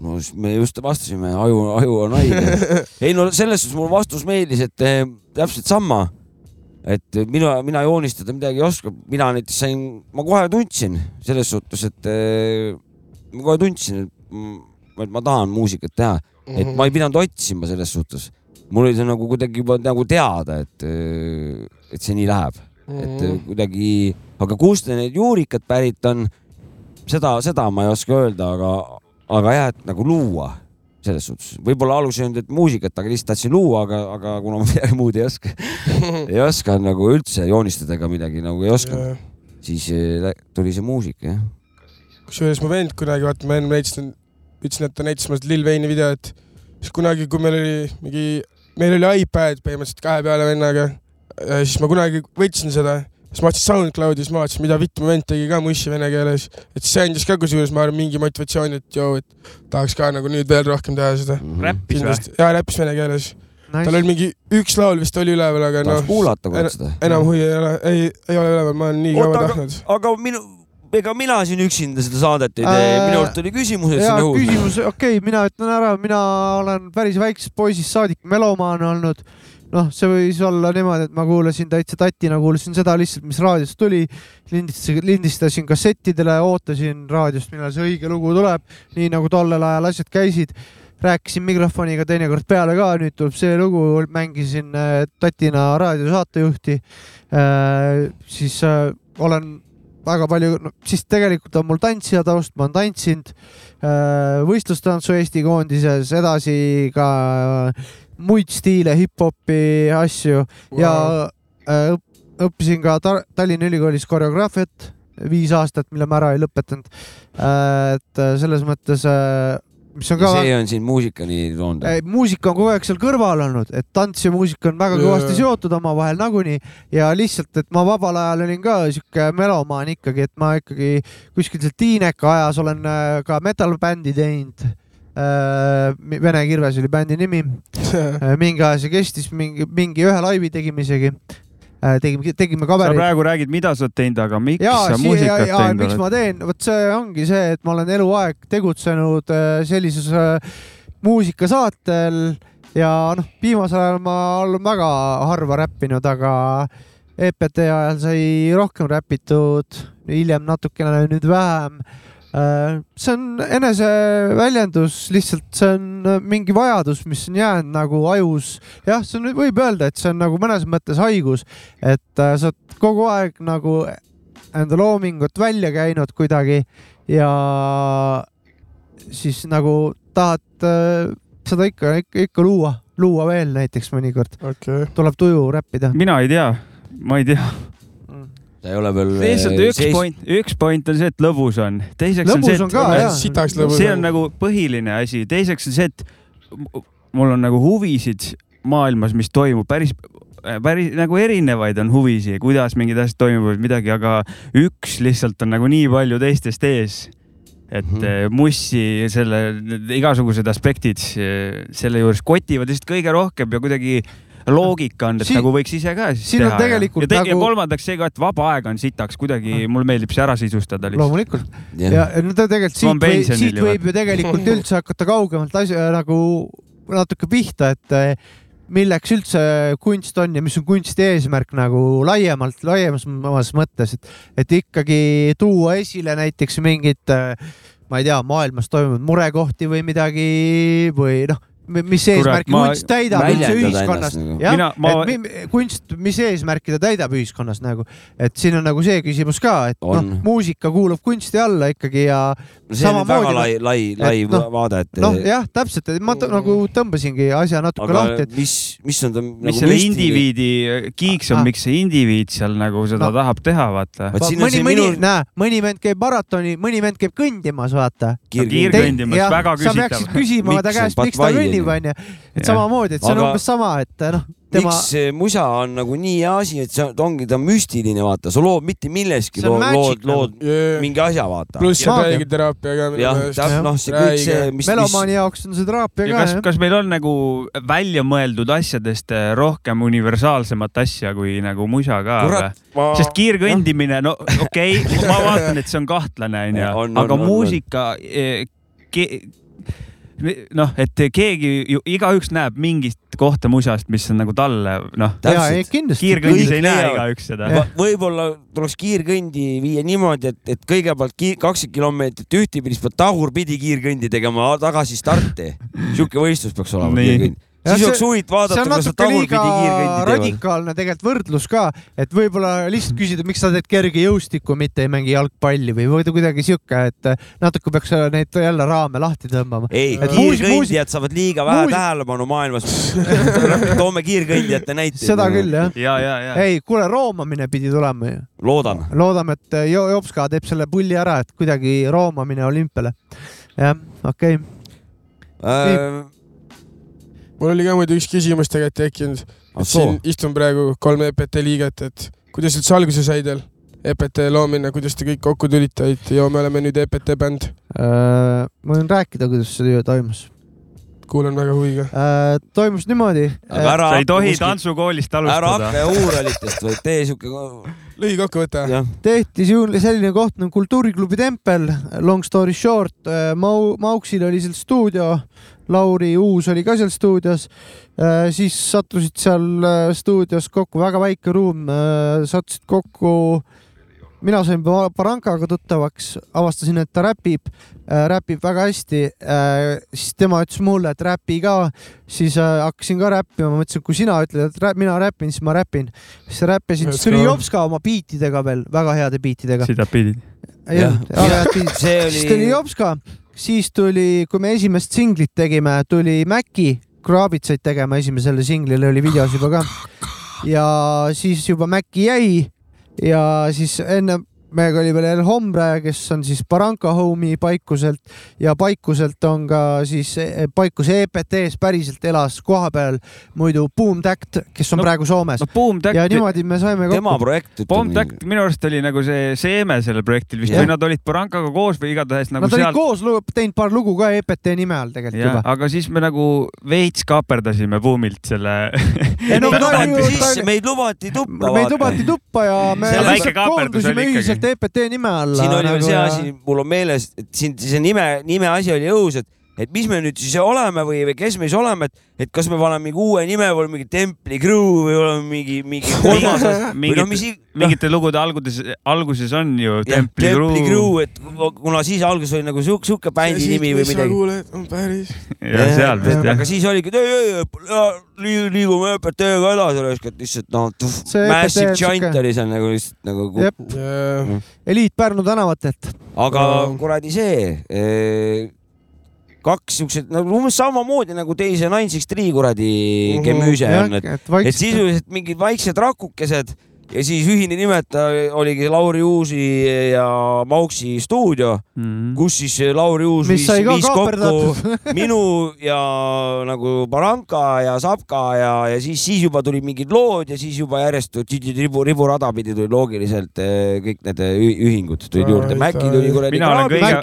Speaker 3: no s- me just vastasime , aju , aju on haige . ei no selles suhtes mulle vastus meeldis , et eh, täpselt sama . et mina , mina joonistada midagi ei oska , mina näiteks sain , ma kohe tundsin selles suhtes , et eh, ma kohe tundsin , et m- et ma tahan muusikat teha , et ma ei pidanud otsima selles suhtes . mul oli see nagu kuidagi juba nagu teada , et , et see nii läheb , et
Speaker 9: Mhm.
Speaker 3: eh, kuidagi , aga kust need juurikad pärit on , seda , seda ma ei oska öelda , aga , aga jah , et nagu luua selles suhtes , võib-olla alus ei olnud , et muusikat , aga lihtsalt tahtsin luua , aga , aga kuna ma midagi muud ei oska , ei oska nagu üldse joonistada ega midagi nagu ei oska , siis eh, lä- tuli see muusika jah .
Speaker 4: kusjuures mu vend kunagi , vaata ma enne näitasin , ütlesin , et ta näitas mulle Lil Wayne'i videot , siis kunagi , kui meil oli mingi , meil oli iPad põhimõtteliselt kahe peale vennaga , siis ma kunagi võtsin seda , siis ma vaatasin SoundCloudi , siis ma vaatasin , mida vitt mu vend tegi ka mussi vene keeles , et see andis ka kusjuures , ma arvan , mingi motivatsiooni , et joo , et tahaks ka nagu nüüd veel rohkem teha seda .
Speaker 3: Mhm.
Speaker 2: räppis või ?
Speaker 4: kindlasti , jaa , räppis vene keeles , tal oli mingi üks laul vist oli üleval , aga
Speaker 3: tahaks
Speaker 4: noh ,
Speaker 3: kuulata kord seda .
Speaker 4: enam huvi ei ole , ei , ei ole üleval , ma olen nii kaua
Speaker 3: Oota, aga-
Speaker 4: tahtnud .
Speaker 3: aga minu , ega mina siin üksinda seda saadet ei tee
Speaker 1: Äh,
Speaker 3: äh, , minu arust oli küsimused
Speaker 1: ja
Speaker 3: siin õhus .
Speaker 1: küsimus , okei okay, , mina ütlen ära , mina olen päris väiksest poisist saadik melomaan olnud . noh , see võis olla niimoodi , et ma kuulasin täitsa tatina , kuulasin seda lihtsalt , mis raadiost tuli , lindistasin , lindistasin kassettidele , ootasin raadiost , millal see õige lugu tuleb , nii nagu tollel ajal asjad käisid . rääkisin mikrofoniga teinekord peale ka , nüüd tuleb see lugu , mängisin äh, tatina raadiosaatejuhti . siis äh, olen väga palju no, , siis tegelikult on mul tantsija taust , ma olen tantsinud äh, võistlustantsu Eesti koondises , edasi ka äh, muid stiile , hip-hopi asju wow. ja äh, õpp- õppisin ka Tar- Tallinna Ülikoolis koreograafiat viis aastat , mille ma ära ei lõpetanud äh, . et äh, selles mõttes , mis on ka Äh.
Speaker 3: see on siin muusikani toonud .
Speaker 1: ei , muusika on kogu aeg seal kõrval olnud , et tants ja muusika on väga kõvasti
Speaker 4: Jaa.
Speaker 1: seotud omavahel nagunii ja lihtsalt , et ma vabal ajal olin ka sihuke melomaan ikkagi , et ma ikkagi kuskil seal tiineka ajas olen äh, ka metal-bändi teinud Äh, Vene kirves oli bändi nimi . mingi aja see kestis , mingi , mingi ühe laivi tegime isegi . tegime , tegime
Speaker 2: sa
Speaker 1: kavereid .
Speaker 2: praegu räägid , mida sa oled teinud , aga miks
Speaker 1: Jaa,
Speaker 2: sa
Speaker 1: sii-
Speaker 2: muusikat
Speaker 1: jaa, jaa,
Speaker 2: teinud
Speaker 1: miks ma
Speaker 2: oled ?
Speaker 1: teen , vot see ongi see , et ma olen eluaeg tegutsenud äh, sellises äh, muusikasaatel ja noh , viimasel ajal ma olen väga harva räppinud , aga EPT ajal sai rohkem räpitud , hiljem natukene , nüüd vähem . see on eneseväljendus , lihtsalt see on äh, mingi vajadus , mis on jäänud nagu ajus , jah , see on , võib öelda , et see on nagu mõnes mõttes haigus , et äh, sa oled kogu aeg nagu enda loomingut välja käinud kuidagi ja siis nagu tahad äh, seda ikka , ikka , ikka luua , luua veel näiteks mõnikord
Speaker 4: okay. .
Speaker 1: tuleb tuju räppida .
Speaker 2: mina ei tea , ma ei tea .
Speaker 3: ta Mm. ei ole veel . eh,
Speaker 2: lihtsalt üks point , üks point on see , et lõbus on , teiseks
Speaker 1: Lõbus
Speaker 2: on see ,
Speaker 1: on ka, jaa.
Speaker 2: et
Speaker 4: Sitaks lõbus
Speaker 2: see
Speaker 4: on.
Speaker 2: on nagu põhiline asi , teiseks on see , et m- mul on nagu huvisid maailmas , mis toimub päris , päris nagu erinevaid on huvisid , kuidas mingid asjad toimuvad , midagi , aga üks lihtsalt on nagu nii palju teistest ees , et
Speaker 1: Mhm.
Speaker 2: mm -hmm. mussi selle need igasugused aspektid eh, selle juures kotivad lihtsalt kõige rohkem ja kuidagi loogika on , et
Speaker 1: Siin-
Speaker 2: siin, nagu võiks ise ka siis
Speaker 1: siin on
Speaker 2: teha
Speaker 1: tegelikult
Speaker 2: ja, ja, te, ja
Speaker 1: nagu- Ah.
Speaker 2: kolmandaks see ka , et vaba aeg on sitaks , kuidagi mulle meeldib see ära sisustada lihtsalt .
Speaker 1: loomulikult
Speaker 3: Jah.
Speaker 1: ja no ta tegelikult
Speaker 2: Ma olen
Speaker 1: siit võib ,
Speaker 2: pensionil
Speaker 1: siit
Speaker 2: ju,
Speaker 1: võib ju tegelikult üldse hakata kaugemalt asja nagu natuke pihta , et äh, milleks üldse kunst on ja mis on kunsti eesmärk nagu laiemalt , laiemas omas mõttes , et , et ikkagi tuua esile näiteks mingit , ma ei tea , maailmas toimunud murekohti või midagi või noh , mis
Speaker 2: Kurat,
Speaker 1: eesmärki
Speaker 2: ma-
Speaker 1: kunst täidab üldse
Speaker 3: Väljendada
Speaker 1: ühiskonnas
Speaker 3: ennast nagu. .
Speaker 1: jah
Speaker 2: Mina- , ma-
Speaker 1: et mi- kunst , mis eesmärki ta täidab ühiskonnas nagu , et siin on nagu see küsimus ka , et
Speaker 3: On.
Speaker 1: noh , muusika kuulub kunsti alla ikkagi ja
Speaker 3: see on nüüd väga lai , lai , lai
Speaker 1: et noh,
Speaker 3: vaade , et .
Speaker 1: noh , jah , täpselt , ma t- nagu tõmbasingi asja natuke
Speaker 3: aga
Speaker 1: lahti , et
Speaker 3: mis , mis on ta
Speaker 2: mis
Speaker 3: nagu
Speaker 2: selle
Speaker 3: müstiline ?
Speaker 2: indiviidi äh, kiiks on
Speaker 1: Ah. ,
Speaker 2: miks see indiviid seal nagu seda
Speaker 1: No.
Speaker 2: tahab teha , vaata .
Speaker 3: Vot
Speaker 1: Va-
Speaker 3: siin on
Speaker 1: mõni ,
Speaker 3: see
Speaker 1: mõni
Speaker 3: minu ,
Speaker 1: näe , mõni vend käib maratoni , mõni vend käib kõndimas , vaata .
Speaker 2: Kiirgõnd-
Speaker 3: kirg .
Speaker 2: Kõndimas, väga
Speaker 1: sa
Speaker 2: küsitav.
Speaker 1: peaksid küsima
Speaker 3: Miks
Speaker 1: ta
Speaker 3: on
Speaker 1: käest , miks ta
Speaker 3: Budweiser?
Speaker 1: kõnnib , onju . et
Speaker 2: Jah.
Speaker 1: samamoodi , et see on
Speaker 3: Aga-
Speaker 1: umbes sama , et noh , tema ,
Speaker 3: miks see musa on nagu nii hea asi , et see on- ta ongi , ta on müstiline , vaata , sa lood mitte millestki ,
Speaker 1: See on
Speaker 3: lood ,
Speaker 1: magic nagu-
Speaker 3: lood , lood
Speaker 4: Yeah.
Speaker 3: mingi asja , vaata .
Speaker 4: pluss see
Speaker 1: Jaa.
Speaker 4: räägiteraapia ka minu
Speaker 3: jah ,
Speaker 4: meelest .
Speaker 3: täpselt , noh , see kõik see , mis , mis
Speaker 1: melomaani jaoks on see teraapia
Speaker 2: ja
Speaker 1: ka
Speaker 2: kas ,
Speaker 1: jah.
Speaker 2: kas meil on nagu välja mõeldud asjadest eh, rohkem universaalsemat asja kui nagu musa ka või
Speaker 3: Kurat, ? ma-
Speaker 2: sest kiirkõndimine , no okei okay, , ma vaatan , et see on kahtlane onju
Speaker 3: On, , on,
Speaker 2: aga
Speaker 3: on, on.
Speaker 2: muusika , eh, noh , et keegi ju igaüks näeb mingit kohta musast , mis on nagu talle , noh ,
Speaker 1: jaa , ei
Speaker 3: täpselt ,
Speaker 1: kindlasti .
Speaker 2: kiirkõndis
Speaker 3: Kõik
Speaker 2: ei näe
Speaker 3: leiavad.
Speaker 2: igaüks seda .
Speaker 3: Va- võib-olla tuleks kiirkõndi viia niimoodi , et , et kõigepealt ki- kakskümmend kilomeetrit ühtepidi , siis pead tagurpidi kiirkõndi tegema a- tagasi starti . sihuke võistlus peaks olema
Speaker 2: Nii.
Speaker 3: kiirkõnd .
Speaker 1: Jah,
Speaker 3: siis
Speaker 1: see-
Speaker 3: oleks huvitav
Speaker 1: see
Speaker 3: vaadata ,
Speaker 1: on
Speaker 3: kuidas nad
Speaker 1: natuke liiga
Speaker 3: tagurpidi kiirkõndi teevad .
Speaker 1: radikaalne tegelikult võrdlus ka , et võib-olla lihtsalt küsida , miks sa teed kergejõustikku , mitte ei mängi jalgpalli või või kuidagi sihuke , et eh, natuke peaks neid jälle raame lahti tõmbama .
Speaker 3: ei ,
Speaker 1: Et
Speaker 3: kiirkõndijad saavad liiga vähe
Speaker 1: muusik-
Speaker 3: tähelepanu maailmas . toome kiirkõndijate näite .
Speaker 1: seda küll jah .
Speaker 2: ja , ja , ja .
Speaker 1: ei , kuule , roomamine pidi tulema ju .
Speaker 3: loodan .
Speaker 1: loodame , et eh, Jo- Jopska teeb selle pulli ära , et kuidagi roomamine olümpiale . jah , okei okay. .
Speaker 3: Äh,
Speaker 4: mul oli ka muidu üks küsimus tegelikult tekkinud . siin istun praegu kolm EPT liiget , et kuidas üldse alguse sai teil ? EPT loomine , kuidas te kõik kokku tulite , et joo , me oleme nüüd EPT bänd .
Speaker 1: Äh, ma võin rääkida , kuidas see töö toimus .
Speaker 4: kuulan väga huviga .
Speaker 1: toimus niimoodi .
Speaker 3: ära
Speaker 2: sa ei tohi tantsukoolist
Speaker 3: ära
Speaker 2: alustada .
Speaker 3: hakka huuralitest , vaid tee siuke ,
Speaker 4: lühikokkuvõte .
Speaker 3: jah ,
Speaker 1: tehti sihuke selline koht nagu Kultuuriklubi tempel , long story short , Mau- , Mauksil oli seal stuudio , Lauri Uus oli ka seal stuudios , siis sattusid seal äh, stuudios kokku , väga väike ruum , sattusid kokku , mina sain Pa- Barankaga tuttavaks , avastasin , et ta räpib , räpib väga hästi , siis tema ütles mulle , et räpi ka , siis äh, hakkasin ka räppima , ma mõtlesin , et kui sina ütled , et rä- mina räpin , siis ma räpin . siis räppisin , siis tuli
Speaker 4: Let's go.
Speaker 1: Jopska oma biitidega veel , väga heade biitidega .
Speaker 2: seda pidi .
Speaker 1: jah ,
Speaker 3: Jah.
Speaker 1: väga head biit .
Speaker 3: see
Speaker 1: siis tuli
Speaker 3: oli ,
Speaker 1: Jopska , siis tuli , kui me esimest singlit tegime , tuli Maci , Kraabit said tegema esimesele singlile , oli videos juba ka . ja siis juba Maci jäi ja siis enne meiega oli veel El Hombre , kes on siis Barranca Home'i paikuselt ja paikuselt on ka siis e-, paikuse EPT-s päriselt elas kohapeal muidu Boom Tact , kes on
Speaker 2: No-
Speaker 1: no, praegu Soomes
Speaker 2: no Boom Tact-
Speaker 1: ja niimoodi me saime kokku .
Speaker 3: projekt .
Speaker 2: Bomb Tact minu arust oli nagu see seeme sellel projektil vist
Speaker 1: Jah.
Speaker 2: või nad olid Barrancaga koos või igatahes nagu
Speaker 1: Nad olid
Speaker 2: seal .
Speaker 1: koos lu- teinud paar lugu ka EPT nime all tegelikult
Speaker 2: jah
Speaker 1: juba .,
Speaker 2: aga siis me nagu veits kaaperdasime Boomilt selle .
Speaker 3: meid lubati tuppa .
Speaker 1: meid lubati tuppa ja me
Speaker 3: See väike
Speaker 1: lihtsalt
Speaker 3: kaaperdus oli
Speaker 1: koondusime
Speaker 3: ikkagi.
Speaker 1: ühiselt EPT nime alla .
Speaker 3: siin oli veel see asi , mul on meeles , et siin see nime , nime asi oli õhus , et , et mis me nüüd siis oleme või , või kes me siis oleme , et , et kas me paneme mingi uue nime või mingi Templi Crew või oleme mingi , mingi kolmas või noh , mis
Speaker 2: mingite , mingite lugude alguses , alguses on ju Templi
Speaker 3: Templi
Speaker 2: Crew .
Speaker 3: Crew , et kuna siis alguses oli nagu siuke , siuke bändi nimi või midagi .
Speaker 1: nagu-
Speaker 4: kuuled , on päris .
Speaker 2: ja seal vist jah
Speaker 3: aga . siis oligi , et ei , ei , ei , liigume ÖPT-ga edasi , raiskad lihtsalt noh ,
Speaker 1: See
Speaker 3: massive
Speaker 1: EPT on siuke-
Speaker 3: giant oli seal nagu lihtsalt nagu .
Speaker 1: jep , eliit Pärnu tänavatelt .
Speaker 3: aga kuradi see , kaks siukseid , no umbes samamoodi nagu teise Nine Six Three kuradi
Speaker 1: Mhm.
Speaker 3: gemüüse
Speaker 1: Jah,
Speaker 3: on , et
Speaker 1: et , vaikselt-
Speaker 3: et sisuliselt mingid vaiksed rakukesed ja siis ühine nimetaja oligi Lauri Uusi ja Mauksi stuudio mm , -hmm. kus siis Lauri Uus
Speaker 1: Mis
Speaker 3: viis,
Speaker 1: sai ka
Speaker 3: viis kokku
Speaker 1: kaaperdatud.
Speaker 3: minu ja nagu Baranka ja Sapka ja , ja siis , siis juba tulid mingid lood ja siis juba järjest tu- ti- ti- ribu , riburada pidi tuli loogiliselt eh, kõik need eh, ühi- ühingud tulid juurde , Mäkki tuli kuradi .
Speaker 2: mina olen kõige , ma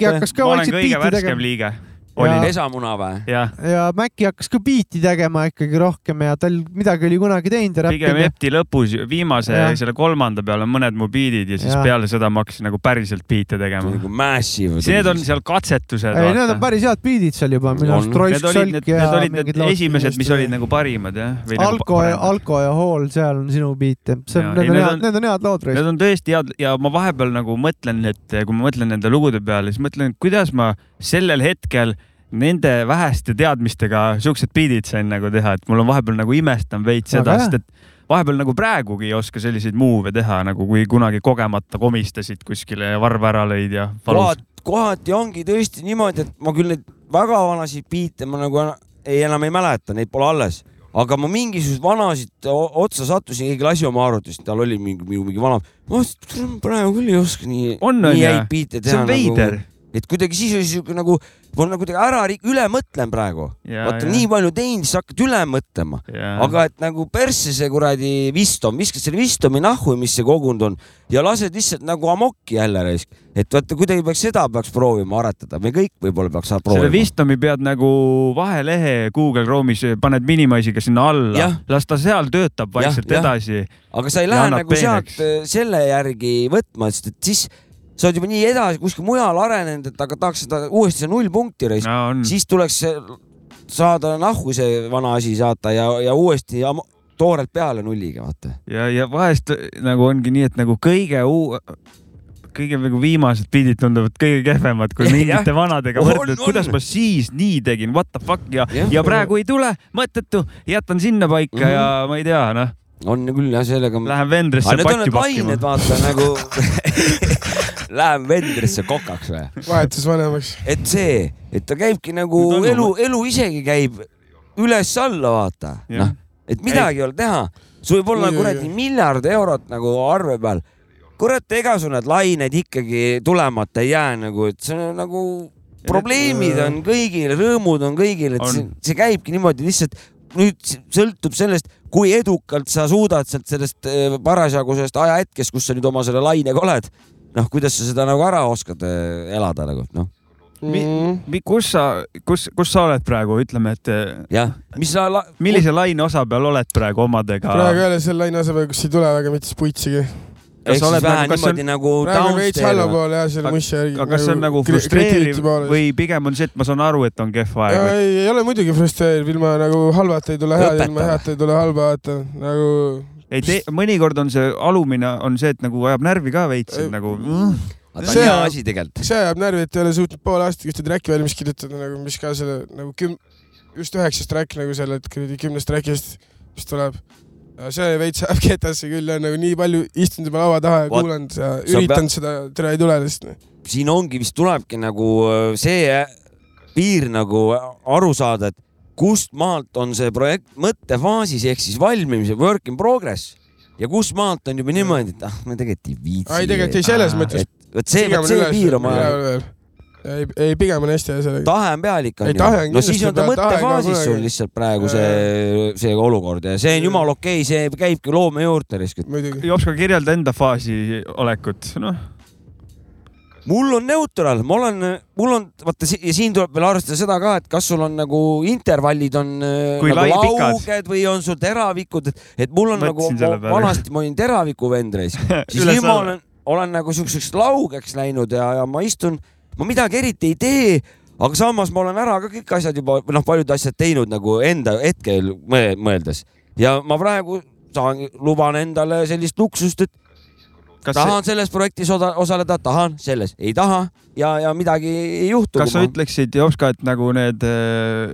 Speaker 2: olen kõige
Speaker 1: biite
Speaker 2: värskem
Speaker 1: tegema.
Speaker 2: liige .
Speaker 1: Jaa.
Speaker 3: pesamuna või ?
Speaker 2: jah ,
Speaker 1: ja Maci hakkas ka biiti tegema ikkagi rohkem ja tal midagi oli kunagi teinud ja
Speaker 2: pigem
Speaker 1: räppinud .
Speaker 2: Epti lõpus , viimase
Speaker 1: Jah.
Speaker 2: selle kolmanda peal on mõned mu biidid ja siis
Speaker 1: Jah.
Speaker 2: peale seda ma hakkasin nagu päriselt biite tegema .
Speaker 3: Nagu Massive .
Speaker 2: Need on seal katsetused .
Speaker 1: ei , need on päris head biidid seal juba , minu arust
Speaker 2: Need
Speaker 1: Roisk
Speaker 2: olid need ,
Speaker 1: Solk ja
Speaker 2: need olid need
Speaker 1: mingid laud-
Speaker 2: esimesed , mis olid nagu parimad jah .
Speaker 1: Alko ja , Alko ja Hall , seal on sinu biite , see
Speaker 2: Jaa,
Speaker 1: on ,
Speaker 2: ei,
Speaker 1: need on
Speaker 2: need
Speaker 1: head
Speaker 2: on- ,
Speaker 1: need on head lood , Roisk .
Speaker 2: Need on tõesti head ja ma vahepeal nagu mõtlen , et kui ma mõtlen nende lugude peale , siis mõtlen , et kuidas ma sellel hetkel nende väheste teadmistega siuksed biidid sain nagu teha , et mul on vahepeal nagu imestan veits seda ,
Speaker 1: Väga hea.
Speaker 2: sest et vahepeal nagu praegugi ei oska selliseid move'e teha , nagu kui kunagi kogemata komistasid kuskile ja varba ära lõid ja valus
Speaker 3: kohati , kohati ongi tõesti niimoodi , et ma küll neid väga vanasid biite ma nagu ena- ei enam ei mäleta , neid pole alles , aga ma mingisuguseid vanasid o- otsa sattusin , keegi lasi oma arvutist , tal oli mingi , mingi, mingi vana , ma mõtlesin , et kuule, ma praegu küll ei oska nii ,
Speaker 2: On, on
Speaker 3: nii
Speaker 2: ju?
Speaker 3: häid
Speaker 2: See
Speaker 3: biite teha nagu-
Speaker 2: on . veider.
Speaker 3: et kuidagi siis oli siuke nagu , ma olen kuidagi ära , üle mõtlen praegu .
Speaker 2: Jaa,
Speaker 3: vaata
Speaker 2: jaa.
Speaker 3: nii palju teinud , siis hakkad üle mõtlema .
Speaker 2: Jaa.
Speaker 3: aga et nagu persse see kuradi vistom , viskad selle vistomi nahhu , mis see kogunud on ja lased lihtsalt nagu amokki jälle raisk . et vaata , kuidagi peaks seda peaks proovima aretada , me kõik võib-olla peaks seda
Speaker 2: selle
Speaker 3: proovima .
Speaker 2: Vistomi pead nagu vahelehe Google Chrome'is , paned minimaisiga sinna alla
Speaker 3: Jah. ,
Speaker 2: las ta seal töötab
Speaker 3: Jah,
Speaker 2: vaikselt
Speaker 3: jah.
Speaker 2: edasi .
Speaker 3: aga sa ei lähe nagu sealt äh, selle järgi võtma , sest et siis sa oled juba nii edasi kuskil mujal arenenud , et aga tahaks seda uuesti see null punkti raisk
Speaker 2: No, on.
Speaker 3: siis tuleks see- saada nahku see vana asi saata ja , ja uuesti am- toorelt peale nulliga , vaata .
Speaker 2: ja , ja vahest nagu ongi nii , et nagu kõige uu- , kõige nagu viimased pildid tunduvad kõige kehvemad , kui mingite
Speaker 3: Jah.
Speaker 2: vanadega
Speaker 3: On,
Speaker 2: võrdled ,
Speaker 3: on.
Speaker 2: kuidas ma siis nii tegin , what the fuck ja ,
Speaker 3: Jah.
Speaker 2: ja praegu ei tule , mõttetu , jätan sinna paika ja ma ei tea , noh ,
Speaker 3: Mhm. on küll jah , sellega .
Speaker 2: lähen Vendresse
Speaker 3: aga need on
Speaker 2: patju
Speaker 3: need lained ,
Speaker 2: pakkima .
Speaker 3: vaata nagu läheb vendrisse kokaks või ?
Speaker 4: vahetus vanemaks .
Speaker 3: et see , et ta käibki nagu
Speaker 2: Nüüd on
Speaker 3: elu , elu isegi käib üles-alla , vaata ,
Speaker 2: Jah.
Speaker 3: noh , et midagi ei ole teha , sul võib olla
Speaker 4: Oi, oi,
Speaker 3: kuradi
Speaker 4: oi.
Speaker 3: miljard eurot nagu arve peal . kurat , ega sul need lained ikkagi tulemata ei jää nagu , et see on nagu probleemid on kõigil , rõõmud on kõigil , et
Speaker 2: äh, On.
Speaker 3: see, see käibki niimoodi lihtsalt nüüd s- sõltub sellest , kui edukalt sa suudad sealt sellest eh, parasjagu sellest ajahetkest , kus sa nüüd oma selle lainega oled , noh , kuidas sa seda nagu ära oskad eh, elada nagu noh . Mm.
Speaker 2: kus sa , kus , kus sa oled praegu , ütleme , et eh,
Speaker 3: jah , mis sa la... .
Speaker 2: millise laine osa peal oled praegu omadega ?
Speaker 4: praegu ei ole selle laine asja peal , kus ei tule väga mitte puitsigi .
Speaker 3: ehk
Speaker 2: sa oled
Speaker 3: siis vähe
Speaker 2: nagu- kas
Speaker 3: niimoodi nagu
Speaker 4: praegu on veits
Speaker 3: downstairs või ?
Speaker 4: allapoole jah , selle
Speaker 2: Aga-
Speaker 4: mussi järgi .
Speaker 2: aga kas see on nagu frustreeriv ? või pigem on see , et ma saan aru , et on kehv aeg või ?
Speaker 4: ei , ei ole muidugi frustreeriv , ilma nagu halvata ei tule head , ilma
Speaker 3: Õpetaja.
Speaker 4: head ei tule halba , vaata nagu .
Speaker 2: ei tee , mõnikord on see alumine , on see , et nagu ajab närvi ka veits , et nagu
Speaker 3: ta on
Speaker 4: See-
Speaker 3: hea asi tegelikult .
Speaker 4: see ajab närvi , et ei ole suutnud poole aastat ühte track'i valmis kirjutada nagu , mis ka selle nagu küm- , just üheksas track nagu selle kuradi kümnest track'ist , mis tuleb . see veits ajab ketasse küll , nagu nii palju istunud juba laua taha ja
Speaker 3: Vaat-
Speaker 4: kuulanud ja
Speaker 3: sa
Speaker 4: üritanud seda , tere ei tule lihtsalt .
Speaker 3: siin ongi , vist tulebki nagu äh, see piir nagu aru saada , et kust maalt on see projekt mõttefaasis ehk siis valmimise work in progress ja kus maalt on juba niimoodi , et ah , me tegelikult ei viitsi .
Speaker 4: ei tegelikult ei selles mõttes .
Speaker 3: vot see , vot see piirab ajal .
Speaker 4: ei , ei pigem on hästi sellega .
Speaker 3: tahe on pealik
Speaker 4: Ei,
Speaker 3: on
Speaker 4: tahe
Speaker 3: ju
Speaker 4: on .
Speaker 3: no siis
Speaker 4: kindlasti
Speaker 3: on ta
Speaker 4: peal- tahe ka
Speaker 3: mõttefaasis sul
Speaker 4: kunagi.
Speaker 3: lihtsalt praegu see , see olukord ja see on jumala okei , see käibki loome juurde riskilt .
Speaker 4: muidugi .
Speaker 2: Jopska , kirjelda enda faasi olekut , noh .
Speaker 3: mul on neutraal , ma olen , mul on , vaata si- ja siin tuleb veel arvestada seda ka , et kas sul on nagu intervallid on äh,
Speaker 2: Kui lai-
Speaker 3: nagu
Speaker 2: pikad.
Speaker 3: lauged või on sul teravikud , et , et mul on
Speaker 2: Mõtlesin
Speaker 3: nagu
Speaker 2: selle , peale.
Speaker 3: vanasti ma olin teraviku vend reis , siis nüüd ma
Speaker 2: Üles-alla.
Speaker 3: olen , olen nagu siukseks laugeks läinud ja , ja ma istun , ma midagi eriti ei tee , aga samas ma olen ära ka kõik asjad juba , noh , paljud asjad teinud nagu enda hetkel mõe- mõeldes ja ma praegu saan , luban endale sellist luksust , et
Speaker 2: kas
Speaker 3: tahan selles projektis oda- osaleda , tahan selles , ei taha ja , ja midagi ei juhtu .
Speaker 2: kas sa ütleksid , Jopska , et nagu need äh,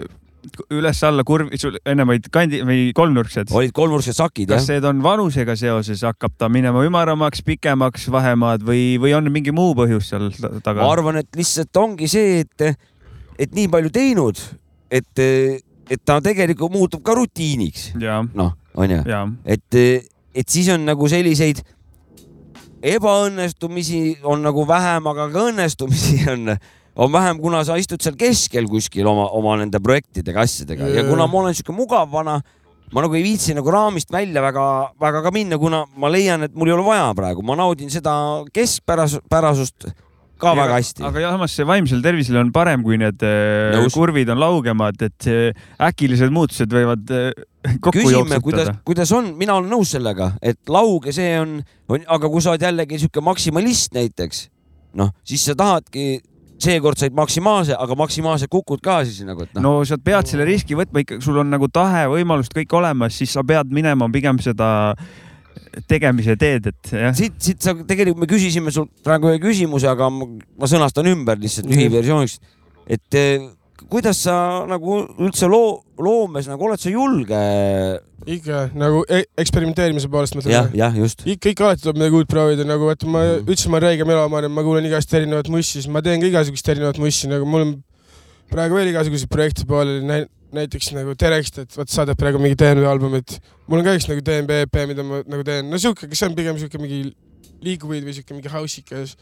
Speaker 2: üles-alla kurvid , sul ennem olid kandi- või kolmnurksed ,
Speaker 3: olid kolmnurksed sakid
Speaker 2: kas
Speaker 3: jah ?
Speaker 2: need on vanusega seoses , hakkab ta minema ümaramaks , pikemaks vahemaad või , või on mingi muu põhjus seal ta-
Speaker 3: ma
Speaker 2: taga ?
Speaker 3: arvan , et lihtsalt ongi see , et , et nii palju teinud , et , et ta tegelikult muutub ka rutiiniks ,
Speaker 2: ja ,
Speaker 3: noh , onju ,
Speaker 2: ja ,
Speaker 3: et , et siis on nagu selliseid ebaõnnestumisi on nagu vähem , aga ka õnnestumisi on , on vähem , kuna sa istud seal keskel kuskil oma , oma nende projektidega , asjadega ja kuna ma olen sihuke mugav vana , ma nagu ei viitsi nagu raamist välja väga , väga ka minna , kuna ma leian , et mul ei ole vaja praegu , ma naudin seda keskpärasust ka ja, väga hästi .
Speaker 2: aga jah , samas see vaimsel tervisel on parem , kui need äh,
Speaker 3: Nõus.
Speaker 2: kurvid on laugemad , et äh, äkilised muutused võivad äh, kokku
Speaker 3: küsime , kuidas
Speaker 2: jooksutada .,
Speaker 3: kuidas on , mina olen nõus sellega , et lauge see on, on , aga kui sa oled jällegi sihuke maksimalist näiteks , noh , siis sa tahadki , seekord said maksimaalse , aga maksimaalselt kukud ka siis nagu , et noh no, ,
Speaker 2: no sa pead selle riski võtma ikka , sul on nagu tahe , võimalused kõik olemas , siis sa pead minema pigem seda tegemise teed , et jah ,
Speaker 3: siit , siit sa tegelikult me küsisime sult praegu ühe küsimuse , aga ma, ma sõnastan ümber lihtsalt lühiversiooniks , et eh, kuidas sa nagu üldse loo , loomes nagu oled sa julge ?
Speaker 4: ikka nagu e- eksperimenteerimise poolest
Speaker 3: jah ,
Speaker 4: mõtlen .
Speaker 3: jah , just .
Speaker 4: ikka , ikka alati tuleb midagi uut proovida , nagu vaata , ma ütlesin , ma olen räige melomaanim , ma kuulan igast erinevat mussi , siis ma teen ka igasugust erinevat mussi , nagu mul on praegu veel igasuguseid projekte pooleli , näiteks nagu Terekst , et vot saadab praegu mingi DNB albumit . mul on ka üks nagu DNB EP , mida ma nagu teen , no sihuke , see on pigem sihuke mingi liiguvaid või sihuke mingi house'ikas ,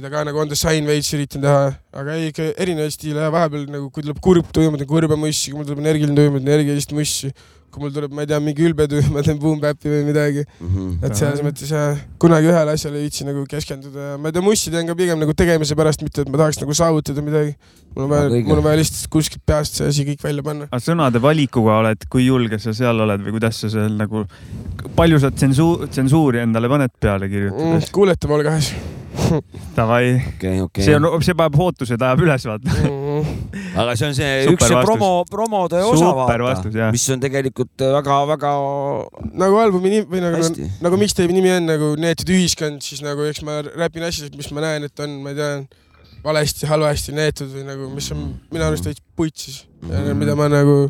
Speaker 4: mida ka nagu on the sign veits üritan teha , aga ei ikka erinevaid stiile ja vahepeal nagu kui tuleb kurb tuju , ma teen kurba mussi , kui mul tuleb energiline tuju , ma teen energilist mussi . kui mul tuleb , ma ei tea , mingi ülbe tuju , ma teen boom bap'i või midagi .
Speaker 3: Mhm.
Speaker 4: et selles mõttes jah , kunagi ühele asjale ei viitsi nagu keskenduda ja ma ei tea , mussi teen ka pigem nagu tegemise pärast , mitte et ma tahaks nagu saavutada midagi . mul on
Speaker 3: Aga
Speaker 4: vaja ,
Speaker 3: õige.
Speaker 4: mul on vaja lihtsalt kuskilt peast see asi kõik välja panna .
Speaker 2: aga sõnade valikuga oled , kui julge sa seal oled või kuidas sa seal nagu , palju sa tsensuur , tsensuuri endale paned peale kirjutades ?
Speaker 4: Mm, kuulete pool kahes .
Speaker 2: Davai ,
Speaker 3: Mm. okei , okei .
Speaker 2: see on , see paneb ootused , ajab üles , vaata .
Speaker 3: aga see on see
Speaker 2: Super
Speaker 3: eh, üks see
Speaker 2: vastus.
Speaker 3: promo , promotöö osa
Speaker 2: Super vastus,
Speaker 3: vaata
Speaker 2: jah. ,
Speaker 3: mis on tegelikult eh, väga-väga
Speaker 4: nagu albumi nimi või nagu ,
Speaker 3: Hästi.
Speaker 4: nagu mixtape'i nimi on nagu Neetud ühiskond , siis nagu eks ma räpin asjadest , mis ma näen , et on , ma ei tea , valesti , halvasti neetud või nagu , mis on minu
Speaker 3: Mhm.
Speaker 4: arust täitsa putsis mm , -hmm. mida ma nagu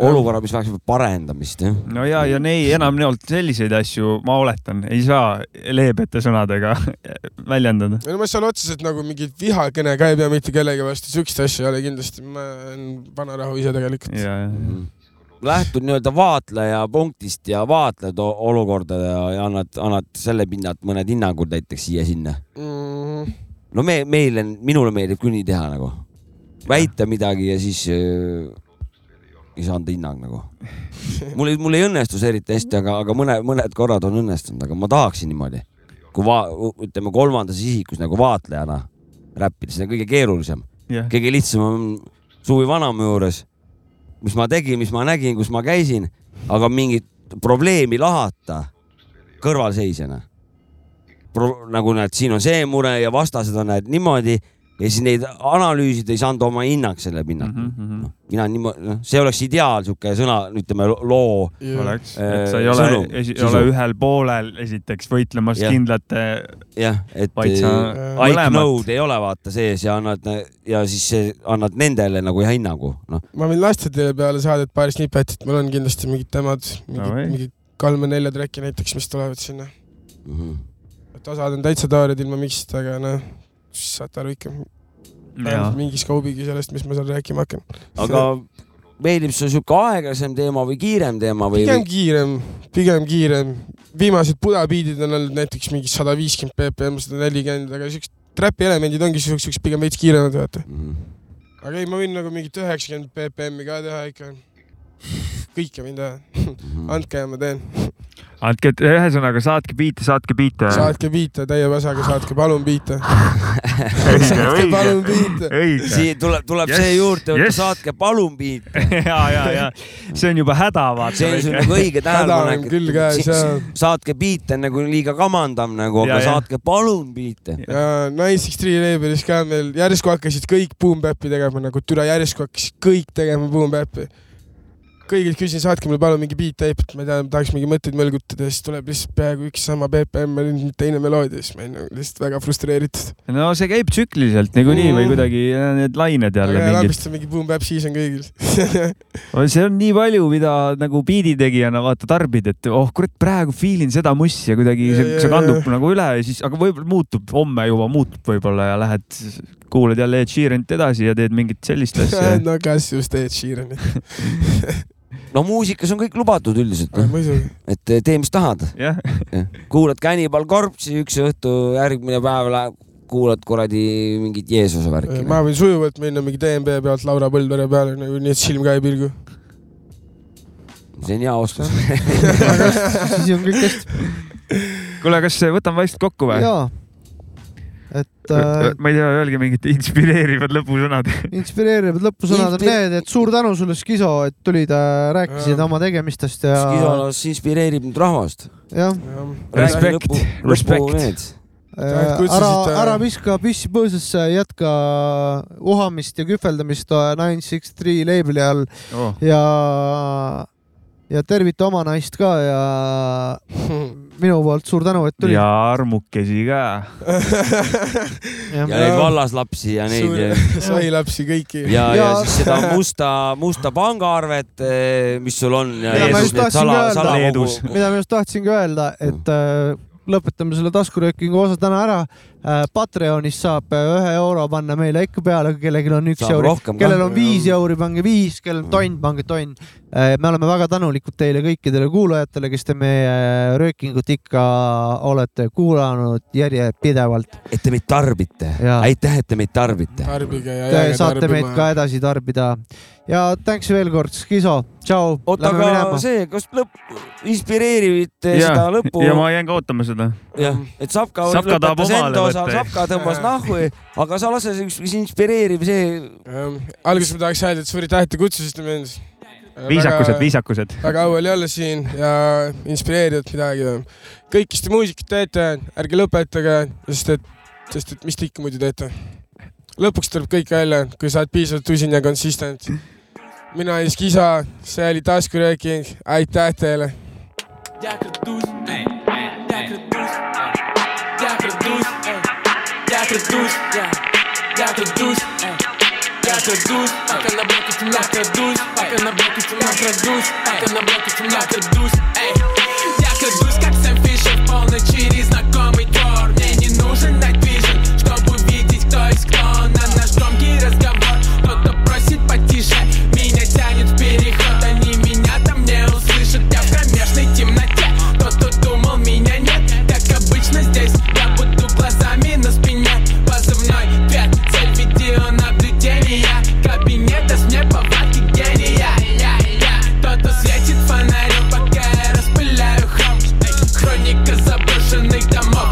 Speaker 3: olukorra , mis vajaks parendamist , jah .
Speaker 2: no ja , ja ei , enam ei olnud selliseid asju , ma oletan , ei saa leebete sõnadega väljendada .
Speaker 4: ei no ma seal otseselt nagu mingit vihakõne ka ei pea mitte kellegi vastu , siukest asja ei ole kindlasti , ma olen vana rahu ise tegelikult .
Speaker 2: ja , ja ,
Speaker 3: Mhm. lähtud nii-öelda vaatleja punktist ja vaatled o- olukorda ja, ja annad , annad selle pinnalt mõned hinnangud näiteks siia-sinna .
Speaker 4: Mm,
Speaker 3: no me , meil on , minule meeldib küll nii teha nagu , väita midagi ja siis äh, ei saa anda hinnang nagu . mul ei , mul ei õnnestu see eriti hästi , aga , aga mõne , mõned korrad on õnnestunud , aga ma tahaksin niimoodi . kui va- , ütleme kolmandas isikus nagu vaatlejana räppida , see on kõige keerulisem .
Speaker 2: jah .
Speaker 3: kõige lihtsam on Suvi Vanamäe juures , mis ma tegin , mis ma nägin , kus ma käisin , aga mingit probleemi lahata kõrvalseisjana Pro . nagu näed , siin on see mure ja vastased on näed niimoodi ja siis neid analüüsida ei saanud oma hinnang selle pinnalt
Speaker 2: Mhm,
Speaker 3: mm . -hmm. mina niimoodi , noh , see oleks ideaal , sihuke sõna , ütleme lo- loo
Speaker 2: oleks , et sa ei ole
Speaker 3: Äh, Sõnum, ,
Speaker 2: ei
Speaker 3: sisu.
Speaker 2: ole ühel poolel esiteks võitlemas
Speaker 3: Jah.
Speaker 2: kindlate ,
Speaker 3: jah , et
Speaker 2: vaid sa Äh,
Speaker 3: eh, I
Speaker 2: mõlemad
Speaker 3: know'd ei ole vaata sees ja annad ja siis eh, annad nendele nagu hinnangu , noh ,
Speaker 4: ma võin lasta teile peale saadet paar snippet , et mul on kindlasti mingid temad , mingid
Speaker 2: Davai.
Speaker 4: no, , mingid kolme-nelja track'i näiteks , mis tulevad sinna .
Speaker 3: mm -hmm.
Speaker 4: et osad on täitsa taarid ilma mix'ita , aga noh , saate aru ikka
Speaker 2: Jaa.
Speaker 4: mingi skoobigi sellest , mis ma seal rääkima hakkan .
Speaker 3: aga meeldib sulle sihuke aeglasem teema või kiirem teema või ?
Speaker 4: pigem kiirem , pigem kiirem . viimased pudapiidid on olnud näiteks mingi sada viiskümmend BPM , sada nelikümmend , aga siuksed trapi elemendid ongi siukseks pigem veits kiiremad , vaata . aga ei , ma võin nagu mingit üheksakümmend BPM-i ka teha ikka . kõike võin teha . andke ja ma teen .
Speaker 2: andke , ühesõnaga saatke biite , saatke biite .
Speaker 4: saatke biite täie päsaga , saatke palun biite
Speaker 2: Õige, .
Speaker 4: saatke
Speaker 2: õige.
Speaker 4: palun biite .
Speaker 2: õige .
Speaker 3: Siia tuleb- tuleb see juurde, et saatke palun biite. .
Speaker 2: ja , ja , ja see on juba häda , vaata .
Speaker 3: see on sul nagu õige tähelepanek , et si- si- saatke biite on nagu liiga kamandav nagu ,
Speaker 2: Ja,
Speaker 3: aga
Speaker 2: ja.
Speaker 3: saatke palun biite .
Speaker 4: ja Nice Extreme Labelis ka meil järsku hakkasid kõik boom bap'i tegema nagu türa järsku hakkasid kõik tegema boom bap'i . kõigilt küsin , saatke mulle palun mingi beat tape , et ma ei tea , tahaks mingeid mõtteid mõlgutada ja siis tuleb lihtsalt peaaegu üks sama BPM ja nüüd teine meloodia , siis ma olin nagu lihtsalt väga frustreeritud .
Speaker 2: no see käib tsükliliselt niikuinii või kuidagi äh, need lained jälle
Speaker 4: aga
Speaker 2: mingid .
Speaker 4: lambistab mingi boom bap siis on kõigil .
Speaker 2: see on nii palju , mida nagu biiditegijana vaata tarbid , et oh kurat , praegu feelin seda mussi ja kuidagi see, see kandub nagu üle ja siis , aga võib-olla muutub , homme juba muutub võib-olla ja lähed , kuulad jälle Ed Sheeranit edasi ja teed mingit sellist asja .
Speaker 4: no kas just Ed Sheeranit .
Speaker 3: no muusikas on kõik lubatud üldiselt ,
Speaker 4: muidugi .
Speaker 3: et eh, tee , mis tahad .
Speaker 2: jah ,
Speaker 3: kuulad Cannibal Corpse'i üks õhtu , järgmine päev läheb , kuulad kuradi mingit Jeesuse värki .
Speaker 4: ma võin sujuvalt minna mingi DNB pealt Laura Põldvere peale nagu nii , et silm ka ei pilgu .
Speaker 3: see on hea oskus .
Speaker 1: siis on kõik hästi .
Speaker 2: kuule , kas võtame vaikselt kokku või ?
Speaker 1: jaa , et äh,
Speaker 2: ma ei tea , öelge mingid inspireerivad lõpusõnad .
Speaker 1: inspireerivad lõpusõnad on
Speaker 3: Inspire-
Speaker 1: need , et suur tänu sulle , Skiso , et tulid , rääkisid oma tegemistest ja
Speaker 3: Skisolos inspireerib nüüd rahvast .
Speaker 1: jah ,
Speaker 2: Respekt, respekt. .
Speaker 4: Aitäh, et
Speaker 1: Äh, ära
Speaker 3: äh,
Speaker 4: kutsusite. ,
Speaker 1: ära viska püssi põõsasse , jätka äh, uhamist ja kühveldamist äh, Nine Six Three leebli all ja , ja tervita oma naist ka ja minu poolt suur tänu , et tulid .
Speaker 2: ja armukesi ka .
Speaker 3: ja neid vallaslapsi ja neid ja,
Speaker 4: sai lapsi kõiki .
Speaker 3: ja, ja
Speaker 1: Ja-
Speaker 3: siis seda musta , musta pangaarvet , mis sul on .
Speaker 1: Ja ma just tahtsin ka öelda-
Speaker 4: Nagu-
Speaker 2: Leedus.
Speaker 1: mida ma just tahtsingi öelda , et äh, lõpetame selle taskuröökingu osa täna ära . Patreonis saab äh, ühe euro panna meile ikka peale , kui kellelgi on üks
Speaker 3: Saab
Speaker 1: euri
Speaker 3: rohkem , ka. Mm.
Speaker 1: kellel on viis euri , pange viis , kellel on tonn , pange tonn . me oleme väga tänulikud teile kõikidele kuulajatele , kes te meie äh, röökingut ikka olete kuulanud järjepidevalt .
Speaker 3: et te meid tarbite
Speaker 1: Jaa. ,
Speaker 3: aitäh , et te meid tarbite .
Speaker 4: tarbige ja
Speaker 1: Te
Speaker 4: jääge
Speaker 1: saate meid
Speaker 4: tarbima.
Speaker 1: ka edasi tarbida ja tänks veel kord , Skiso , tšau .
Speaker 3: oota , aga see , kas lõpp , inspireerib
Speaker 2: ja
Speaker 3: seda , lõpu ,
Speaker 2: ja ma jään ka ootama seda .
Speaker 3: jah , et Sapka
Speaker 2: Sapka tahab
Speaker 3: lõpetas
Speaker 2: omale
Speaker 3: enda
Speaker 2: võtta,
Speaker 3: osa ,
Speaker 2: jah.
Speaker 3: Sapka tõmbas nahku , aga sa lase see üks , mis inspireerib , see
Speaker 4: Ähm, alguses ma tahaks öelda , et suur aitäh , et te kutsusite mind .
Speaker 2: viisakused ,. viisakused .
Speaker 4: väga au oli olla siin ja inspireerivat midagi . kõik , kes te muusikat teete , ärge lõpetage , sest et , sest et mis te ikka muidu teete . lõpuks tuleb kõik välja , kui sa oled piisavalt usin ja consistent . mina olen Skisa , see oli taskurääking , aitäh teile .
Speaker 10: Я крадусь, как Сэм Фишер в полночи незнакомый двор Мне не нужен Night Vision, чтобы увидеть, кто есть кто На наш громкий разговор кто-то просит потише Меня тянет в переход, они меня там не услышат Я в кромешной темноте, тот, кто думал, меня нет Как обычно здесь, я буду глазами на спине Позывной ответ, цель видеонаблюдения Кабинет, а с мне повадки гения Я, я, кто-то светит фонарем, пока я распыляю храм Эй, Хроника заброшенных домов,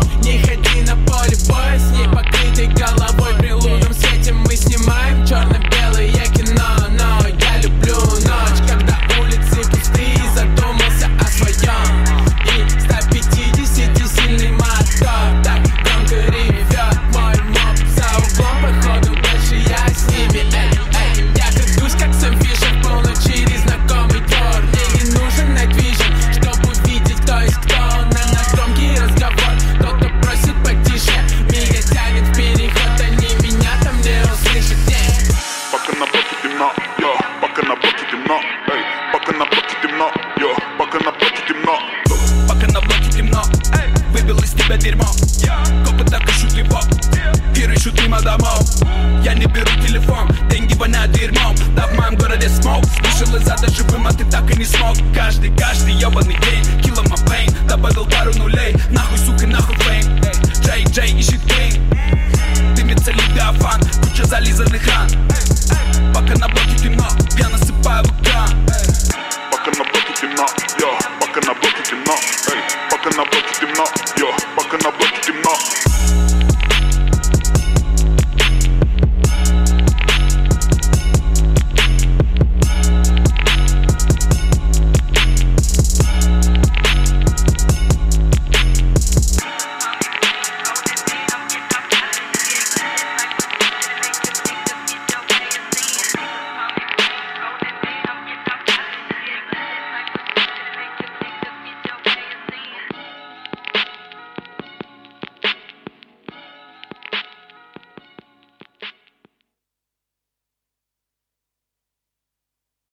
Speaker 10: а
Speaker 11: глаза даже вымыты так и не смог Каждый, каждый ебаный день